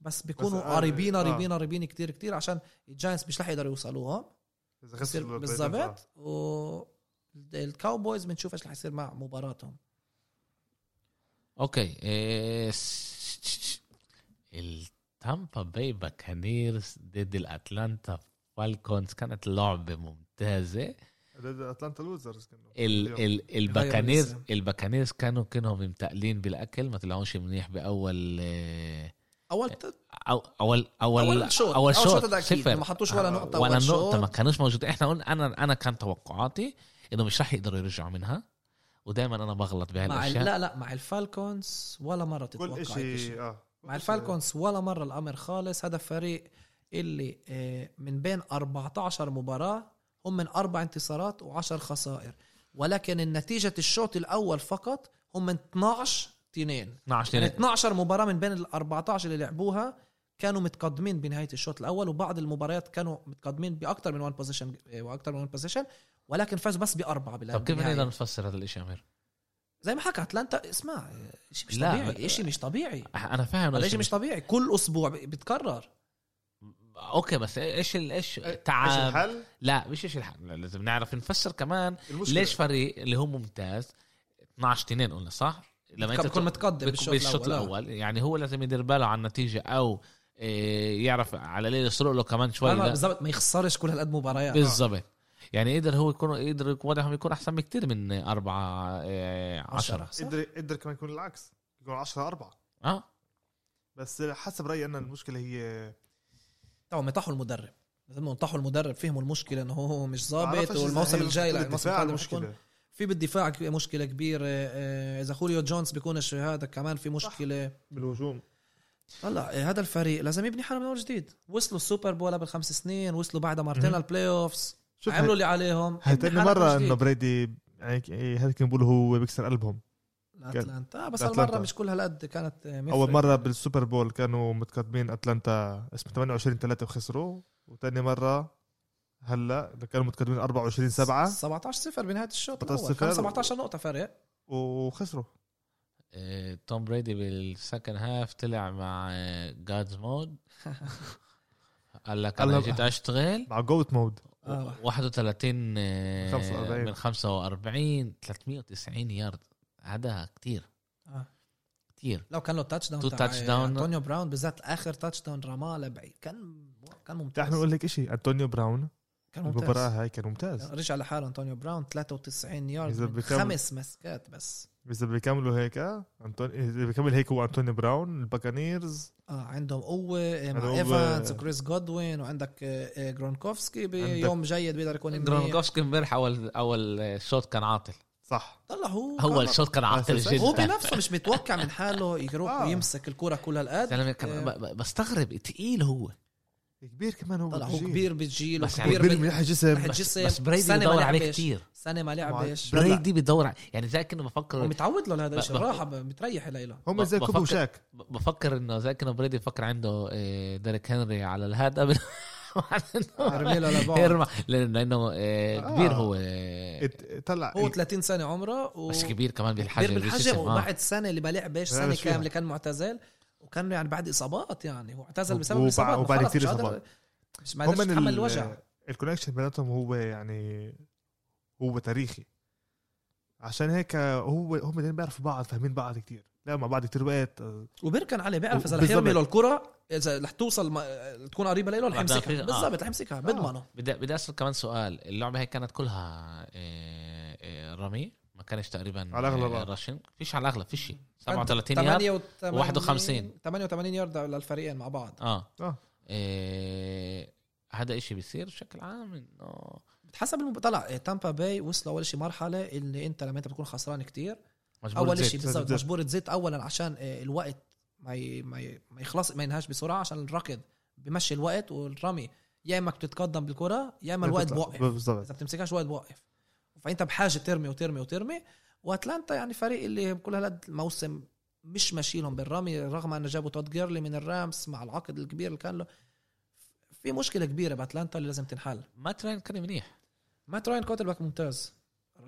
[SPEAKER 2] بس بيكونوا
[SPEAKER 3] بس آه،
[SPEAKER 2] قريبين
[SPEAKER 3] آه.
[SPEAKER 2] قريبين قريبين كتير كتير عشان الجاينتس مش رح يقدروا يوصلوهم
[SPEAKER 3] إذا
[SPEAKER 2] بصير
[SPEAKER 3] خسروا البيتنز،
[SPEAKER 2] بالظبط و الكاوبويز بنشوف ايش رح يصير مع مباراتهم
[SPEAKER 1] اوكي إيه، س- س- س- التامبا باي باكانيرز ضد الاتلانتا فالكونز كانت لعبه ممتازه
[SPEAKER 3] آه. ده- ده اتلانتا لوزرز كانوا
[SPEAKER 1] ال ال الباكانيرز الباكانيرز كانوا كانهم متقلين بالاكل ما طلعوش منيح باول إيه،
[SPEAKER 2] اول ت-
[SPEAKER 1] أو اول اول
[SPEAKER 2] اول شوط
[SPEAKER 1] اول شوت
[SPEAKER 2] هذا اكيد
[SPEAKER 1] صفر.
[SPEAKER 2] ما حطوش ولا
[SPEAKER 3] آه،
[SPEAKER 2] نقطه
[SPEAKER 1] ولا
[SPEAKER 2] أول
[SPEAKER 1] النقطه
[SPEAKER 2] شوط.
[SPEAKER 1] ما كانوش موجودين احنا قلنا انا انا كان توقعاتي انه مش راح يقدروا يرجعوا منها ودائما انا بغلط
[SPEAKER 2] مع ال-
[SPEAKER 1] بهالاشياء
[SPEAKER 2] لا لا مع الفالكونز ولا مره تتوقع
[SPEAKER 3] كل شيء اه
[SPEAKER 2] مع الفالكونز ولا مره الامر خالص هذا فريق اللي آه، من بين 14 مباراه هم من اربع انتصارات و10 خسائر ولكن النتيجه الشوط الاول فقط هم من 12 2
[SPEAKER 1] 12
[SPEAKER 2] يعني
[SPEAKER 1] لين
[SPEAKER 2] 12 مباراه من بين ال 14 اللي لعبوها كانوا متقدمين بنهايه الشوط الاول وبعض المباريات كانوا متقدمين باكثر من 1 بوزيشن واكثر من 1 بوزيشن ولكن فازوا بس باربعه بلا
[SPEAKER 1] طب كيف
[SPEAKER 2] بالنهاية.
[SPEAKER 1] نقدر نفسر هذا الشيء امير؟
[SPEAKER 2] زي ما حكى اتلانتا اسمع شيء مش
[SPEAKER 1] لا،
[SPEAKER 2] طبيعي إيه شيء مش طبيعي
[SPEAKER 1] انا فاهم
[SPEAKER 2] هذا
[SPEAKER 1] إيش
[SPEAKER 2] شيء مش طبيعي كل اسبوع ب- بتكرر
[SPEAKER 1] اوكي بس ايش ال- ايش
[SPEAKER 3] ايش
[SPEAKER 1] تعب
[SPEAKER 3] الحل؟
[SPEAKER 1] لا مش ايش الحل لا، لازم نعرف نفسر كمان
[SPEAKER 3] المشكله
[SPEAKER 1] ليش فريق اللي هو ممتاز 12 2 قلنا صح لما
[SPEAKER 2] بتكون
[SPEAKER 1] تكون-
[SPEAKER 2] متقدم
[SPEAKER 1] بت-
[SPEAKER 2] بالشوط
[SPEAKER 1] بالشوط
[SPEAKER 2] الأول، آه.
[SPEAKER 1] الاول يعني هو لازم يدير باله على النتيجه او إيه، يعرف على ليل يسرق له كمان شوي
[SPEAKER 2] أنا
[SPEAKER 1] طيب، لا.
[SPEAKER 2] بالضبط ما يخسرش كل هالقد مباريات
[SPEAKER 1] بالضبط يعني قدر هو يكون قدر وضعهم يكون احسن بكتير من أربعة إيه، عشرة
[SPEAKER 2] عشرة صح؟
[SPEAKER 3] قدر قدر كمان يكون العكس يكون 10 4
[SPEAKER 1] اه
[SPEAKER 3] بس حسب رايي انا المشكله هي
[SPEAKER 2] طبعا مطاحوا المدرب لازم ينطحوا المدرب فهموا المشكله انه هو مش ظابط
[SPEAKER 3] بعرفش إذا
[SPEAKER 2] آه، والموسم
[SPEAKER 3] هي
[SPEAKER 2] الجاي لا
[SPEAKER 3] مشكلة
[SPEAKER 2] الموسم
[SPEAKER 3] الدفاع
[SPEAKER 2] القادم رح يكون
[SPEAKER 3] المشكله
[SPEAKER 2] في بالدفاع ك- مشكله كبيره آه، اذا خوليو جونز بيكونش هذا كمان في مشكله
[SPEAKER 3] بالهجوم
[SPEAKER 2] هلا آه، هذا الفريق لازم يبني حاله من اول جديد وصلوا السوبر بول قبل خمس سنين وصلوا بعدها مرتين
[SPEAKER 3] مهم.
[SPEAKER 2] للبلاي اوفز
[SPEAKER 3] شوف
[SPEAKER 2] عملوا اللي عليهم
[SPEAKER 3] هاي
[SPEAKER 2] ابني
[SPEAKER 3] تاني
[SPEAKER 2] حالك من
[SPEAKER 3] مرة
[SPEAKER 2] جديد.
[SPEAKER 3] انه بريدي يعني هذا كان بيقولوا هو بيكسر قلبهم
[SPEAKER 2] اتلانتا آه بس
[SPEAKER 3] أتلانتا.
[SPEAKER 2] هالمره مش كل هالقد كانت مثل
[SPEAKER 3] اول مرة بالسوبر بول كانوا متقدمين اتلانتا اسمه 28 3 وخسروا وتاني مرة هلا كانوا متقدمين 24 7
[SPEAKER 2] 17 0 بنهايه الشوط
[SPEAKER 3] 17
[SPEAKER 2] الاول كان
[SPEAKER 3] صفر.
[SPEAKER 2] 17 نقطه فرق
[SPEAKER 3] وخسروا
[SPEAKER 1] إيه، توم بريدي بالسكند هاف طلع مع جادز مود قال لك انا
[SPEAKER 3] قال-
[SPEAKER 1] جيت اشتغل
[SPEAKER 3] مع جوت مود
[SPEAKER 2] آه.
[SPEAKER 1] 31 آه،
[SPEAKER 3] 45.
[SPEAKER 1] من 45 390 يارد هذا كتير
[SPEAKER 2] آه.
[SPEAKER 1] كتير
[SPEAKER 2] لو كان له تاتش داون
[SPEAKER 1] تو
[SPEAKER 2] تاع
[SPEAKER 1] touch down.
[SPEAKER 2] انطونيو براون بالذات اخر تاتش داون رماه لبعيد كان كان ممتاز
[SPEAKER 3] تعال نقول لك شيء انطونيو براون
[SPEAKER 2] كان
[SPEAKER 3] المباراة
[SPEAKER 2] ممتاز
[SPEAKER 3] هاي كان ممتاز
[SPEAKER 2] رجع لحاله انطونيو براون 93 يارد
[SPEAKER 3] إذا
[SPEAKER 2] من
[SPEAKER 3] بكمل-
[SPEAKER 2] خمس مسكات بس
[SPEAKER 3] اذا بيكملوا هيك انطوني اذا بيكمل هيك هو انطونيو براون الباكانيرز
[SPEAKER 2] اه عندهم قوه مع
[SPEAKER 3] عندهم
[SPEAKER 2] ايفانس
[SPEAKER 3] قوة.
[SPEAKER 2] وكريس جودوين وعندك آه، آه، جرونكوفسكي
[SPEAKER 3] عندك-
[SPEAKER 2] بيوم جيد بيقدر يكون منيح.
[SPEAKER 1] جرونكوفسكي امبارح اول اول شوط كان عاطل
[SPEAKER 3] صح
[SPEAKER 2] طلع هو
[SPEAKER 1] اول
[SPEAKER 2] كان-
[SPEAKER 1] شوط كان عاطل
[SPEAKER 3] بس-
[SPEAKER 2] هو
[SPEAKER 1] جدا
[SPEAKER 2] بنفسه مش متوقع من حاله يروح
[SPEAKER 3] آه.
[SPEAKER 2] ويمسك الكره كل هالقد
[SPEAKER 1] زلمه كان ب- ب- بستغرب تقيل هو
[SPEAKER 3] كبير كمان هو
[SPEAKER 2] طلع هو
[SPEAKER 3] بالجيل.
[SPEAKER 2] كبير بالجيل
[SPEAKER 1] بس
[SPEAKER 2] وكبير
[SPEAKER 3] كبير
[SPEAKER 2] بال-
[SPEAKER 3] من ناحية يعني جسم
[SPEAKER 2] ناحية
[SPEAKER 1] بس,
[SPEAKER 2] جسم،
[SPEAKER 1] بس بريدي
[SPEAKER 2] سنة ما
[SPEAKER 1] بدور عليه
[SPEAKER 2] لعبش.
[SPEAKER 1] كتير
[SPEAKER 2] سنه ما لعبش
[SPEAKER 3] لا، لا.
[SPEAKER 1] بريدي بدور عليه يعني زي كانه بفكر
[SPEAKER 2] ومتعود له لهذا
[SPEAKER 1] ب-
[SPEAKER 2] الشيء
[SPEAKER 1] ب-
[SPEAKER 2] راحه ب- متريح لإله
[SPEAKER 3] هم زي
[SPEAKER 1] ب-
[SPEAKER 3] كوبي
[SPEAKER 1] بفكر-
[SPEAKER 3] وشاك
[SPEAKER 1] ب- بفكر انه زي كانه بريدي بفكر عنده آه، ديريك هنري على الهاد <laughs> قبل <laughs>
[SPEAKER 2] ارمي له لبعض
[SPEAKER 1] ارمى لأن- لانه آه،
[SPEAKER 3] آه.
[SPEAKER 1] كبير هو آه،
[SPEAKER 3] ات- طلع
[SPEAKER 2] إيه. هو 30 سنه عمره و...
[SPEAKER 1] بس كبير كمان بالحجم
[SPEAKER 2] كبير بالحجم
[SPEAKER 1] بالجسم، آه.
[SPEAKER 2] وبعد سنه اللي ما لعبش
[SPEAKER 3] لا،
[SPEAKER 2] سنه
[SPEAKER 3] بس فيها.
[SPEAKER 2] كامله كان معتزل وكان يعني بعد اصابات يعني هو اعتزل
[SPEAKER 3] وب-
[SPEAKER 2] بسبب
[SPEAKER 3] وبع-
[SPEAKER 2] الاصابات ما
[SPEAKER 3] وبعد
[SPEAKER 2] خلص،
[SPEAKER 3] كتير
[SPEAKER 2] مش قادر-
[SPEAKER 3] إصابات.
[SPEAKER 2] مش ما قدرش
[SPEAKER 3] هم من
[SPEAKER 2] يتحمل
[SPEAKER 3] ال-
[SPEAKER 2] الوجع
[SPEAKER 3] الكونكشن بيناتهم هو يعني هو تاريخي عشان هيك هو هم الاثنين بيعرفوا بعض فاهمين بعض كتير لا مع بعض كتير وقت آه،
[SPEAKER 2] وبركن عليه بيعرف اذا رح
[SPEAKER 3] بالضبط.
[SPEAKER 2] يرمي له الكره اذا رح توصل ما... تكون قريبه له رح
[SPEAKER 1] بعدها
[SPEAKER 2] يمسكها
[SPEAKER 1] في- آه.
[SPEAKER 2] بالضبط رح يمسكها بضمنه
[SPEAKER 1] بدي بدي اسال كمان سؤال اللعبه هي كانت كلها آه، آه، رمي ما كانش تقريبا
[SPEAKER 3] على الأغلب،
[SPEAKER 1] آه،
[SPEAKER 3] آه.
[SPEAKER 1] رشن فيش على الاغلب فيش شي. 37 يارد
[SPEAKER 2] 58
[SPEAKER 1] 51.
[SPEAKER 2] 88 يارد للفريقين مع بعض
[SPEAKER 1] اه
[SPEAKER 3] آه.
[SPEAKER 1] إيه، هذا إشي بيصير بشكل عام انه
[SPEAKER 2] حسب الم... طلع إيه، تامبا باي وصلوا اول شيء مرحله اللي انت لما انت بتكون خسران كتير
[SPEAKER 1] مجبور
[SPEAKER 2] اول
[SPEAKER 1] تزيد.
[SPEAKER 2] شيء
[SPEAKER 3] لازم
[SPEAKER 2] بالضبط
[SPEAKER 3] تزيد.
[SPEAKER 2] مجبور تزيد اولا عشان آه، الوقت ما ي... ما, ي... ما يخلص ما ينهاش بسرعه عشان الركض بمشي الوقت والرمي يا اما بتتقدم بالكره يا اما الوقت بوقف
[SPEAKER 3] بالضبط
[SPEAKER 2] اذا بتمسكهاش الوقت بوقف فانت بحاجه ترمي وترمي وترمي واتلانتا يعني فريق اللي بكل هالقد الموسم مش ماشيلهم بالرمي رغم انه جابوا تود جيرلي من الرامس مع العقد الكبير اللي كان له في مشكله كبيره باتلانتا اللي لازم تنحل
[SPEAKER 1] ما ترين كان منيح
[SPEAKER 2] مات راين كوتر باك ممتاز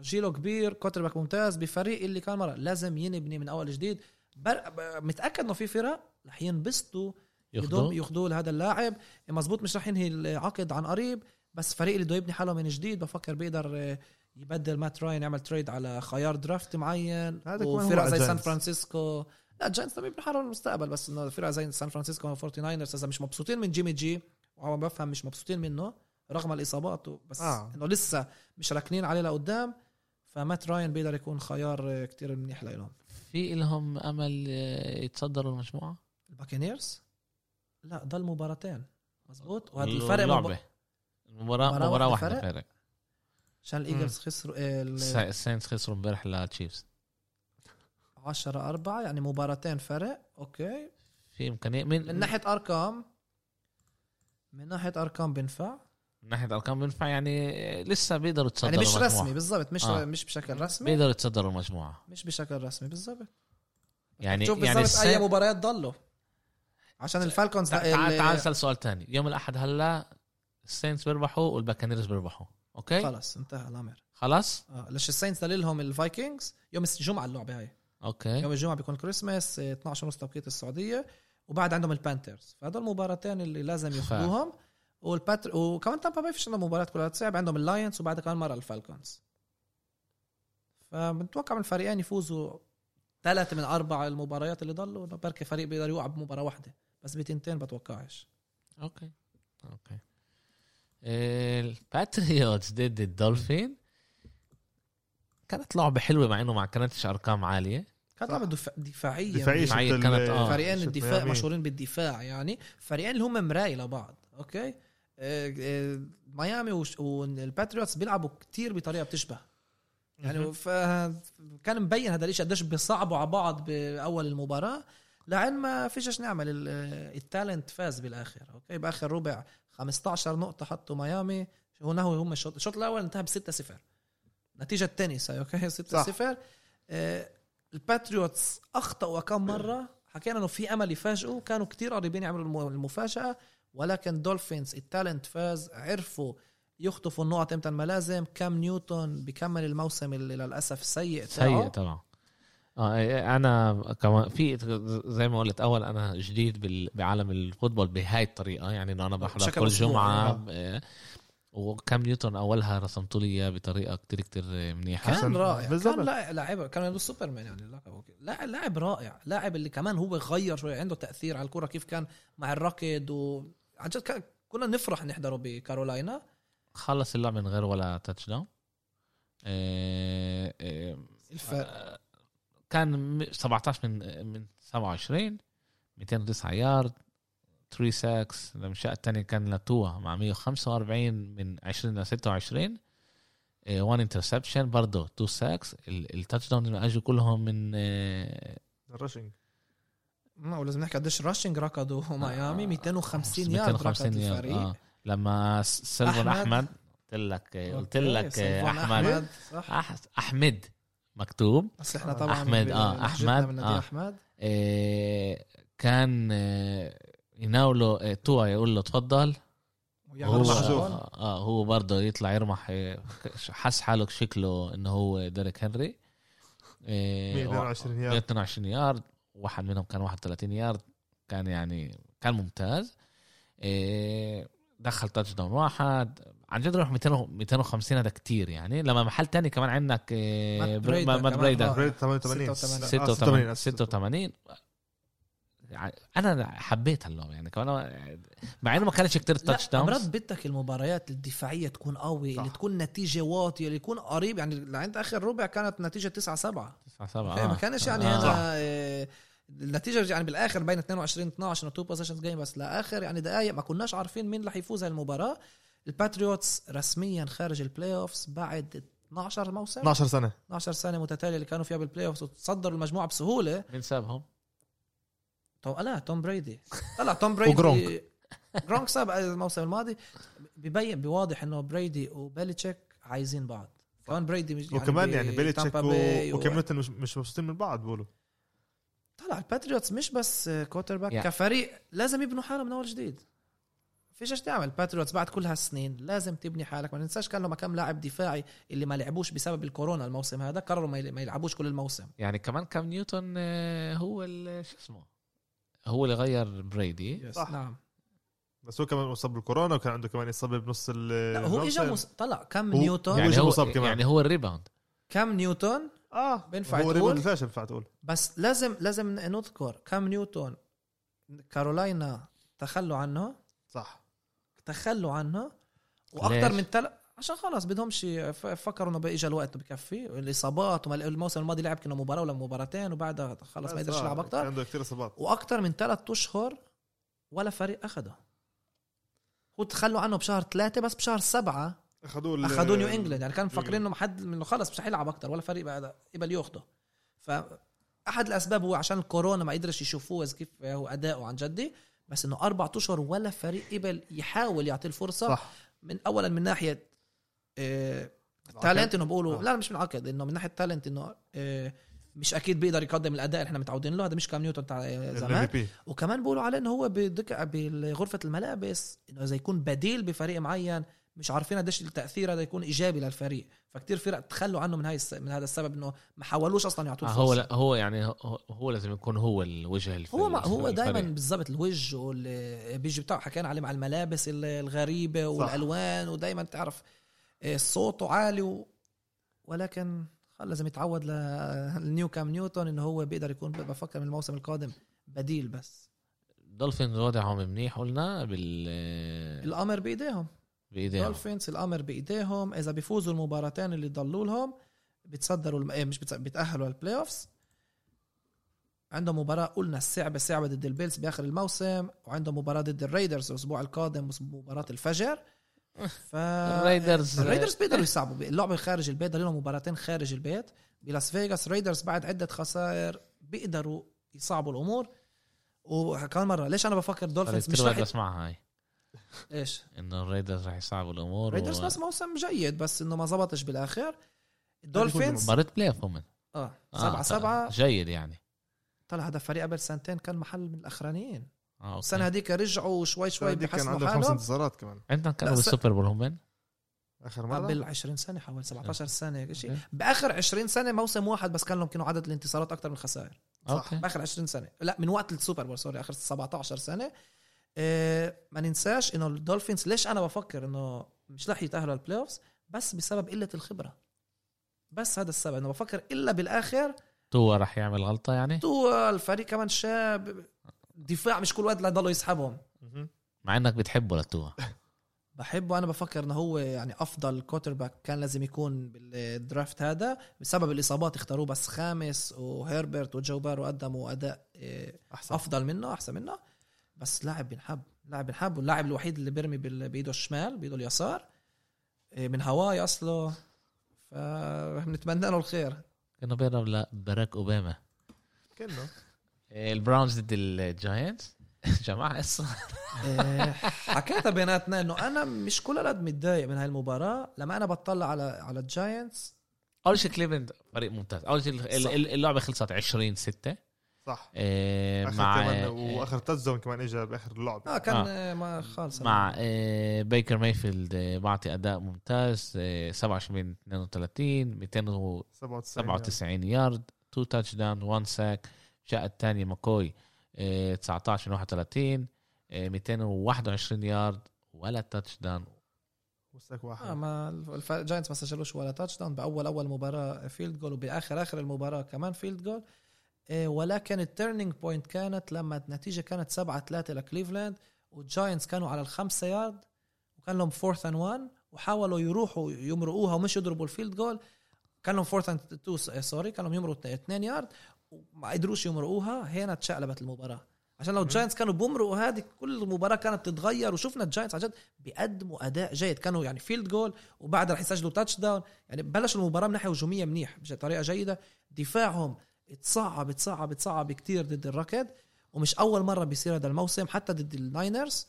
[SPEAKER 2] جيله كبير كوتر باك ممتاز بفريق اللي كان مرة لازم ينبني من اول جديد بر... ب- متاكد انه في فرق رح ينبسطوا يضم
[SPEAKER 1] ياخذوه
[SPEAKER 2] ياخذوه لهذا اللاعب مزبوط مش رح ينهي العقد عن قريب بس فريق اللي بده يبني حاله من جديد بفكر بيقدر آه، يبدل مات راين يعمل تريد على خيار درافت معين
[SPEAKER 3] هذا كمان هو
[SPEAKER 2] وفرق
[SPEAKER 3] على
[SPEAKER 2] زي سان
[SPEAKER 3] الجاينتس.
[SPEAKER 2] فرانسيسكو لا الجاينتس طبعا بيبنوا حالهم المستقبل بس انه فرق زي سان فرانسيسكو 49 اذا مش مبسوطين من جيمي جي وعم بفهم مش مبسوطين منه رغم الاصابات و- بس آه.
[SPEAKER 3] آه.
[SPEAKER 2] انه لسه مش راكنين عليه لقدام فمات راين بيقدر يكون خيار آه، كتير منيح لهم
[SPEAKER 1] في لهم امل آه، يتصدروا المجموعه
[SPEAKER 2] الباكينيرز لا ضل مباراتين مزبوط وهذا
[SPEAKER 1] اللو-
[SPEAKER 2] الفرق مب...
[SPEAKER 1] اللعبه المباراه
[SPEAKER 2] مباراة
[SPEAKER 1] مباراه
[SPEAKER 2] واحدة
[SPEAKER 1] واحده فرق
[SPEAKER 2] عشان الايجلز خسروا
[SPEAKER 1] الس- الساينس خسروا امبارح للتشيفز
[SPEAKER 2] 10 4 يعني مباراتين فرق اوكي
[SPEAKER 1] في امكانيه من
[SPEAKER 2] من ناحيه ارقام من ناحيه ارقام بينفع
[SPEAKER 1] من ناحيه ارقام بينفع يعني آه، لسه بيقدروا يتصدروا
[SPEAKER 2] يعني مش
[SPEAKER 1] المجموعة.
[SPEAKER 2] رسمي بالضبط مش
[SPEAKER 1] آه.
[SPEAKER 2] مش بشكل رسمي
[SPEAKER 1] بيقدروا يتصدروا المجموعه
[SPEAKER 2] مش بشكل رسمي بالضبط
[SPEAKER 1] يعني
[SPEAKER 2] شوف
[SPEAKER 1] يعني
[SPEAKER 2] بالضبط اي
[SPEAKER 1] الساينس-
[SPEAKER 2] مباريات ضلوا عشان الفالكونز
[SPEAKER 1] تع- تعال
[SPEAKER 2] ال-
[SPEAKER 1] تعال نسال سؤال تاني يوم الاحد هلا الساينس بيربحوا والباكانيرز بيربحوا اوكي
[SPEAKER 2] خلص انتهى الامر
[SPEAKER 1] خلاص
[SPEAKER 2] اه ليش الساينس دليلهم الفايكنجز يوم الجمعه اللعبه هاي
[SPEAKER 3] إيه؟
[SPEAKER 1] اوكي
[SPEAKER 2] يوم الجمعه بيكون كريسماس آه، 12 ونص توقيت السعوديه وبعد عندهم البانترز فهدول المباراتين اللي لازم
[SPEAKER 1] ف-
[SPEAKER 2] ياخذوهم والباتر وكمان تامبا باي فيش عندهم مباراه كلها صعب عندهم اللاينز وبعدها كمان مره الفالكونز فبنتوقع من الفريقين يفوزوا ثلاثة من أربعة المباريات اللي ضلوا إنه بركي فريق بيقدر يوقع بمباراة واحدة بس بتنتين بتوقعش
[SPEAKER 1] اوكي اوكي الباتريوتس ضد الدولفين كانت لعبة حلوة مع انه ما كانتش ارقام عالية
[SPEAKER 2] كانت
[SPEAKER 3] صح.
[SPEAKER 2] لعبة دفاع- دفاعية
[SPEAKER 3] دفاعية
[SPEAKER 1] دفاعية
[SPEAKER 3] شفت ال-
[SPEAKER 1] كانت، آه.
[SPEAKER 2] فريقين
[SPEAKER 3] شفت
[SPEAKER 2] الدفاع
[SPEAKER 3] ميامي.
[SPEAKER 2] مشهورين بالدفاع يعني فريقين اللي هم مراي لبعض اوكي آه، آه، ميامي وش- والباتريوتس بيلعبوا كتير بطريقه بتشبه يعني ف- كان مبين هذا الشيء قديش بيصعبوا على بعض باول المباراه لعن ما فيش إيش نعمل ال- آه، التالنت فاز بالاخر اوكي باخر ربع 15 نقطه حطوا ميامي هنا هو هم الشوط الشوط الاول انتهى ب 6 0 نتيجه التنس هاي اوكي 6 0 آه، الباتريوتس اخطاوا كم مره حكينا انه في امل يفاجئوا كانوا كتير قريبين يعملوا الم- المفاجاه ولكن دولفينز التالنت فاز عرفوا يخطفوا النقط امتى ما لازم كام نيوتن بكمل الموسم اللي للاسف السيء
[SPEAKER 1] سيء طبعا اه إيه، انا كمان في زي ما قلت اول انا جديد بال- بعالم الفوتبول بهاي الطريقه يعني انه انا بحضر
[SPEAKER 2] بشكل
[SPEAKER 1] كل
[SPEAKER 2] أسبوعي،
[SPEAKER 1] جمعه
[SPEAKER 2] آه.
[SPEAKER 1] إيه، وكم نيوتن اولها رسمت لي اياه بطريقه كتير كتير منيحه
[SPEAKER 2] كان
[SPEAKER 3] حسن.
[SPEAKER 2] رائع
[SPEAKER 3] بالظبط.
[SPEAKER 2] كان لا- لاعب كان سوبرمان يعني اللقب لا لاعب رائع لاعب اللي كمان هو غير شوي عنده تاثير على الكره كيف كان مع الركض وعن جد كان- كنا نفرح نحضره بكارولاينا
[SPEAKER 1] خلص اللعب من غير ولا تاتش داون إيه، إيه،
[SPEAKER 2] الفرق
[SPEAKER 1] كان م- 17 من آه، من 27 209 يارد 3 ساكس الامشاء الثاني كان لتوا مع 145 من 20 ل 26 1 انترسبشن برضه 2 ساكس التاتش داون اللي اجوا كلهم من آه،
[SPEAKER 3] الرشنج
[SPEAKER 2] ما ولازم نحكي قديش راشنج ركضوا ميامي 250 يارد ركض
[SPEAKER 1] 250 يارد،
[SPEAKER 2] الفريق
[SPEAKER 1] آه. لما س- سيلفون
[SPEAKER 2] أحمد.
[SPEAKER 1] احمد قلت لك آه، قلت
[SPEAKER 2] أوكي،
[SPEAKER 1] لك آه،
[SPEAKER 2] سيفون
[SPEAKER 1] احمد
[SPEAKER 2] صح
[SPEAKER 1] أح- احمد مكتوب
[SPEAKER 2] بس احنا طبعا
[SPEAKER 1] أحمد، آه،
[SPEAKER 2] بلهجتنا
[SPEAKER 1] أحمد،
[SPEAKER 2] بناديه
[SPEAKER 1] آه.
[SPEAKER 2] احمد
[SPEAKER 1] آه، كان آه، يناوله آه، توا يقول له تفضل
[SPEAKER 2] ويعمل
[SPEAKER 1] هو
[SPEAKER 3] يعملوا
[SPEAKER 2] شغل.
[SPEAKER 3] محظوظ.
[SPEAKER 1] اه هو برضه يطلع يرمح آه، <laughs> حس حاله شكله انه هو ديريك هنري آه،
[SPEAKER 3] 122 يارد
[SPEAKER 1] 122 يارد واحد منهم كان 31 يارد كان يعني كان ممتاز إيه، دخل تاتش داون واحد عن جد روح 200 250 هذا كتير يعني لما محل تاني كمان عندك إيه،
[SPEAKER 2] مات
[SPEAKER 1] بر-
[SPEAKER 2] بريدا
[SPEAKER 1] ما- مات
[SPEAKER 2] كمان،
[SPEAKER 1] بريدا
[SPEAKER 2] آه.
[SPEAKER 3] ريت 88
[SPEAKER 2] 86.
[SPEAKER 1] 86
[SPEAKER 3] 86
[SPEAKER 1] 86 ع- انا يعني حبيت هاللون يعني كمان مع انه ما كانش كتير
[SPEAKER 2] لا
[SPEAKER 1] تاتش
[SPEAKER 2] مرات
[SPEAKER 1] داونز
[SPEAKER 2] بدك المباريات الدفاعيه تكون قوي اللي
[SPEAKER 3] صح.
[SPEAKER 2] تكون نتيجه واطيه اللي يكون قريب يعني لعند اخر ربع كانت نتيجه 9 7
[SPEAKER 1] 9 7
[SPEAKER 2] ما كانش يعني
[SPEAKER 1] آه. صح.
[SPEAKER 2] انا آه، النتيجه يعني بالاخر بين 22 12 تو بوزيشنز جيم بس لاخر يعني دقائق ما كناش عارفين مين رح يفوز هالمباراه الباتريوتس رسميا خارج البلاي اوفز بعد 12 موسم
[SPEAKER 3] 12 سنه
[SPEAKER 2] 12 سنه متتاليه اللي كانوا فيها بالبلاي اوفز وتصدروا المجموعه بسهوله
[SPEAKER 1] مين سابهم؟
[SPEAKER 2] تو... لا توم بريدي طلع توم بريدي <laughs>
[SPEAKER 3] وجرونك.
[SPEAKER 2] جرونك ساب الموسم الماضي ببين بواضح انه بريدي وبيليتشيك عايزين بعض كمان بريدي مش-
[SPEAKER 3] وكمان
[SPEAKER 2] ب-
[SPEAKER 3] يعني بيليتشيك
[SPEAKER 2] تامبا باي
[SPEAKER 3] و- وكيم نيوتن مش مش مبسوطين من بعض بيقولوا
[SPEAKER 2] طلع الباتريوتس مش بس كوتر باك
[SPEAKER 1] يعني-
[SPEAKER 2] كفريق لازم يبنوا حالهم من اول جديد فيش ايش تعمل الباتريوتس بعد كل هالسنين لازم تبني حالك ما ننساش كان لهم كم لاعب دفاعي اللي ما لعبوش بسبب الكورونا الموسم هذا قرروا ما يل- ما يلعبوش كل الموسم
[SPEAKER 1] يعني كمان كام نيوتن آه، هو ال- شو اسمه هو اللي غير بريدي
[SPEAKER 3] صح.
[SPEAKER 2] نعم
[SPEAKER 3] بس هو كمان مصاب بالكورونا وكان عنده كمان اصابه بنص ال
[SPEAKER 2] لا هو اجى مس... طلع كم
[SPEAKER 3] هو-
[SPEAKER 2] نيوتن
[SPEAKER 3] يعني-
[SPEAKER 1] هو
[SPEAKER 3] مصاب كمان.
[SPEAKER 1] يعني هو الريباوند
[SPEAKER 2] كم نيوتن
[SPEAKER 3] اه
[SPEAKER 2] بينفع
[SPEAKER 3] هو
[SPEAKER 2] تقول؟
[SPEAKER 3] ريبون دفاعش بينفع تقول
[SPEAKER 2] بس لازم لازم نذكر كم نيوتن كارولاينا تخلوا عنه
[SPEAKER 3] صح
[SPEAKER 2] تخلوا عنها واكثر
[SPEAKER 1] ليش؟
[SPEAKER 2] من تل... عشان خلاص بدهم شيء ف- فكروا انه بقى اجى الوقت بكفي الاصابات وما- الموسم الماضي لعب كنا مباراه ولا مباراتين وبعدها خلاص ما
[SPEAKER 3] بس
[SPEAKER 2] قدرش
[SPEAKER 3] آه،
[SPEAKER 2] يلعب
[SPEAKER 3] كان
[SPEAKER 2] اكثر
[SPEAKER 3] عنده كثير اصابات
[SPEAKER 2] واكثر من ثلاث اشهر ولا فريق اخده هو تخلوا عنه بشهر ثلاثة بس بشهر سبعة
[SPEAKER 3] اخذوه ال-
[SPEAKER 2] اخذوه نيو انجلاند يعني كانوا
[SPEAKER 3] نيو
[SPEAKER 2] مفكرين انه حد انه خلص مش حيلعب اكثر ولا فريق بقى قبل ياخده ف احد الاسباب هو عشان الكورونا ما قدرش يشوفوه إذا كيف هو اداؤه عن جدي بس انه اربع اشهر ولا فريق قبل يحاول يعطيه الفرصه
[SPEAKER 3] صح
[SPEAKER 2] من اولا من آه، ناحيه تالنت انه بيقولوا
[SPEAKER 3] آه.
[SPEAKER 2] لا مش من عقد انه من ناحيه تالنت انه آه، مش اكيد بيقدر يقدم الاداء اللي احنا متعودين له هذا مش كام نيوتن تاع آه، زمان
[SPEAKER 3] MVP.
[SPEAKER 2] وكمان بيقولوا عليه انه هو بدك بغرفه الملابس انه اذا يكون بديل بفريق معين مش عارفين قديش التاثير هذا يكون ايجابي للفريق فكتير فرق تخلوا عنه من هاي الس... من هذا السبب انه ما حاولوش اصلا
[SPEAKER 1] آه
[SPEAKER 2] يعطوه
[SPEAKER 1] هو
[SPEAKER 2] الفرصة.
[SPEAKER 1] لا هو يعني هو, هو لازم يكون هو الوجه الف...
[SPEAKER 2] هو ما هو
[SPEAKER 1] الفريق.
[SPEAKER 2] دائما بالضبط الوجه واللي بيجي بتاعه حكينا عليه مع الملابس ال- الغريبه والالوان ودائما تعرف إيه، صوته عالي و... ولكن خلص لازم يتعود ل- لنيو كام نيوتن انه هو بيقدر يكون بفكر من الموسم القادم بديل بس
[SPEAKER 1] دولفينز وضعهم منيح قلنا بال
[SPEAKER 2] الامر بايديهم
[SPEAKER 1] بايديهم
[SPEAKER 2] دولفينز الامر بايديهم اذا بيفوزوا المباراتين اللي ضلوا لهم بتصدروا الم... إيه، مش بتص... بتاهلوا البلاي اوفز عندهم مباراة قلنا الصعبة صعبة ضد البيلز بآخر الموسم وعندهم مباراة ضد الريدرز الأسبوع القادم مباراة الفجر ف
[SPEAKER 1] الريدرز-
[SPEAKER 2] الريدرز بيقدروا يصعبوا اللعبة خارج البيت ضل لهم مباراتين خارج البيت بلاس فيغاس ريدرز بعد عدة خسائر بيقدروا يصعبوا الأمور وكمان مرة ليش أنا بفكر
[SPEAKER 1] فريق
[SPEAKER 2] دولفينز مش
[SPEAKER 1] كتير
[SPEAKER 2] رح
[SPEAKER 1] طيب، واحد
[SPEAKER 2] يت-
[SPEAKER 1] بسمعها هاي
[SPEAKER 2] إيش
[SPEAKER 1] انه الريدرز رح يصعبوا الامور
[SPEAKER 2] ريدرز بس موسم جيد بس انه ما زبطش بالاخر
[SPEAKER 3] يكون
[SPEAKER 2] الدولفينز
[SPEAKER 1] مباراة بلاي اوف هم
[SPEAKER 2] اه
[SPEAKER 1] آه،
[SPEAKER 2] سبعة سبعة
[SPEAKER 1] جيد يعني
[SPEAKER 2] طلع هذا فريق قبل سنتين كان محل من الاخرانيين
[SPEAKER 1] اه أوكي.
[SPEAKER 2] السنه هذيك رجعوا شوي شوي
[SPEAKER 3] دي كان
[SPEAKER 2] بحسنوا
[SPEAKER 3] عنده خمس
[SPEAKER 2] حالهم
[SPEAKER 3] انتصارات كمان
[SPEAKER 1] عندنا كانوا
[SPEAKER 2] لا، س-
[SPEAKER 1] بالسوبر بول هم
[SPEAKER 3] اخر مره
[SPEAKER 2] قبل 20 سنه حوالي 17 سنه شيء
[SPEAKER 1] أوكي.
[SPEAKER 2] باخر 20 سنه موسم واحد بس كان لهم كانوا عدد الانتصارات اكثر من الخسائر
[SPEAKER 1] اوكي
[SPEAKER 2] باخر 20 سنه لا من وقت السوبر بول سوري اخر 17 سنه آه، ما ننساش انه الدولفينز ليش انا بفكر انه مش رح يتاهلوا البلاي اوفز بس بسبب قله الخبره بس هذا السبب انه بفكر الا بالاخر
[SPEAKER 1] توا رح يعمل غلطة يعني
[SPEAKER 2] تو الفريق كمان شاب دفاع مش كل وقت لا يضلوا يسحبهم
[SPEAKER 3] مهم.
[SPEAKER 1] مع انك بتحبه لتوا
[SPEAKER 2] بحبه انا بفكر انه هو يعني افضل كوتر باك كان لازم يكون بالدرافت هذا بسبب الاصابات اختاروه بس خامس وهيربرت وجو بارو قدموا اداء آه،
[SPEAKER 3] احسن
[SPEAKER 2] افضل منه احسن منه بس لاعب بنحب لاعب بنحب واللاعب الوحيد اللي بيرمي بال- بايده الشمال بايده اليسار إيه، من هواي اصله فبنتمنى له الخير
[SPEAKER 1] كانوا بينهم لباراك اوباما
[SPEAKER 3] كانه
[SPEAKER 1] إيه، البراونز ضد الجاينتس <laughs> جماعة اسا
[SPEAKER 2] إيه، حكيتها بيناتنا انه انا مش كل قد متضايق من هاي المباراه لما انا بطلع على على الجاينتس
[SPEAKER 1] اول شيء كليفلاند فريق ممتاز اول شيء ال-
[SPEAKER 2] صح.
[SPEAKER 1] ال- اللعبه خلصت 20 6
[SPEAKER 3] صح
[SPEAKER 1] آه،
[SPEAKER 3] اخر
[SPEAKER 1] مع
[SPEAKER 3] كمان
[SPEAKER 1] آه،
[SPEAKER 3] واخر تاتزون كمان اجى باخر اللعب
[SPEAKER 2] اه كان
[SPEAKER 1] آه.
[SPEAKER 2] آه. ما خالص
[SPEAKER 1] مع آه، بيكر مايفيلد آه، بعطي اداء ممتاز آه، 27 32 297
[SPEAKER 3] 97 يعني.
[SPEAKER 1] يارد تو تاتش داون 1 ساك جاء الثاني ماكوي آه، 19 من 31 آه، 221 يارد ولا تاتش داون
[SPEAKER 3] وساك يعني. واحد
[SPEAKER 2] آه ما الجاينتس ما سجلوش ولا تاتش داون باول اول مباراه فيلد جول وباخر اخر المباراه كمان فيلد جول آه ولكن التيرنينج بوينت كانت لما النتيجه كانت 7 3 لكليفلاند والجاينتس كانوا على الخمسه يارد وكان لهم فورث اند 1 وحاولوا يروحوا يمرقوها ومش يضربوا الفيلد جول كان لهم فورث اند 2 سوري كان لهم يمرقوا 2 يارد وما قدروش يمرقوها هنا اتشقلبت المباراه عشان لو
[SPEAKER 3] مم.
[SPEAKER 2] الجاينتس كانوا بومروا هذه كل المباراه كانت تتغير وشفنا الجاينتس عن جد بيقدموا اداء جيد كانوا يعني فيلد جول وبعد رح يسجلوا تاتش داون يعني بلشوا المباراه من ناحيه هجوميه منيح بطريقه جيده دفاعهم اتصعب اتصعب اتصعب كتير ضد الركض ومش اول مره بيصير هذا الموسم حتى ضد الناينرز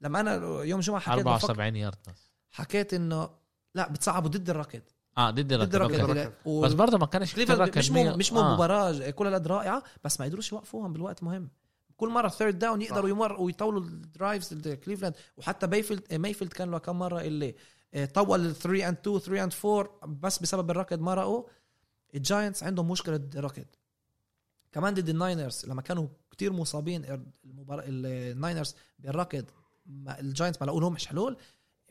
[SPEAKER 2] لما انا يوم جمعه حكيت بفكر
[SPEAKER 1] 74 يارد بس
[SPEAKER 2] حكيت انه لا بتصعبوا ضد الركض
[SPEAKER 1] اه ضد
[SPEAKER 2] ضد
[SPEAKER 1] الركض
[SPEAKER 2] الركض
[SPEAKER 1] أوكي.
[SPEAKER 2] لا. و-
[SPEAKER 1] بس برضه ما كانش
[SPEAKER 2] كليفلاند
[SPEAKER 1] الركض
[SPEAKER 2] مش
[SPEAKER 1] مية-
[SPEAKER 2] مو مش مو
[SPEAKER 1] آه.
[SPEAKER 2] مباراه كل هالقد رائعه بس ما يقدروش يوقفوهم بالوقت مهم كل مره ثيرد داون يقدروا يمر ويطولوا الدرايفز اللي كليفلاند وحتى بيفيلد مايفيلد كان له كم مره اللي آه، طول 3 اند 2 3 اند 4 بس بسبب الركض مرقوا الجاينتس عندهم مشكله ركض كمان ضد الناينرز لما كانوا كتير مصابين المبار... الناينرز بالركض ما الجاينتس ما لقوا لهمش حلول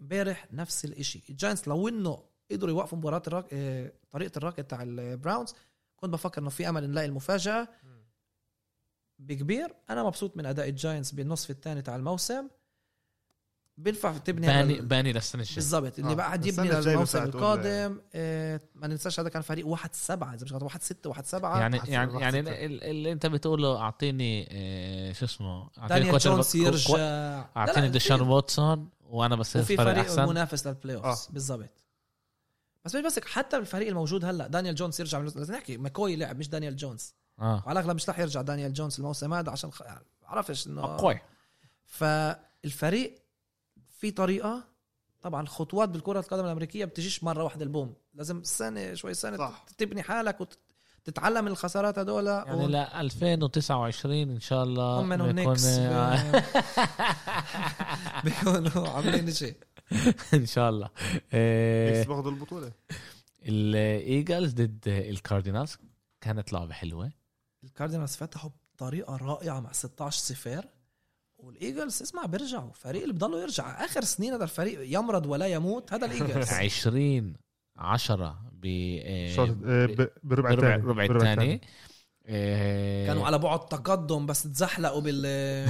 [SPEAKER 2] امبارح نفس الاشي الجاينتس لو انه قدروا يوقفوا مباراه الرك... آه، طريقه الركض تاع البراونز كنت بفكر انه في امل نلاقي المفاجاه بكبير انا مبسوط من اداء الجاينتس بالنصف الثاني تاع الموسم بينفع تبني
[SPEAKER 1] باني
[SPEAKER 2] على-
[SPEAKER 1] باني للسنه الجايه
[SPEAKER 2] بالضبط اللي
[SPEAKER 3] آه.
[SPEAKER 2] بعد
[SPEAKER 3] السنة
[SPEAKER 2] يبني
[SPEAKER 3] الجاية
[SPEAKER 2] للموسم
[SPEAKER 3] بينفع تقول-
[SPEAKER 2] القادم آه ما ننساش هذا كان فريق 1 7 اذا مش غلطان 1 6 1 7
[SPEAKER 1] يعني
[SPEAKER 3] حسب
[SPEAKER 1] يعني
[SPEAKER 3] الرقص
[SPEAKER 1] يعني
[SPEAKER 3] بتاعك.
[SPEAKER 1] ال- اللي انت بتقوله اعطيني آه، شو اسمه اعطيني
[SPEAKER 2] دانيال
[SPEAKER 1] quarterback-
[SPEAKER 2] جونز
[SPEAKER 1] كو-
[SPEAKER 2] يرجع
[SPEAKER 1] اعطيني ديشان
[SPEAKER 2] ديشان
[SPEAKER 1] واتسون وانا بصير
[SPEAKER 2] وفي
[SPEAKER 1] فريق
[SPEAKER 2] فريق
[SPEAKER 1] احسن
[SPEAKER 2] منافس للبلاي اوف
[SPEAKER 3] آه.
[SPEAKER 2] بالضبط بس مش بس هيك، حتى الفريق الموجود هلا دانيال جونز يرجع من- لازم نحكي ماكوي لعب مش دانيال جونز
[SPEAKER 1] اه
[SPEAKER 2] وعلى الاغلب مش رح يرجع دانيال جونز الموسم هذا عشان خ... يعني عرفش انه
[SPEAKER 1] اقوى
[SPEAKER 2] فالفريق في طريقه طبعا الخطوات بالكره القدم الامريكيه بتجيش مره واحده البوم لازم سنه شوي سنه
[SPEAKER 3] صح.
[SPEAKER 2] تبني حالك وتتعلم من الخسارات هدول
[SPEAKER 1] يعني ل 2029 ان شاء الله
[SPEAKER 2] هم
[SPEAKER 1] بيكون- <laughs>
[SPEAKER 2] ونيكس
[SPEAKER 1] آه،
[SPEAKER 2] بيكونوا عاملين شيء
[SPEAKER 1] ان شاء الله
[SPEAKER 3] نيكس
[SPEAKER 1] آه،
[SPEAKER 3] باخذوا البطوله
[SPEAKER 1] الايجلز ضد الكاردينالز كانت لعبه حلوه
[SPEAKER 2] الكاردينالز فتحوا بطريقه رائعه مع 16 صفار والايجلز اسمع بيرجعوا فريق اللي بضلوا يرجع اخر سنين هذا الفريق يمرض ولا يموت هذا
[SPEAKER 1] <laughs>
[SPEAKER 2] الايجلز
[SPEAKER 1] 20 10 ب آه،
[SPEAKER 3] شوط آه، ب- بالربع
[SPEAKER 1] بربع آه،
[SPEAKER 3] الثاني
[SPEAKER 1] الربع
[SPEAKER 3] بالربع
[SPEAKER 1] الثاني
[SPEAKER 2] كانوا على بعد تقدم بس اتزحلقوا بال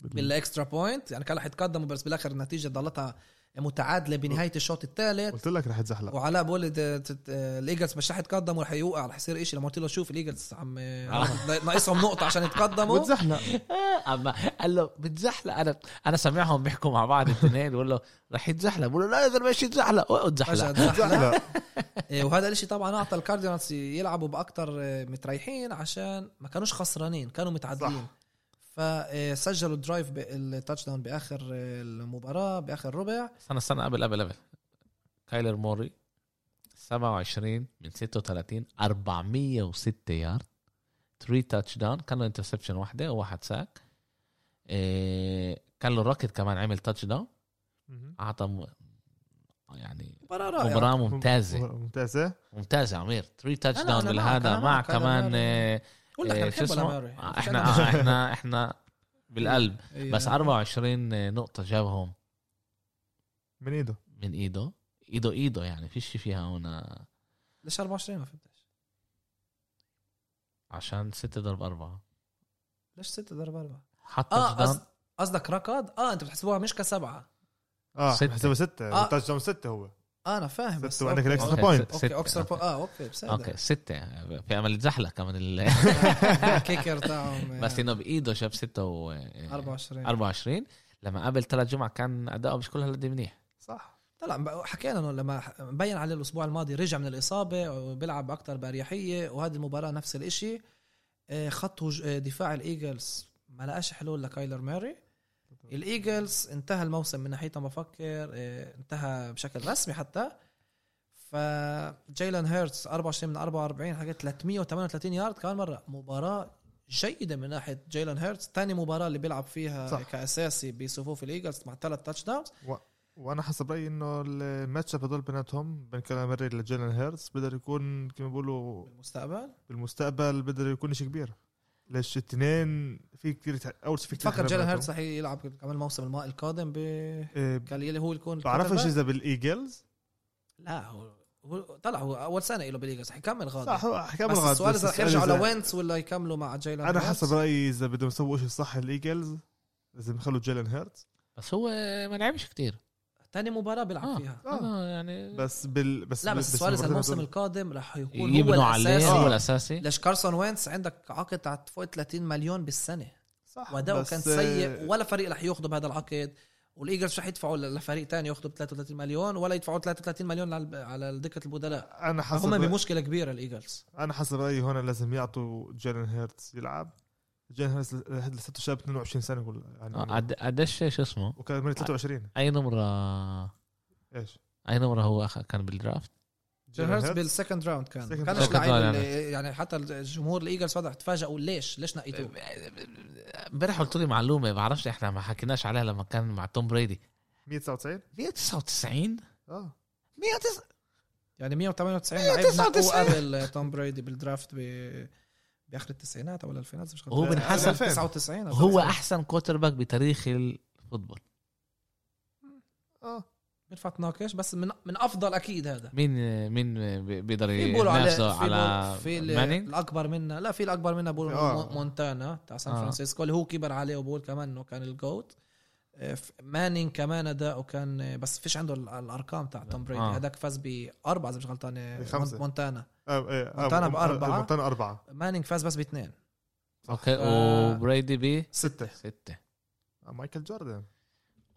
[SPEAKER 2] بالاكسترا بوينت يعني كان رح يتقدموا بس بالاخر النتيجه ضلتها متعادله بنهايه الشوط الثالث
[SPEAKER 3] قلت لك رح يتزحلق
[SPEAKER 2] وعلاء بقول د- ت- ت- الايجلز مش رح يتقدموا رح يوقع رح يصير شيء لما قلت له شوف الايجلز عم ناقصهم نقطه عشان يتقدموا
[SPEAKER 3] وتزحلق
[SPEAKER 1] اما آه، قال له بتزحلق انا انا سامعهم بيحكوا مع بعض الاثنين بقول له رح يتزحلق بقول له لا يا زلمه ايش يتزحلق وقعد
[SPEAKER 2] فجأة
[SPEAKER 1] تزحلق
[SPEAKER 2] اتزحلق
[SPEAKER 3] زحلق
[SPEAKER 2] إيه، وهذا الاشي طبعا اعطى الكاردينالز يلعبوا باكثر متريحين عشان ما كانوش خسرانين كانوا متعادلين إيه،
[SPEAKER 3] صح.
[SPEAKER 2] فسجلوا الدرايف التاتش داون باخر آه، المباراه باخر ربع
[SPEAKER 1] استنى استنى قبل قبل قبل كايلر موري 27 من 36 406 يارد 3 تاتش داون كان له انترسبشن واحده وواحد ساك إيه كان له الروكت كمان عمل تاتش داون اعطى م- يعني
[SPEAKER 2] مباراه رائعه
[SPEAKER 1] مباراه ممتازه
[SPEAKER 3] ممتازه
[SPEAKER 1] ممتاز يا عمير 3 تاتش
[SPEAKER 2] أنا-
[SPEAKER 1] داون
[SPEAKER 2] أنا معك، أنا
[SPEAKER 1] بالهذا مع
[SPEAKER 2] معك، أنا
[SPEAKER 1] كمان
[SPEAKER 2] معك.
[SPEAKER 1] آه،
[SPEAKER 2] قلنا احنا
[SPEAKER 1] آه، شو
[SPEAKER 2] بنحبه
[SPEAKER 1] اسمه؟
[SPEAKER 2] لاماري
[SPEAKER 1] آه، احنا آه، احنا احنا بالقلب
[SPEAKER 2] <laughs>
[SPEAKER 1] بس 24 نقطة جابهم
[SPEAKER 3] من ايده
[SPEAKER 1] من ايده ايده ايده يعني فيش فيها هنا
[SPEAKER 2] ليش 24 ما فهمتش
[SPEAKER 1] عشان 6 ضرب 4
[SPEAKER 2] ليش 6 ضرب 4
[SPEAKER 1] حط
[SPEAKER 2] اه
[SPEAKER 1] touchdown.
[SPEAKER 2] قصد- قصدك ركض اه انت بتحسبوها مش كسبعه
[SPEAKER 3] اه
[SPEAKER 1] ستة.
[SPEAKER 3] حسبها سته
[SPEAKER 2] آه.
[SPEAKER 3] التاتش داون سته هو
[SPEAKER 2] اه انا فاهم بس
[SPEAKER 3] سته وعندك
[SPEAKER 2] أوكي.
[SPEAKER 3] الاكسترا
[SPEAKER 1] أوكي.
[SPEAKER 3] بوينت
[SPEAKER 1] ستة.
[SPEAKER 2] اوكي اوكسر بو- اه اوكي بصدق
[SPEAKER 1] اوكي 6 في امل تزحلق كمان ال... <laughs>
[SPEAKER 2] الكيكر إيه، تاعهم
[SPEAKER 1] بس
[SPEAKER 2] بس
[SPEAKER 1] انه بايده جاب 6 و
[SPEAKER 2] 24
[SPEAKER 1] 24 لما قبل ثلاث جمعة كان اداؤه مش كل هالقد منيح
[SPEAKER 3] صح
[SPEAKER 2] طلع حكينا انه لما ح- مبين عليه الاسبوع الماضي رجع من الاصابه وبيلعب اكثر باريحيه وهذه المباراه نفس الاشي آه، خط هج- آه، دفاع الايجلز ما لقاش حلول لكايلر ماري الايجلز انتهى الموسم من ناحيتهم بفكر آه، انتهى بشكل رسمي حتى فجايلان هيرتس 24 من 44 حاجات 338 يارد كمان مره مباراه جيده من ناحيه جيلان هيرتز ثاني مباراه اللي بيلعب فيها
[SPEAKER 3] صح.
[SPEAKER 2] صح. كاساسي بصفوف الايجلز مع ثلاث تاتش داونز
[SPEAKER 3] وانا حسب رايي انه الماتش اب هدول بيناتهم بين كالاماري لجيلن هيرتس بقدر يكون كما بيقولوا
[SPEAKER 2] بالمستقبل
[SPEAKER 3] بالمستقبل بقدر يكون شيء كبير ليش الاثنين في كثير تح... اول شيء في كثير
[SPEAKER 2] تفكر جيلان
[SPEAKER 3] تحديات
[SPEAKER 2] هيرتز رح يلعب كمان الموسم الماء القادم ب
[SPEAKER 3] إيه،
[SPEAKER 2] قال يلي هو يكون
[SPEAKER 3] بعرفش
[SPEAKER 2] quarterback؟
[SPEAKER 3] اذا بالايجلز
[SPEAKER 2] لا هو هو طلع هو اول سنه له بالايجلز رح يكمل غادي
[SPEAKER 3] صح هو حكام
[SPEAKER 2] بس
[SPEAKER 3] الغد،
[SPEAKER 2] السؤال اذا رح
[SPEAKER 3] السؤال
[SPEAKER 2] يرجعوا
[SPEAKER 3] إذا-
[SPEAKER 2] لوينتس ولا يكملوا مع جيلان
[SPEAKER 3] انا
[SPEAKER 2] هيرتز.
[SPEAKER 3] حسب رايي اذا بدهم يسووا شيء صح الايجلز لازم يخلوا جيلن هيرتز
[SPEAKER 1] بس هو ما لعبش كتير
[SPEAKER 2] تاني مباراه بيلعب
[SPEAKER 1] آه.
[SPEAKER 2] فيها
[SPEAKER 3] آه.
[SPEAKER 1] آه، يعني
[SPEAKER 3] بس بال بس آه.
[SPEAKER 2] لا
[SPEAKER 3] بال-
[SPEAKER 2] بس السؤال اذا الموسم
[SPEAKER 3] بالمباراتين هدول-
[SPEAKER 2] القادم رح يكون هو آه.
[SPEAKER 1] يبنوا عليه
[SPEAKER 2] الاساسي
[SPEAKER 1] هو الاساسي
[SPEAKER 2] ليش كارسون وينس عندك عقد على فوق 30 مليون بالسنه
[SPEAKER 3] صح
[SPEAKER 2] واداؤه
[SPEAKER 3] بس،
[SPEAKER 2] كان
[SPEAKER 3] آه،
[SPEAKER 2] سيء ولا فريق رح ياخده بهذا العقد والايجلز مش رح يدفعوا لفريق تاني ياخده ب 33 مليون ولا يدفعوا 33 مليون لل- على دكه البدلاء
[SPEAKER 3] انا حسب
[SPEAKER 2] هم
[SPEAKER 3] رأيي
[SPEAKER 2] بمشكله كبيره الايجلز
[SPEAKER 3] انا حسب رايي هون لازم يعطوا جيلن هيرتز يلعب جيلن هيرتز ل- لساته شاب 22 سنه يقول يعني
[SPEAKER 1] آه، قد- قديش شو اسمه
[SPEAKER 3] وكان عمري 23
[SPEAKER 1] اي نمره
[SPEAKER 3] ايش
[SPEAKER 1] اي نمره هو أخ- كان بالدرافت
[SPEAKER 3] جيلن
[SPEAKER 2] جيرهارت
[SPEAKER 3] هيرتز؟
[SPEAKER 2] بالسكند راوند
[SPEAKER 3] Second
[SPEAKER 2] كان
[SPEAKER 3] round.
[SPEAKER 2] كانش
[SPEAKER 1] Second
[SPEAKER 2] لعيب
[SPEAKER 1] round.
[SPEAKER 2] اللي- يعني حتى الجمهور الايجلز فتح تفاجئوا ليش ليش نقيتوه
[SPEAKER 3] إيه،
[SPEAKER 1] امبارح قلت لي معلومه بعرفش احنا ما حكيناش عليها لما كان مع توم بريدي
[SPEAKER 3] 199
[SPEAKER 1] 199
[SPEAKER 3] اه
[SPEAKER 1] 199
[SPEAKER 2] يعني 198
[SPEAKER 3] إيه،
[SPEAKER 2] لعيب
[SPEAKER 1] 99.
[SPEAKER 2] نقوه قبل توم بريدي بالدرافت ب باخر التسعينات او الالفينات مش
[SPEAKER 1] هو بنحسب
[SPEAKER 2] 99 أو
[SPEAKER 1] هو
[SPEAKER 2] 99.
[SPEAKER 1] احسن كوتر باك بتاريخ الفوتبول
[SPEAKER 3] اه
[SPEAKER 2] بينفع تناقش بس من من افضل اكيد هذا
[SPEAKER 1] مين مين بي- بيقدر
[SPEAKER 2] في بيقولوا على في
[SPEAKER 1] ينافسه
[SPEAKER 2] على
[SPEAKER 1] على
[SPEAKER 2] في ال-
[SPEAKER 1] مانينج
[SPEAKER 2] الاكبر منا لا في الاكبر منا بيقولوا
[SPEAKER 3] آه.
[SPEAKER 2] مون- مونتانا تاع سان
[SPEAKER 1] آه.
[SPEAKER 2] فرانسيسكو اللي هو كبر عليه وبقول كمان انه كان الجوت آه، ف- مانين كمان اداؤه كان آه، بس فيش عنده ال- الارقام تاع توم بريدي
[SPEAKER 1] آه.
[SPEAKER 2] هذاك فاز باربعه اذا مش غلطان آه،
[SPEAKER 3] بخمسة.
[SPEAKER 2] مونتانا
[SPEAKER 3] آه، إيه، آه،
[SPEAKER 2] مونتانا
[SPEAKER 3] آه،
[SPEAKER 2] بأربعة.
[SPEAKER 3] آه، مونتانا أربعة
[SPEAKER 2] مانينج فاز بس باثنين
[SPEAKER 1] اوكي
[SPEAKER 2] ف-
[SPEAKER 1] وبريدي ب
[SPEAKER 3] ستة
[SPEAKER 1] 6
[SPEAKER 3] آه، مايكل جوردن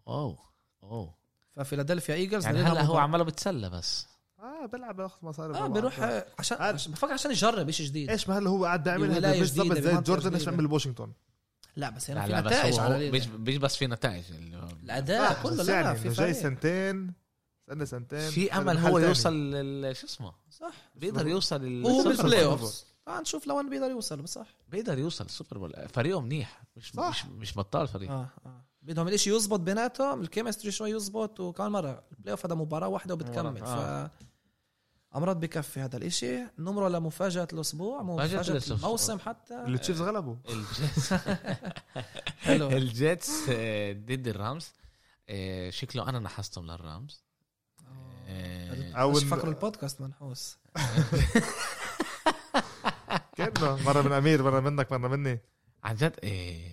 [SPEAKER 1] اوه اوه
[SPEAKER 2] ففيلادلفيا ايجلز
[SPEAKER 1] يعني
[SPEAKER 2] لنا
[SPEAKER 1] هلا هو
[SPEAKER 2] مباراة.
[SPEAKER 1] عماله بتسلى بس
[SPEAKER 3] اه بلعب باخذ مصاري
[SPEAKER 2] اه
[SPEAKER 3] طبعاً.
[SPEAKER 2] بيروح آه، عشان
[SPEAKER 3] عاد.
[SPEAKER 2] عشان- بفكر عشان يجرب شيء جديد
[SPEAKER 3] ايش ما هلا هو قاعد بيعمل هذا
[SPEAKER 2] ولاية
[SPEAKER 3] مش
[SPEAKER 2] جديدة
[SPEAKER 3] بالضبط زي
[SPEAKER 2] بمنطقة
[SPEAKER 3] جوردن ايش
[SPEAKER 2] جديدة.
[SPEAKER 3] بيعمل بواشنطن
[SPEAKER 2] لا بس هنا
[SPEAKER 1] لا
[SPEAKER 2] يعني
[SPEAKER 1] لا
[SPEAKER 2] في
[SPEAKER 1] بس
[SPEAKER 2] نتائج
[SPEAKER 1] هو-
[SPEAKER 2] على
[SPEAKER 1] هو
[SPEAKER 2] الليلة.
[SPEAKER 1] مش مش بس في نتائج اللي هو-
[SPEAKER 2] الاداء
[SPEAKER 3] صح،
[SPEAKER 2] كله
[SPEAKER 3] بس
[SPEAKER 2] لا
[SPEAKER 3] يعني
[SPEAKER 2] في
[SPEAKER 3] إنه جاي
[SPEAKER 2] فريق.
[SPEAKER 3] سنتين استنى سنتين
[SPEAKER 1] في امل
[SPEAKER 3] محل
[SPEAKER 1] هو
[SPEAKER 3] تاني.
[SPEAKER 1] يوصل لل- شو اسمه
[SPEAKER 2] صح
[SPEAKER 1] بيقدر يوصل لل-
[SPEAKER 2] هو
[SPEAKER 1] السوبر
[SPEAKER 2] بالبلاي
[SPEAKER 1] بول.
[SPEAKER 2] اوف آه، نشوف لوين بيقدر يوصل بس صح
[SPEAKER 1] بيقدر يوصل السوبر بول فريقه منيح مش
[SPEAKER 3] صح.
[SPEAKER 1] مش مش بطال فريق
[SPEAKER 2] اه اه بدهم الاشي يزبط بيناتهم الكيمستري شوي يزبط وكمان مره البلاي اوف هذا مباراه واحده وبتكمل
[SPEAKER 1] مباراة، آه.
[SPEAKER 2] ف امراض بكفي هذا الاشي نمره لمفاجاه الاسبوع
[SPEAKER 1] مفاجأة
[SPEAKER 2] مفاجاه
[SPEAKER 1] الأسبوع.
[SPEAKER 2] الموسم
[SPEAKER 1] <laughs>
[SPEAKER 2] حتى
[SPEAKER 3] التشيفز غلبوا
[SPEAKER 1] <laughs> الجيتس
[SPEAKER 2] حلو
[SPEAKER 1] الجيتس آه، ضد الرامز آه، شكله انا نحستهم للرامز آه،
[SPEAKER 2] او
[SPEAKER 3] أو
[SPEAKER 2] مش
[SPEAKER 3] إن-
[SPEAKER 2] فكروا البودكاست منحوس
[SPEAKER 3] كانه مره من امير مره منك مره مني
[SPEAKER 1] عن جد آه،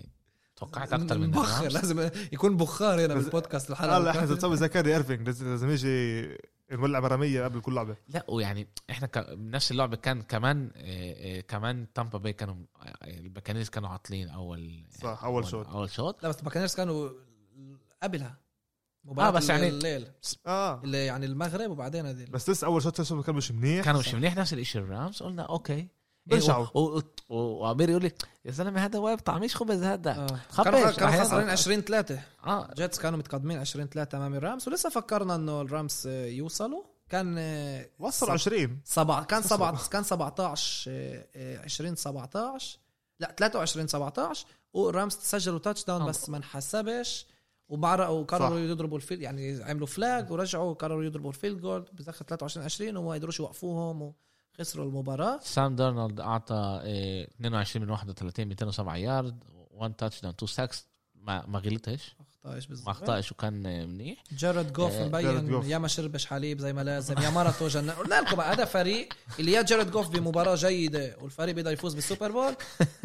[SPEAKER 1] توقعت اكثر من نعم.
[SPEAKER 2] بخر
[SPEAKER 1] الرامز
[SPEAKER 2] لازم يكون بخار هنا
[SPEAKER 3] بس-
[SPEAKER 2] بالبودكاست الحلقه
[SPEAKER 3] هلا احنا
[SPEAKER 2] اللي
[SPEAKER 3] بدنا
[SPEAKER 2] فاتت.
[SPEAKER 3] نسوي زكريا ايرفينج لازم لازم يجي نولع مرميه قبل كل لعبه
[SPEAKER 1] لا ويعني احنا ك... بنفس اللعبه كان كمان آه، آه، كمان تامبا باي كانوا آه، الباكانيز كانوا عاطلين اول
[SPEAKER 3] صح اول شوت
[SPEAKER 1] اول شوط
[SPEAKER 2] لا بس الباكانيرز كانوا قبلها
[SPEAKER 1] آه، بس يعني-
[SPEAKER 2] الليل
[SPEAKER 3] اه
[SPEAKER 2] اللي يعني المغرب وبعدين هذه
[SPEAKER 3] بس لسه اول شوت لسه ما كان مش منيح
[SPEAKER 1] كانوا مش منيح نفس الشيء الرامز قلنا اوكي
[SPEAKER 3] برجعوا.
[SPEAKER 1] إيه، و- و- و- وعمير يقول لي يا زلمه هذا وايد طعميش خبز هذا
[SPEAKER 2] آه.
[SPEAKER 1] خبش،
[SPEAKER 2] كانوا
[SPEAKER 1] رح
[SPEAKER 2] كانوا
[SPEAKER 1] يصعد.
[SPEAKER 2] خسرانين 20 3
[SPEAKER 1] اه
[SPEAKER 2] جيتس كانوا متقدمين 20 3 امام الرامز ولسه فكرنا انه الرامز آه، يوصلوا كان آه،
[SPEAKER 3] وصلوا
[SPEAKER 2] سب-
[SPEAKER 3] 20
[SPEAKER 2] سبعة كان
[SPEAKER 3] وصلوا.
[SPEAKER 2] سبعة كان 17 آه، آه، 20 17 لا 23 17 والرامز سجلوا تاتش داون
[SPEAKER 1] آه.
[SPEAKER 2] بس ما انحسبش وبعرقوا وقرروا
[SPEAKER 3] صح.
[SPEAKER 2] يضربوا الفيل يعني عملوا فلاج ورجعوا وقرروا يضربوا الفيلد جول بدخل 23 20 وما قدروش يوقفوهم وخسروا المباراه
[SPEAKER 1] سام دارنولد اعطى إيه، 22 من 31 207 يارد 1 تاتش داون 2 ساكس ما ما غلطش
[SPEAKER 2] ما اخطاش
[SPEAKER 1] ما
[SPEAKER 2] بالظبط
[SPEAKER 1] اخطاش وكان إيه، منيح
[SPEAKER 2] جارد جوف
[SPEAKER 1] آه،
[SPEAKER 3] جارد
[SPEAKER 2] مبين
[SPEAKER 3] جوف.
[SPEAKER 2] يا ما شربش حليب زي ما لازم يا مرته جنن قلنا لكم بقى، هذا فريق اللي يا جارد جوف بمباراه جيده والفريق بيقدر يفوز بالسوبر بول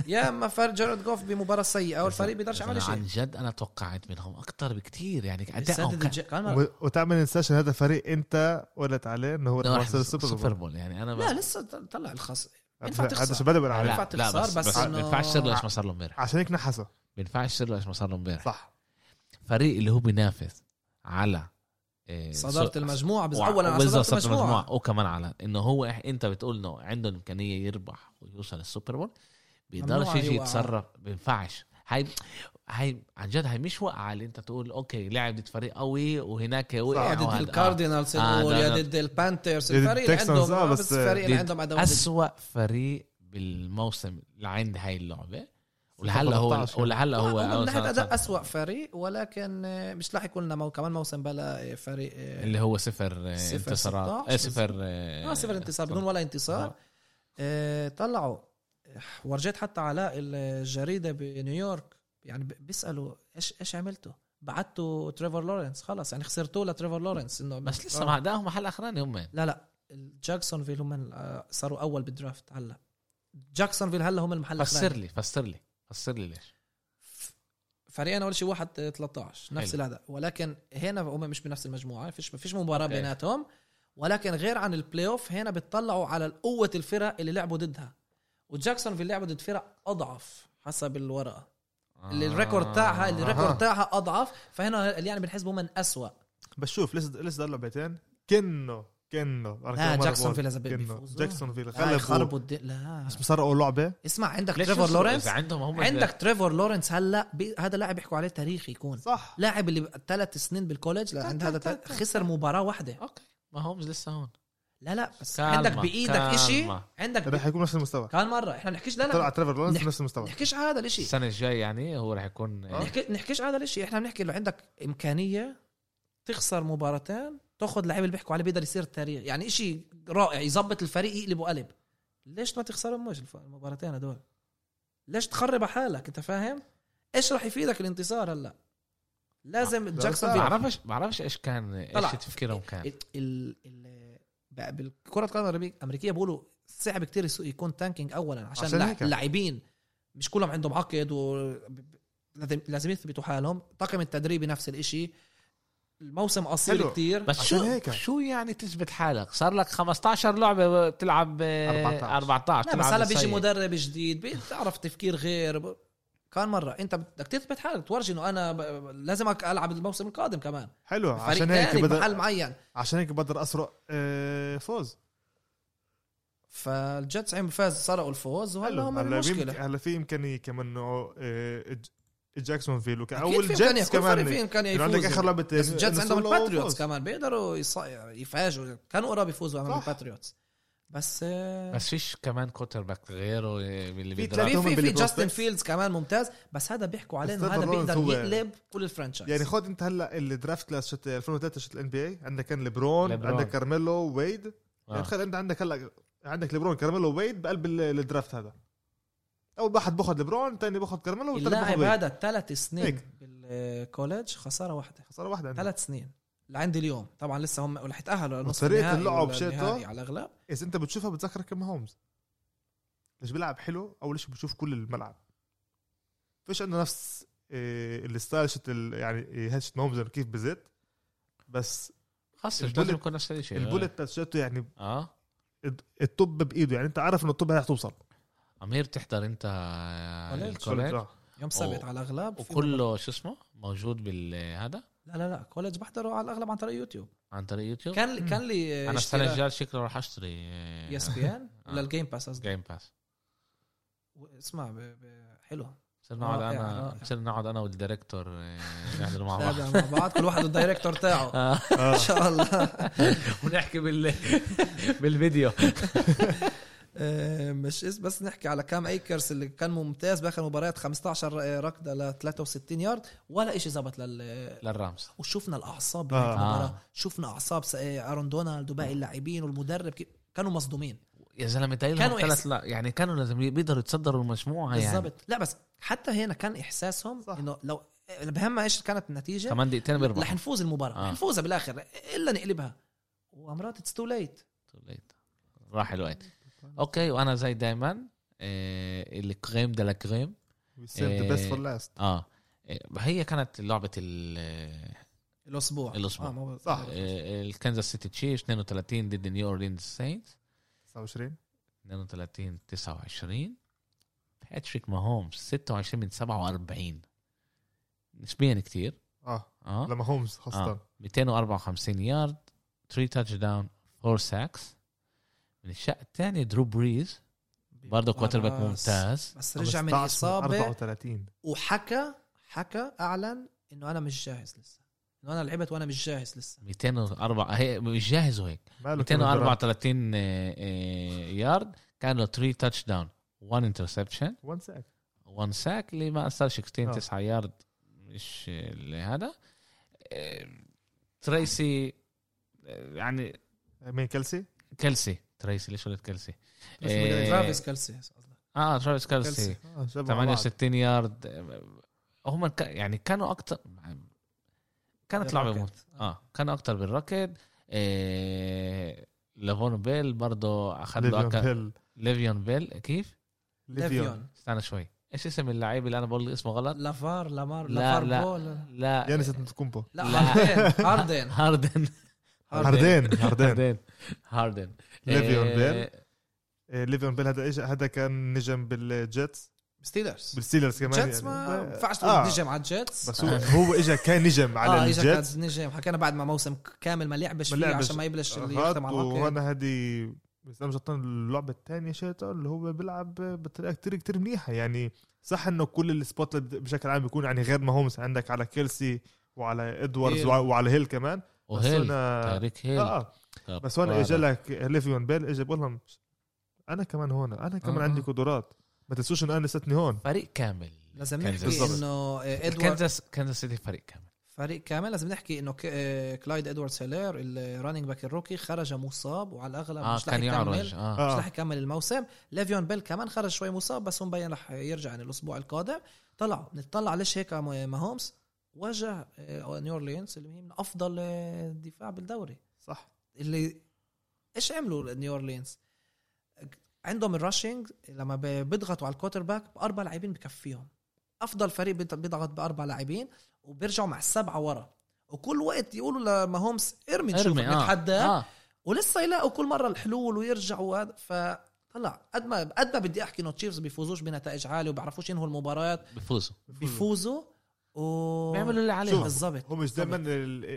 [SPEAKER 2] يا اما فر جارد جوف بمباراه سيئه والفريق بيقدرش
[SPEAKER 1] أنا
[SPEAKER 2] يعمل
[SPEAKER 1] عن
[SPEAKER 2] شيء
[SPEAKER 1] جد انا توقعت منهم اكثر بكثير يعني ادائهم كان-
[SPEAKER 2] لا
[SPEAKER 3] و- وتعمل ننساش إن هذا فريق انت قلت عليه انه هو
[SPEAKER 1] راح
[SPEAKER 3] رح يوصل السوبر
[SPEAKER 1] سوبر
[SPEAKER 3] بول
[SPEAKER 1] بول يعني انا ب-
[SPEAKER 2] لسه طلع الخص ينفع
[SPEAKER 3] هذا
[SPEAKER 2] تخسر.
[SPEAKER 3] شو بدأ
[SPEAKER 1] لا
[SPEAKER 3] بالعالم
[SPEAKER 2] ينفع
[SPEAKER 1] لا
[SPEAKER 2] تخسر،
[SPEAKER 1] بس
[SPEAKER 2] بس
[SPEAKER 1] بس
[SPEAKER 2] إنه-
[SPEAKER 1] ما ينفعش سر ايش ما صار له امبارح
[SPEAKER 3] عشان هيك نحسه
[SPEAKER 1] ما ينفعش سر ايش ما صار له امبارح
[SPEAKER 3] صح
[SPEAKER 1] فريق اللي هو بينافس على إيه،
[SPEAKER 2] صداره
[SPEAKER 1] سو-
[SPEAKER 2] المجموعه بس
[SPEAKER 1] وع-
[SPEAKER 2] اولا على
[SPEAKER 1] وإذا
[SPEAKER 2] صداره المجموعه
[SPEAKER 1] وكمان على انه هو إح- انت بتقول انه عنده الامكانيه يربح ويوصل السوبر بول بيقدرش
[SPEAKER 2] ممنوع أيوة.
[SPEAKER 1] يجي
[SPEAKER 2] يوقع.
[SPEAKER 1] يتصرف بينفعش هاي هاي عن جد هاي مش وقعه اللي انت تقول اوكي لعب ضد فريق قوي وهناك وقع
[SPEAKER 2] آه،
[SPEAKER 1] وهاد- آه.
[SPEAKER 2] ضد الكاردينالز
[SPEAKER 1] آه،
[SPEAKER 2] نقول،
[SPEAKER 1] لا،
[SPEAKER 2] يا
[SPEAKER 1] لا.
[SPEAKER 2] ضد البانترز
[SPEAKER 3] ضد
[SPEAKER 2] الفريق اللي
[SPEAKER 3] التكسانز،
[SPEAKER 2] عندهم
[SPEAKER 3] آه،
[SPEAKER 2] آه،
[SPEAKER 3] بس،
[SPEAKER 2] بس الفريق اللي
[SPEAKER 1] ضد
[SPEAKER 2] عندهم ادوات
[SPEAKER 1] أسوأ فريق ب- بالموسم لعند هاي اللعبه ولهلا هو
[SPEAKER 3] 17
[SPEAKER 1] ولهلا هو
[SPEAKER 2] هم من
[SPEAKER 1] أول
[SPEAKER 2] ناحيه
[SPEAKER 1] سنة-
[SPEAKER 2] اداء اسوء فريق ولكن آه، مش راح يكون لنا مو كمان موسم بلا آه، فريق آه،
[SPEAKER 1] اللي هو صفر آه،
[SPEAKER 2] صفر
[SPEAKER 1] انتصارات
[SPEAKER 2] 16
[SPEAKER 1] آه، صفر آه،
[SPEAKER 2] اه صفر انتصار بدون ولا انتصار
[SPEAKER 1] آه.
[SPEAKER 2] آه طلعوا ورجيت حتى علاء الجريده بنيويورك يعني ب- بيسالوا ايش ايش عملتوا؟ بعتوا تريفر لورنس خلص يعني خسرتوه لتريفر لورنس انه
[SPEAKER 1] بس لسه ما ادائهم محل اخراني هم
[SPEAKER 2] لا لا جاكسون فيل هم آه، صاروا اول بالدرافت هلا جاكسون فيل هلا هم المحل
[SPEAKER 1] فسر
[SPEAKER 2] الثاني
[SPEAKER 1] لي فسر لي فسر لي ليش
[SPEAKER 2] فريقنا اول شيء واحد آه، 13 نفس
[SPEAKER 1] حلو.
[SPEAKER 2] الاداء ولكن هنا هم مش بنفس المجموعه فيش فيش مباراه
[SPEAKER 1] أوكي.
[SPEAKER 2] بيناتهم ولكن غير عن البلاي اوف هنا بتطلعوا على قوه الفرق اللي لعبوا ضدها وجاكسون في لعبوا ضد فرق اضعف حسب الورقه اللي الريكورد تاعها اللي
[SPEAKER 1] آه.
[SPEAKER 2] الريكورد تاعها اضعف فهنا اللي يعني بنحسبه من اسوء
[SPEAKER 3] بس شوف لسه لسه ده اللعبتين كنه كنه
[SPEAKER 2] لا جاكسون فيل إذا بيفوزوا.
[SPEAKER 3] جاكسون فيل
[SPEAKER 2] لا
[SPEAKER 3] غلبوا
[SPEAKER 2] يخربوا آه، الد... لا
[SPEAKER 3] بس سرقوا لعبه
[SPEAKER 2] اسمع عندك
[SPEAKER 1] ليش
[SPEAKER 2] تريفور
[SPEAKER 1] يسرقوا؟
[SPEAKER 2] لورنس
[SPEAKER 1] إذا عندهم هم
[SPEAKER 2] عندك تريفور لورنس هلا بي... هذا لاعب يحكوا عليه تاريخي يكون
[SPEAKER 3] صح
[SPEAKER 2] لاعب اللي ثلاث سنين بالكولج لا عند هذا تل... خسر مباراه واحده
[SPEAKER 1] اوكي ما هومز لسه هون
[SPEAKER 2] لا لا بس
[SPEAKER 1] كالما،
[SPEAKER 2] عندك بايدك
[SPEAKER 1] كالما.
[SPEAKER 2] شيء عندك
[SPEAKER 3] رح
[SPEAKER 2] ب...
[SPEAKER 3] يكون نفس المستوى
[SPEAKER 2] كان مره احنا بنحكيش لا
[SPEAKER 3] طلع
[SPEAKER 2] لا
[SPEAKER 3] تريفر لورنس
[SPEAKER 2] نح-
[SPEAKER 3] نفس المستوى
[SPEAKER 2] بنحكيش هذا الشيء
[SPEAKER 1] السنه الجاي يعني هو راح يكون آه،
[SPEAKER 2] نحكي نحكيش هذا الشيء احنا بنحكي لو عندك امكانيه تخسر مباراتين تاخذ لعيب اللي بيحكوا عليه بيقدر يصير تاريخ يعني شيء رائع يظبط الفريق يقلبه قلب ليش ما تخسرهم مش الف- المباراتين هدول ليش تخرب على حالك انت فاهم ايش راح يفيدك الانتصار هلا لازم
[SPEAKER 3] لا،
[SPEAKER 2] جاكسون
[SPEAKER 3] بس-
[SPEAKER 2] فيل-
[SPEAKER 1] بعرفش بعرفش ايش كان ايش
[SPEAKER 2] طلع.
[SPEAKER 1] تفكيرهم كان
[SPEAKER 2] ال ال ال بقى بالكره القدم الأمريك- الامريكيه بيقولوا صعب كتير يسو- يكون تانكينج اولا عشان, عشان
[SPEAKER 3] عشان هيك.
[SPEAKER 2] اللاعبين مش كلهم عندهم عقد و لازم لازم يثبتوا حالهم طاقم التدريبي نفس الاشي الموسم قصير
[SPEAKER 3] حلو.
[SPEAKER 2] كتير
[SPEAKER 1] بس
[SPEAKER 3] عشان
[SPEAKER 1] شو
[SPEAKER 3] هيك.
[SPEAKER 1] شو يعني تثبت حالك صار لك 15 لعبه بتلعب آه،
[SPEAKER 3] 14.
[SPEAKER 1] 14
[SPEAKER 2] لا
[SPEAKER 1] بتلعب
[SPEAKER 2] بس هلا نعم، بيجي
[SPEAKER 1] سيء.
[SPEAKER 2] مدرب جديد بتعرف تفكير غير ب- كان مره انت بدك تثبت حالك تورجي انه انا ب... لازم أك- العب الموسم القادم كمان
[SPEAKER 3] حلو
[SPEAKER 2] فريق
[SPEAKER 3] عشان هيك
[SPEAKER 2] ثاني محل
[SPEAKER 3] بقدر
[SPEAKER 2] معين
[SPEAKER 3] عشان هيك بقدر اسرق آه، فوز
[SPEAKER 2] فالجتس عم فاز سرقوا الفوز وهلا هم
[SPEAKER 3] هلا بيمك-
[SPEAKER 2] المشكله
[SPEAKER 3] هلا في امكانيه كمان انه آه، جاكسون فيل
[SPEAKER 2] اكيد
[SPEAKER 3] وكاول
[SPEAKER 2] في امكانيه
[SPEAKER 3] جيتس
[SPEAKER 2] كل فريق
[SPEAKER 3] كمان
[SPEAKER 2] في امكانيه
[SPEAKER 3] يعني عندك اخر
[SPEAKER 2] يفوز
[SPEAKER 3] لعبه
[SPEAKER 2] بس الجيتس عندهم
[SPEAKER 3] النسولو
[SPEAKER 2] الباتريوتس
[SPEAKER 3] فوز.
[SPEAKER 2] كمان بيقدروا يص- يفاجئوا كانوا قراب يفوزوا امام
[SPEAKER 3] صح.
[SPEAKER 2] الباتريوتس بس آه،
[SPEAKER 1] بس فيش كمان كوتر باك غيره آه، اللي
[SPEAKER 3] في
[SPEAKER 1] بيقدر
[SPEAKER 3] تلاتة.
[SPEAKER 2] في
[SPEAKER 3] هم
[SPEAKER 2] في, في
[SPEAKER 3] باللي
[SPEAKER 2] جاستن
[SPEAKER 3] بروسبكت.
[SPEAKER 2] فيلدز كمان ممتاز بس هذا بيحكوا عليه انه
[SPEAKER 3] ستيفن
[SPEAKER 2] هذا
[SPEAKER 3] لورنس
[SPEAKER 2] بيقدر
[SPEAKER 3] هو-
[SPEAKER 2] يقلب كل الفرنشايز
[SPEAKER 3] يعني خد انت هلا الدرافت كلاس شت 2003 شت الان بي اي عندك كان ليبرون
[SPEAKER 1] ليبرون.
[SPEAKER 3] عندك كارميلو ويد يعني
[SPEAKER 1] آه.
[SPEAKER 3] تخيل انت عندك هلا عندك ليبرون كارميلو ويد بقلب ال- الدرافت هذا اول واحد باخذ ليبرون ثاني باخذ كارميلو والثالث باخذ
[SPEAKER 2] اللاعب
[SPEAKER 3] ويد
[SPEAKER 2] هذا ثلاث سنين
[SPEAKER 3] هيك.
[SPEAKER 2] بالكولج خساره واحده
[SPEAKER 3] خساره واحده عندك
[SPEAKER 2] ثلاث سنين لعند اليوم طبعا لسه هم رح يتاهلوا لنص
[SPEAKER 3] وطريقة
[SPEAKER 2] النهائي
[SPEAKER 3] اللعب
[SPEAKER 2] ولا
[SPEAKER 3] شيء
[SPEAKER 2] النهائي
[SPEAKER 3] طه.
[SPEAKER 2] على الاغلب
[SPEAKER 3] اذا انت بتشوفها بتذكرك كم هومز مش بيلعب حلو اول شيء بتشوف كل الملعب فيش عنده نفس إيه، الستايل شت ال- يعني هاد شت هومز كيف بزت بس
[SPEAKER 1] خلص مش
[SPEAKER 3] البولت-
[SPEAKER 1] لازم يكون نفس الشيء
[SPEAKER 3] البولت تاتشاته يعني
[SPEAKER 1] اه
[SPEAKER 3] الطب بايده يعني انت عارف انه الطب هي رح توصل
[SPEAKER 1] امير بتحضر انت
[SPEAKER 2] كوليج؟
[SPEAKER 1] الكوليج
[SPEAKER 3] آه.
[SPEAKER 2] يوم سبت
[SPEAKER 1] أو-
[SPEAKER 2] على الاغلب في-
[SPEAKER 1] وكله شو اسمه موجود بالهذا
[SPEAKER 2] لا لا لا كولج بحضره على الاغلب عن طريق يوتيوب
[SPEAKER 1] عن طريق يوتيوب
[SPEAKER 2] كان كان لي
[SPEAKER 1] انا السنه الجايه شكله راح اشتري
[SPEAKER 2] بي اس
[SPEAKER 1] <laughs>
[SPEAKER 2] بي ان
[SPEAKER 1] آه.
[SPEAKER 2] ولا الجيم باس قصدي
[SPEAKER 1] جيم باس
[SPEAKER 2] اسمع ب... ب... حلو
[SPEAKER 1] صرنا نقعد
[SPEAKER 2] رائع،
[SPEAKER 1] انا
[SPEAKER 2] رائع.
[SPEAKER 1] صرنا نقعد انا والديريكتور آه، نحضر مع بعض
[SPEAKER 2] تابع مع بعض كل واحد والدايركتور تاعه
[SPEAKER 1] آه،
[SPEAKER 2] ان شاء الله
[SPEAKER 1] ونحكي <laughs> بال بالفيديو
[SPEAKER 2] آه، مش اس- بس نحكي على كام ايكرز اللي كان ممتاز باخر مباريات 15 ركضه ل 63 يارد ولا شيء زبط لل
[SPEAKER 1] للرامز
[SPEAKER 2] وشفنا الاعصاب
[SPEAKER 3] آه.
[SPEAKER 2] بهاي المباراه
[SPEAKER 1] آه.
[SPEAKER 2] شفنا اعصاب س- آه، ارون دونالد وباقي اللاعبين والمدرب كي- كانوا مصدومين
[SPEAKER 1] يا زلمه دايلهم
[SPEAKER 2] كانوا
[SPEAKER 1] ثلاث لا يعني كانوا لازم بيقدروا يتصدروا المجموعه يعني
[SPEAKER 2] بالضبط لا بس حتى هنا كان احساسهم
[SPEAKER 3] صح.
[SPEAKER 2] انه لو بهم ايش كانت النتيجه
[SPEAKER 1] كمان دقيقتين
[SPEAKER 2] رح
[SPEAKER 1] بيربحوا
[SPEAKER 2] نفوز المباراه
[SPEAKER 1] آه.
[SPEAKER 2] رح نفوزها بالاخر الا نقلبها وامرات اتس تو ليت
[SPEAKER 1] راح الوقت اوكي وانا زي آه، دايما الكريم دلا كريم
[SPEAKER 3] We saved the best for last
[SPEAKER 1] اه إيه، هي كانت لعبه ال
[SPEAKER 2] الاسبوع
[SPEAKER 1] الأسبوع.
[SPEAKER 2] آه ما هو-
[SPEAKER 3] صح.
[SPEAKER 1] آه، الكنزاس سيتي تشيفز 32 ضد نيو اورلينز ساينتس
[SPEAKER 3] 29
[SPEAKER 1] 32 29 باتريك ماهومز 26 من 47 نسبيا كثير
[SPEAKER 3] اه
[SPEAKER 1] اه
[SPEAKER 3] لما هومز خاصه
[SPEAKER 1] آه. 254 يارد 3 تاتش داون 4 ساكس من الشق الثاني درو بريز برضه كوتر باك
[SPEAKER 2] بس-
[SPEAKER 1] ممتاز
[SPEAKER 2] بس رجع من
[SPEAKER 3] 15
[SPEAKER 2] اصابه
[SPEAKER 3] 34
[SPEAKER 2] وحكى حكى اعلن انه انا مش جاهز لسه انه انا لعبت وانا مش جاهز لسه
[SPEAKER 1] 204 هي مش جاهز وهيك
[SPEAKER 3] ماله كل المباراة؟
[SPEAKER 1] 234 آه، آه، يارد كان له 3 تاتش داون 1 انترسبشن
[SPEAKER 3] وان ساك
[SPEAKER 1] 1 ساك اللي ما اثرش كتير
[SPEAKER 3] آه.
[SPEAKER 1] 9 يارد مش اللي هذا آه، تريسي آه، يعني
[SPEAKER 3] مين كلسي؟
[SPEAKER 1] كلسي تريسي ليش قلت كلسي؟
[SPEAKER 3] بس
[SPEAKER 1] إيه.
[SPEAKER 2] ترافيس كالسي
[SPEAKER 1] اه ترافيس كلسي
[SPEAKER 2] كالسي
[SPEAKER 3] آه، شبه بعض.
[SPEAKER 1] 68 يارد هم ك... يعني كانوا اكتر كانت لعبه
[SPEAKER 2] بالركض.
[SPEAKER 1] ممتعه اه كانوا اكتر بالركض إيه... لافون بيل برضه اخذ له
[SPEAKER 3] ليفيون
[SPEAKER 1] أك...
[SPEAKER 3] بيل
[SPEAKER 1] ليفيون بيل كيف؟
[SPEAKER 3] ليفيون
[SPEAKER 2] ليفيون
[SPEAKER 1] استنى شوي ايش اسم اللاعب اللي انا بقول اسمه غلط؟
[SPEAKER 2] لافار لامار
[SPEAKER 1] لا
[SPEAKER 2] لافار
[SPEAKER 1] لا
[SPEAKER 2] بول
[SPEAKER 1] لا
[SPEAKER 3] يانس انتكومبو
[SPEAKER 2] لا
[SPEAKER 1] لا.
[SPEAKER 2] هاردن
[SPEAKER 1] <laughs>
[SPEAKER 2] هاردن
[SPEAKER 1] هاردن
[SPEAKER 2] <laughs>
[SPEAKER 3] هاردن هاردن
[SPEAKER 1] هاردن هاردن
[SPEAKER 3] ليفيون
[SPEAKER 1] إيه،
[SPEAKER 3] بيل آه، ليفيون بيل هذا ايش هذا كان نجم بالجيتس
[SPEAKER 2] ستيلرز
[SPEAKER 3] بالستيلرز كمان
[SPEAKER 2] جيتس ما
[SPEAKER 3] يعني.
[SPEAKER 2] ينفعش
[SPEAKER 3] آه،
[SPEAKER 2] تقول نجم على الجيتس
[SPEAKER 3] بس هو هو اجى كان
[SPEAKER 2] <laughs>
[SPEAKER 3] نجم على
[SPEAKER 2] اه اجى
[SPEAKER 3] الجيتس
[SPEAKER 2] كان نجم حكينا بعد ما موسم كامل ما لعبش
[SPEAKER 3] ما
[SPEAKER 2] فيه
[SPEAKER 3] لعبش.
[SPEAKER 2] عشان ما يبلش اللي يختم
[SPEAKER 3] غاد
[SPEAKER 2] على العقد
[SPEAKER 3] وهنا هذه بس انا مش غلطان اللعبه الثانيه شيطان اللي هو بيلعب بطريقه كتير كتير منيحه يعني صح انه كل السبوت لايت بشكل عام بيكون يعني غير ما هومس عندك على كيلسي وعلى ادواردز
[SPEAKER 2] هيل.
[SPEAKER 3] وع- وعلى هيل كمان بس
[SPEAKER 1] وهيل
[SPEAKER 3] هنا
[SPEAKER 1] تاريك هيل
[SPEAKER 3] اه
[SPEAKER 1] كفارة.
[SPEAKER 3] بس هنا اجى لك ليفيون بيل اجى بقول لهم انا كمان هون انا كمان
[SPEAKER 1] آه.
[SPEAKER 3] عندي قدرات ما تنسوش ان انا لساتني هون
[SPEAKER 1] فريق كامل
[SPEAKER 2] لازم
[SPEAKER 1] كانزاس.
[SPEAKER 2] نحكي
[SPEAKER 3] بالضبط.
[SPEAKER 2] انه ادوارد
[SPEAKER 1] كانزاس كانزاس سيتي فريق كامل
[SPEAKER 2] فريق كامل لازم نحكي انه ك- آه، كلايد ادوارد سيلير الرننج باك الروكي خرج مصاب وعلى الاغلب
[SPEAKER 1] اه
[SPEAKER 2] مش رح
[SPEAKER 1] كان
[SPEAKER 2] يكمل
[SPEAKER 1] يعرج اه
[SPEAKER 2] مش
[SPEAKER 3] آه.
[SPEAKER 2] رح يكمل الموسم ليفيون بيل كمان خرج شوي مصاب بس هو مبين رح يرجع يعني الاسبوع القادم طلع نطلع ليش هيك م- ماهومس واجه آه، نيو اورلينز اللي هي من افضل آه، دفاع بالدوري
[SPEAKER 3] صح
[SPEAKER 2] اللي ايش عملوا نيو اورلينز عندهم الراشنج لما ب- بيضغطوا على الكوتر باك باربع لاعبين بكفيهم افضل فريق بيض- بيضغط باربع لاعبين وبيرجعوا مع السبعه ورا وكل وقت يقولوا لماهومس ارمي نشوف
[SPEAKER 1] ارمي اه
[SPEAKER 2] نتحداه
[SPEAKER 1] اه
[SPEAKER 2] ولسه يلاقوا كل مره الحلول ويرجعوا هذا فطلع قد ما قد ما بدي احكي انه تشيفز بيفوزوش بنتائج عاليه وبيعرفوش ينهوا المباريات
[SPEAKER 1] بفوزوا
[SPEAKER 2] بيفوزوا و
[SPEAKER 1] بيعملوا اللي عليهم
[SPEAKER 3] آه. شوف.
[SPEAKER 2] بالضبط
[SPEAKER 3] هو مش دائما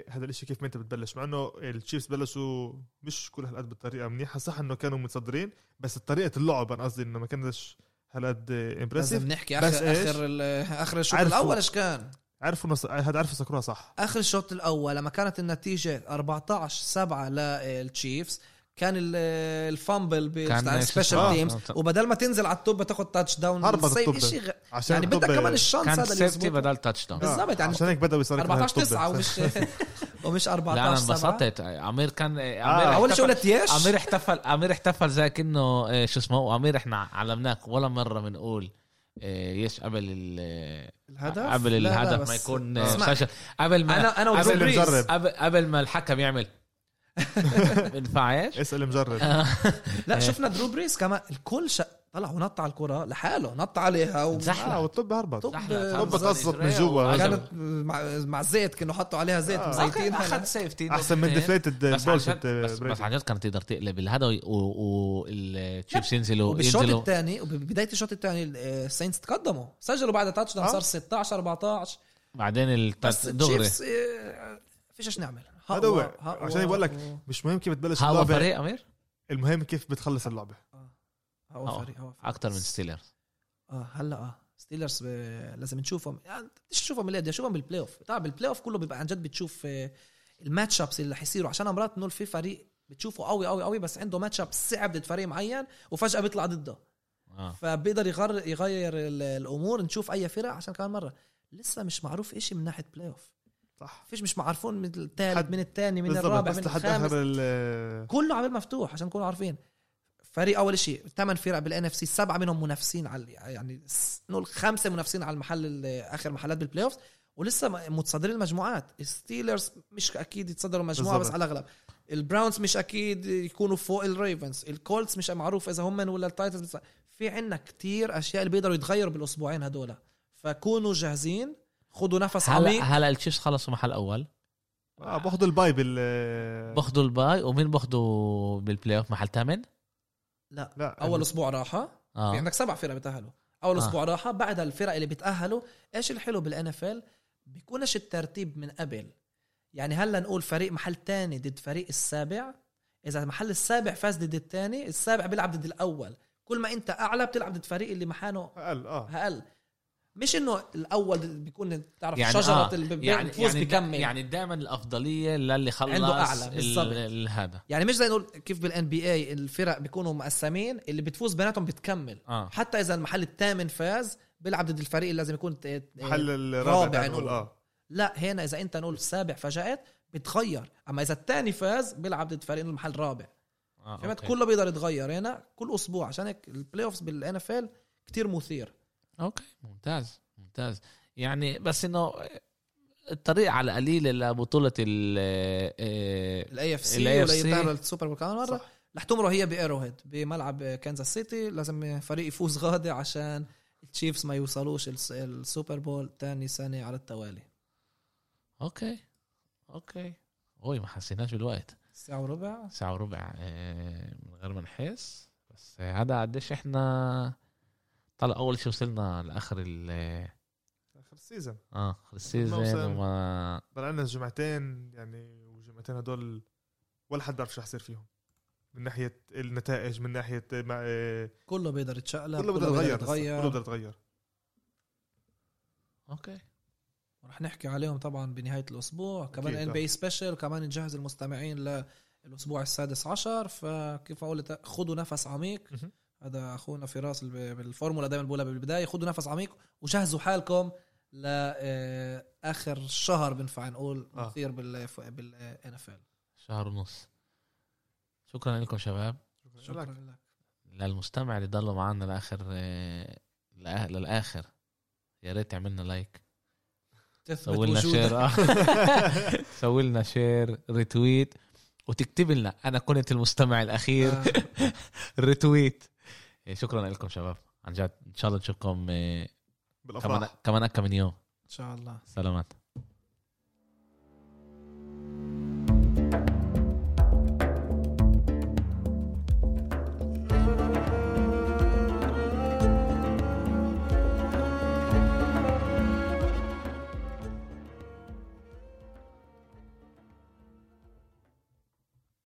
[SPEAKER 3] هذا الاشي كيف ما انت بتبلش مع انه التشيفز بلشوا مش كل هالقد بالطريقه منيحه صح انه كانوا متصدرين بس طريقه اللعب انا قصدي انه ما كانش هالقد امبرسيف
[SPEAKER 2] لازم نحكي
[SPEAKER 3] بس
[SPEAKER 2] اخر
[SPEAKER 3] إيش؟
[SPEAKER 2] اخر ال- اخر الشوط
[SPEAKER 3] عرفوا.
[SPEAKER 2] الاول ايش كان
[SPEAKER 3] عرفوا نص... هذا عرفوا سكروها صح
[SPEAKER 2] اخر الشوط الاول لما كانت النتيجه 14 7 للتشيفز كان ال- الفامبل
[SPEAKER 1] كان
[SPEAKER 2] سبيشال
[SPEAKER 1] آه.
[SPEAKER 2] تيمز وبدل ما تنزل على التوب بتاخذ تاتش داون
[SPEAKER 3] هربت
[SPEAKER 2] سيف،
[SPEAKER 3] الطبة.
[SPEAKER 2] إشي غ-
[SPEAKER 3] عشان
[SPEAKER 2] يعني بدك
[SPEAKER 3] الطب- آه.
[SPEAKER 2] كمان الشانس
[SPEAKER 1] كان
[SPEAKER 2] هذا اللي
[SPEAKER 1] سيفتي
[SPEAKER 2] يزبط
[SPEAKER 1] بدل تاتش داون
[SPEAKER 2] بس- بالضبط، يعني
[SPEAKER 3] عشان هيك بدأوا يصيروا
[SPEAKER 2] 14 9 ومش <laughs> ومش
[SPEAKER 1] لا
[SPEAKER 2] 14
[SPEAKER 1] انا
[SPEAKER 2] 7
[SPEAKER 1] انبسطت عمير كان
[SPEAKER 3] آه.
[SPEAKER 1] عمير
[SPEAKER 2] اول شيء
[SPEAKER 1] احتفل-
[SPEAKER 2] قلت يش
[SPEAKER 1] عمير احتفل عمير احتفل زي كانه آه، شو اسمه عمير احنا علمناك ولا مره بنقول آه، يش قبل ال
[SPEAKER 2] الهدف
[SPEAKER 1] قبل
[SPEAKER 2] لا، لا،
[SPEAKER 1] الهدف
[SPEAKER 2] بس-
[SPEAKER 1] ما يكون
[SPEAKER 2] اسمع،
[SPEAKER 1] آه، فشل قبل ما
[SPEAKER 2] انا انا
[SPEAKER 1] قبل
[SPEAKER 2] وجون بريز.
[SPEAKER 3] المجرب.
[SPEAKER 1] قبل, قبل ما الحكم يعمل
[SPEAKER 2] <laughs>
[SPEAKER 1] بنفعش
[SPEAKER 3] اسال مجرب
[SPEAKER 2] آه.
[SPEAKER 1] إيه.
[SPEAKER 2] لا شفنا درو بريس كمان الكل شا... طلع ونط على الكره لحاله نط عليها و...
[SPEAKER 1] زحلق.
[SPEAKER 3] اه والطب هربط
[SPEAKER 2] طب-
[SPEAKER 1] زحلق.
[SPEAKER 2] طب
[SPEAKER 3] قصت من جوا.
[SPEAKER 2] كانت مع, مع زيت كانوا حطوا عليها زيت
[SPEAKER 3] آه.
[SPEAKER 1] أخذ- اخذ
[SPEAKER 2] مزيتينها
[SPEAKER 1] سيفتي
[SPEAKER 3] احسن من uh, ديفليتد
[SPEAKER 1] بس عن
[SPEAKER 3] بولز
[SPEAKER 1] جد بس, بس عن جد كانت تقدر تقلب الهدا والتشيبس ينزلوا
[SPEAKER 2] وبالشوط
[SPEAKER 1] ينزلوا
[SPEAKER 2] الثاني وببدايه الشوط الثاني الساينتس تقدموا سجلوا بعد تاتش داون
[SPEAKER 3] آه.
[SPEAKER 2] صار 16 14
[SPEAKER 1] بعدين
[SPEAKER 2] بس
[SPEAKER 1] التات- طيب، دغري
[SPEAKER 2] التشيفز آه، فيش ايش نعمل
[SPEAKER 3] هذا هو.
[SPEAKER 2] هقوى- هقوى
[SPEAKER 3] عشان بقول لك
[SPEAKER 2] و-
[SPEAKER 3] مش مهم كيف بتبلش
[SPEAKER 1] هوا
[SPEAKER 3] اللعبه
[SPEAKER 1] فريق امير
[SPEAKER 3] المهم كيف بتخلص اللعبه
[SPEAKER 1] هقوى.
[SPEAKER 2] هقوى فريق هقوى فريق.
[SPEAKER 1] اكثر من ستيلر
[SPEAKER 2] اه هلا اه ستيلرز آه، لازم نشوفهم يعني بديش تشوفهم من الأدية، شوفهم بالبلاي اوف طبعا بالبلاي اوف كله بيبقى عن جد بتشوف آه، الماتش ابس اللي رح يصيروا عشان مرات انه في فريق بتشوفه قوي قوي قوي بس عنده ماتش اب صعب ضد فريق معين وفجاه بيطلع ضده
[SPEAKER 1] اه
[SPEAKER 2] فبيقدر يغير يغير ال- الامور نشوف اي فرق عشان كمان مره لسه مش معروف إشي من ناحيه بلاي اوف
[SPEAKER 3] صح
[SPEAKER 2] فيش مش معروفين من الثالث
[SPEAKER 3] حد-
[SPEAKER 2] من الثاني من
[SPEAKER 3] بالضبط
[SPEAKER 2] الرابع
[SPEAKER 3] بس
[SPEAKER 2] من
[SPEAKER 3] لحد
[SPEAKER 2] الخامس
[SPEAKER 3] اخر ال-
[SPEAKER 2] كله عمال مفتوح عشان نكونوا عارفين فريق اول شيء ثمان فرق بالان اف سي سبعه منهم منافسين على يعني س- نقول خمسه منافسين على المحل ال- اخر محلات بالبلاي اوف ولسه م- متصدرين المجموعات الستيلرز مش اكيد يتصدروا مجموعه بس
[SPEAKER 3] بالظبط.
[SPEAKER 2] على الاغلب البراونز مش اكيد يكونوا فوق الريفنز الكولتس مش معروف اذا هم من ولا التايتنز بس في عنا كتير اشياء اللي بيقدروا يتغيروا بالاسبوعين هدول فكونوا جاهزين خدوا نفس
[SPEAKER 1] هلا
[SPEAKER 2] عميق
[SPEAKER 1] هلا التشيبس خلصوا محل اول
[SPEAKER 3] اه باخذ آه، الباي بال
[SPEAKER 1] باخذوا الباي ومين باخذوا بالبلاي اوف محل ثامن
[SPEAKER 2] لا
[SPEAKER 3] لا
[SPEAKER 2] اول اسبوع راحه في
[SPEAKER 1] اه
[SPEAKER 2] عندك سبع فرق بتاهلوا اول
[SPEAKER 1] آه.
[SPEAKER 2] اسبوع راحه بعدها الفرق اللي بتاهلوا ايش الحلو بالان اف ال بيكونش الترتيب من قبل يعني هلا نقول فريق محل تاني ضد فريق السابع اذا المحل السابع فاز ضد التاني السابع بيلعب ضد الاول كل ما انت اعلى بتلعب ضد فريق اللي محانه
[SPEAKER 3] اقل اه
[SPEAKER 2] اقل مش انه الاول بيكون تعرف
[SPEAKER 1] يعني
[SPEAKER 2] يعني شجره
[SPEAKER 1] آه،
[SPEAKER 2] آه اللي
[SPEAKER 1] يعني
[SPEAKER 2] بيفوز
[SPEAKER 1] يعني
[SPEAKER 2] بيكمل يعني,
[SPEAKER 1] يعني دائما الافضليه للي خلص
[SPEAKER 2] عنده أعلى،
[SPEAKER 1] ال-
[SPEAKER 2] بالضبط.
[SPEAKER 1] ال- هذا
[SPEAKER 2] يعني مش زي نقول كيف بالان بي اي الفرق بيكونوا مقسمين اللي بتفوز بيناتهم بتكمل
[SPEAKER 1] اه
[SPEAKER 2] حتى اذا المحل الثامن فاز بيلعب ضد الفريق اللي لازم يكون ت-
[SPEAKER 3] حل
[SPEAKER 2] رابع
[SPEAKER 3] الرابع نقول
[SPEAKER 2] نقول.
[SPEAKER 3] اه
[SPEAKER 2] لا هنا اذا انت نقول سابع فجأت بتغير اما اذا الثاني فاز بيلعب ضد فريق إنه المحل رابع
[SPEAKER 1] آه،
[SPEAKER 2] فهمت
[SPEAKER 1] أوكي.
[SPEAKER 2] كله بيقدر يتغير هنا كل اسبوع عشان هيك البلاي اوفز بالان اف ال كثير مثير
[SPEAKER 1] اوكي ممتاز ممتاز يعني بس انه الطريق على قليله لبطوله ال آه،
[SPEAKER 2] الاي اف سي
[SPEAKER 1] ال
[SPEAKER 2] ولا
[SPEAKER 1] AFC
[SPEAKER 2] يتاهلوا للسوبر بول كمان مره
[SPEAKER 1] صح.
[SPEAKER 2] رح تمروا هي بايرو هيد بملعب كانزاس سيتي لازم فريق يفوز غادي عشان التشيفز ما يوصلوش الس- السوبر بول تاني سنه على التوالي
[SPEAKER 1] اوكي اوكي اوي ما حسيناش بالوقت
[SPEAKER 2] الساعه وربع
[SPEAKER 1] ساعة وربع آه، من غير ما نحس بس آه، هذا قديش احنا طلع اول شيء وصلنا لاخر ال
[SPEAKER 3] اخر سيزون
[SPEAKER 1] اه آخر السيزون
[SPEAKER 3] الموسم.
[SPEAKER 1] وما
[SPEAKER 3] بقى لنا جمعتين يعني والجمعتين هدول ولا حد بيعرف شو رح يصير فيهم من ناحيه النتائج من ناحيه مع آه،
[SPEAKER 2] كله بيقدر يتشقلب
[SPEAKER 3] كله بده يتغير لسه،
[SPEAKER 2] يتغير.
[SPEAKER 3] كله بده يتغير
[SPEAKER 1] اوكي
[SPEAKER 2] رح نحكي عليهم طبعا بنهايه الاسبوع كمان
[SPEAKER 3] أكيد،
[SPEAKER 2] ان بي سبيشل وكمان نجهز المستمعين للاسبوع السادس عشر فكيف اقول لك، خدوا نفس عميق
[SPEAKER 3] مهم.
[SPEAKER 2] هذا اخونا فراس الب- بالفورمولا دائما بقولها بالبدايه خدوا نفس عميق وجهزوا حالكم لاخر شهر بنفع نقول
[SPEAKER 3] آه.
[SPEAKER 2] مثير بال بالان اف ال
[SPEAKER 1] شهر ونص شكرا لكم شباب
[SPEAKER 2] شكرا لك
[SPEAKER 1] للمستمع اللي ضلوا معنا لاخر آه، لآ- للاخر يا ريت تعملنا لايك
[SPEAKER 2] تثبت
[SPEAKER 1] سوي لنا شير
[SPEAKER 2] وجودك
[SPEAKER 1] آه. سوي لنا شير ريتويت وتكتب لنا انا كنت المستمع الاخير
[SPEAKER 2] آه.
[SPEAKER 1] ريتويت إيه، شكرا لكم شباب عن جد ان شاء الله نشوفكم إيه، كمان
[SPEAKER 3] بالافراح
[SPEAKER 1] كمان كم من يوم
[SPEAKER 2] ان شاء الله
[SPEAKER 1] سلامات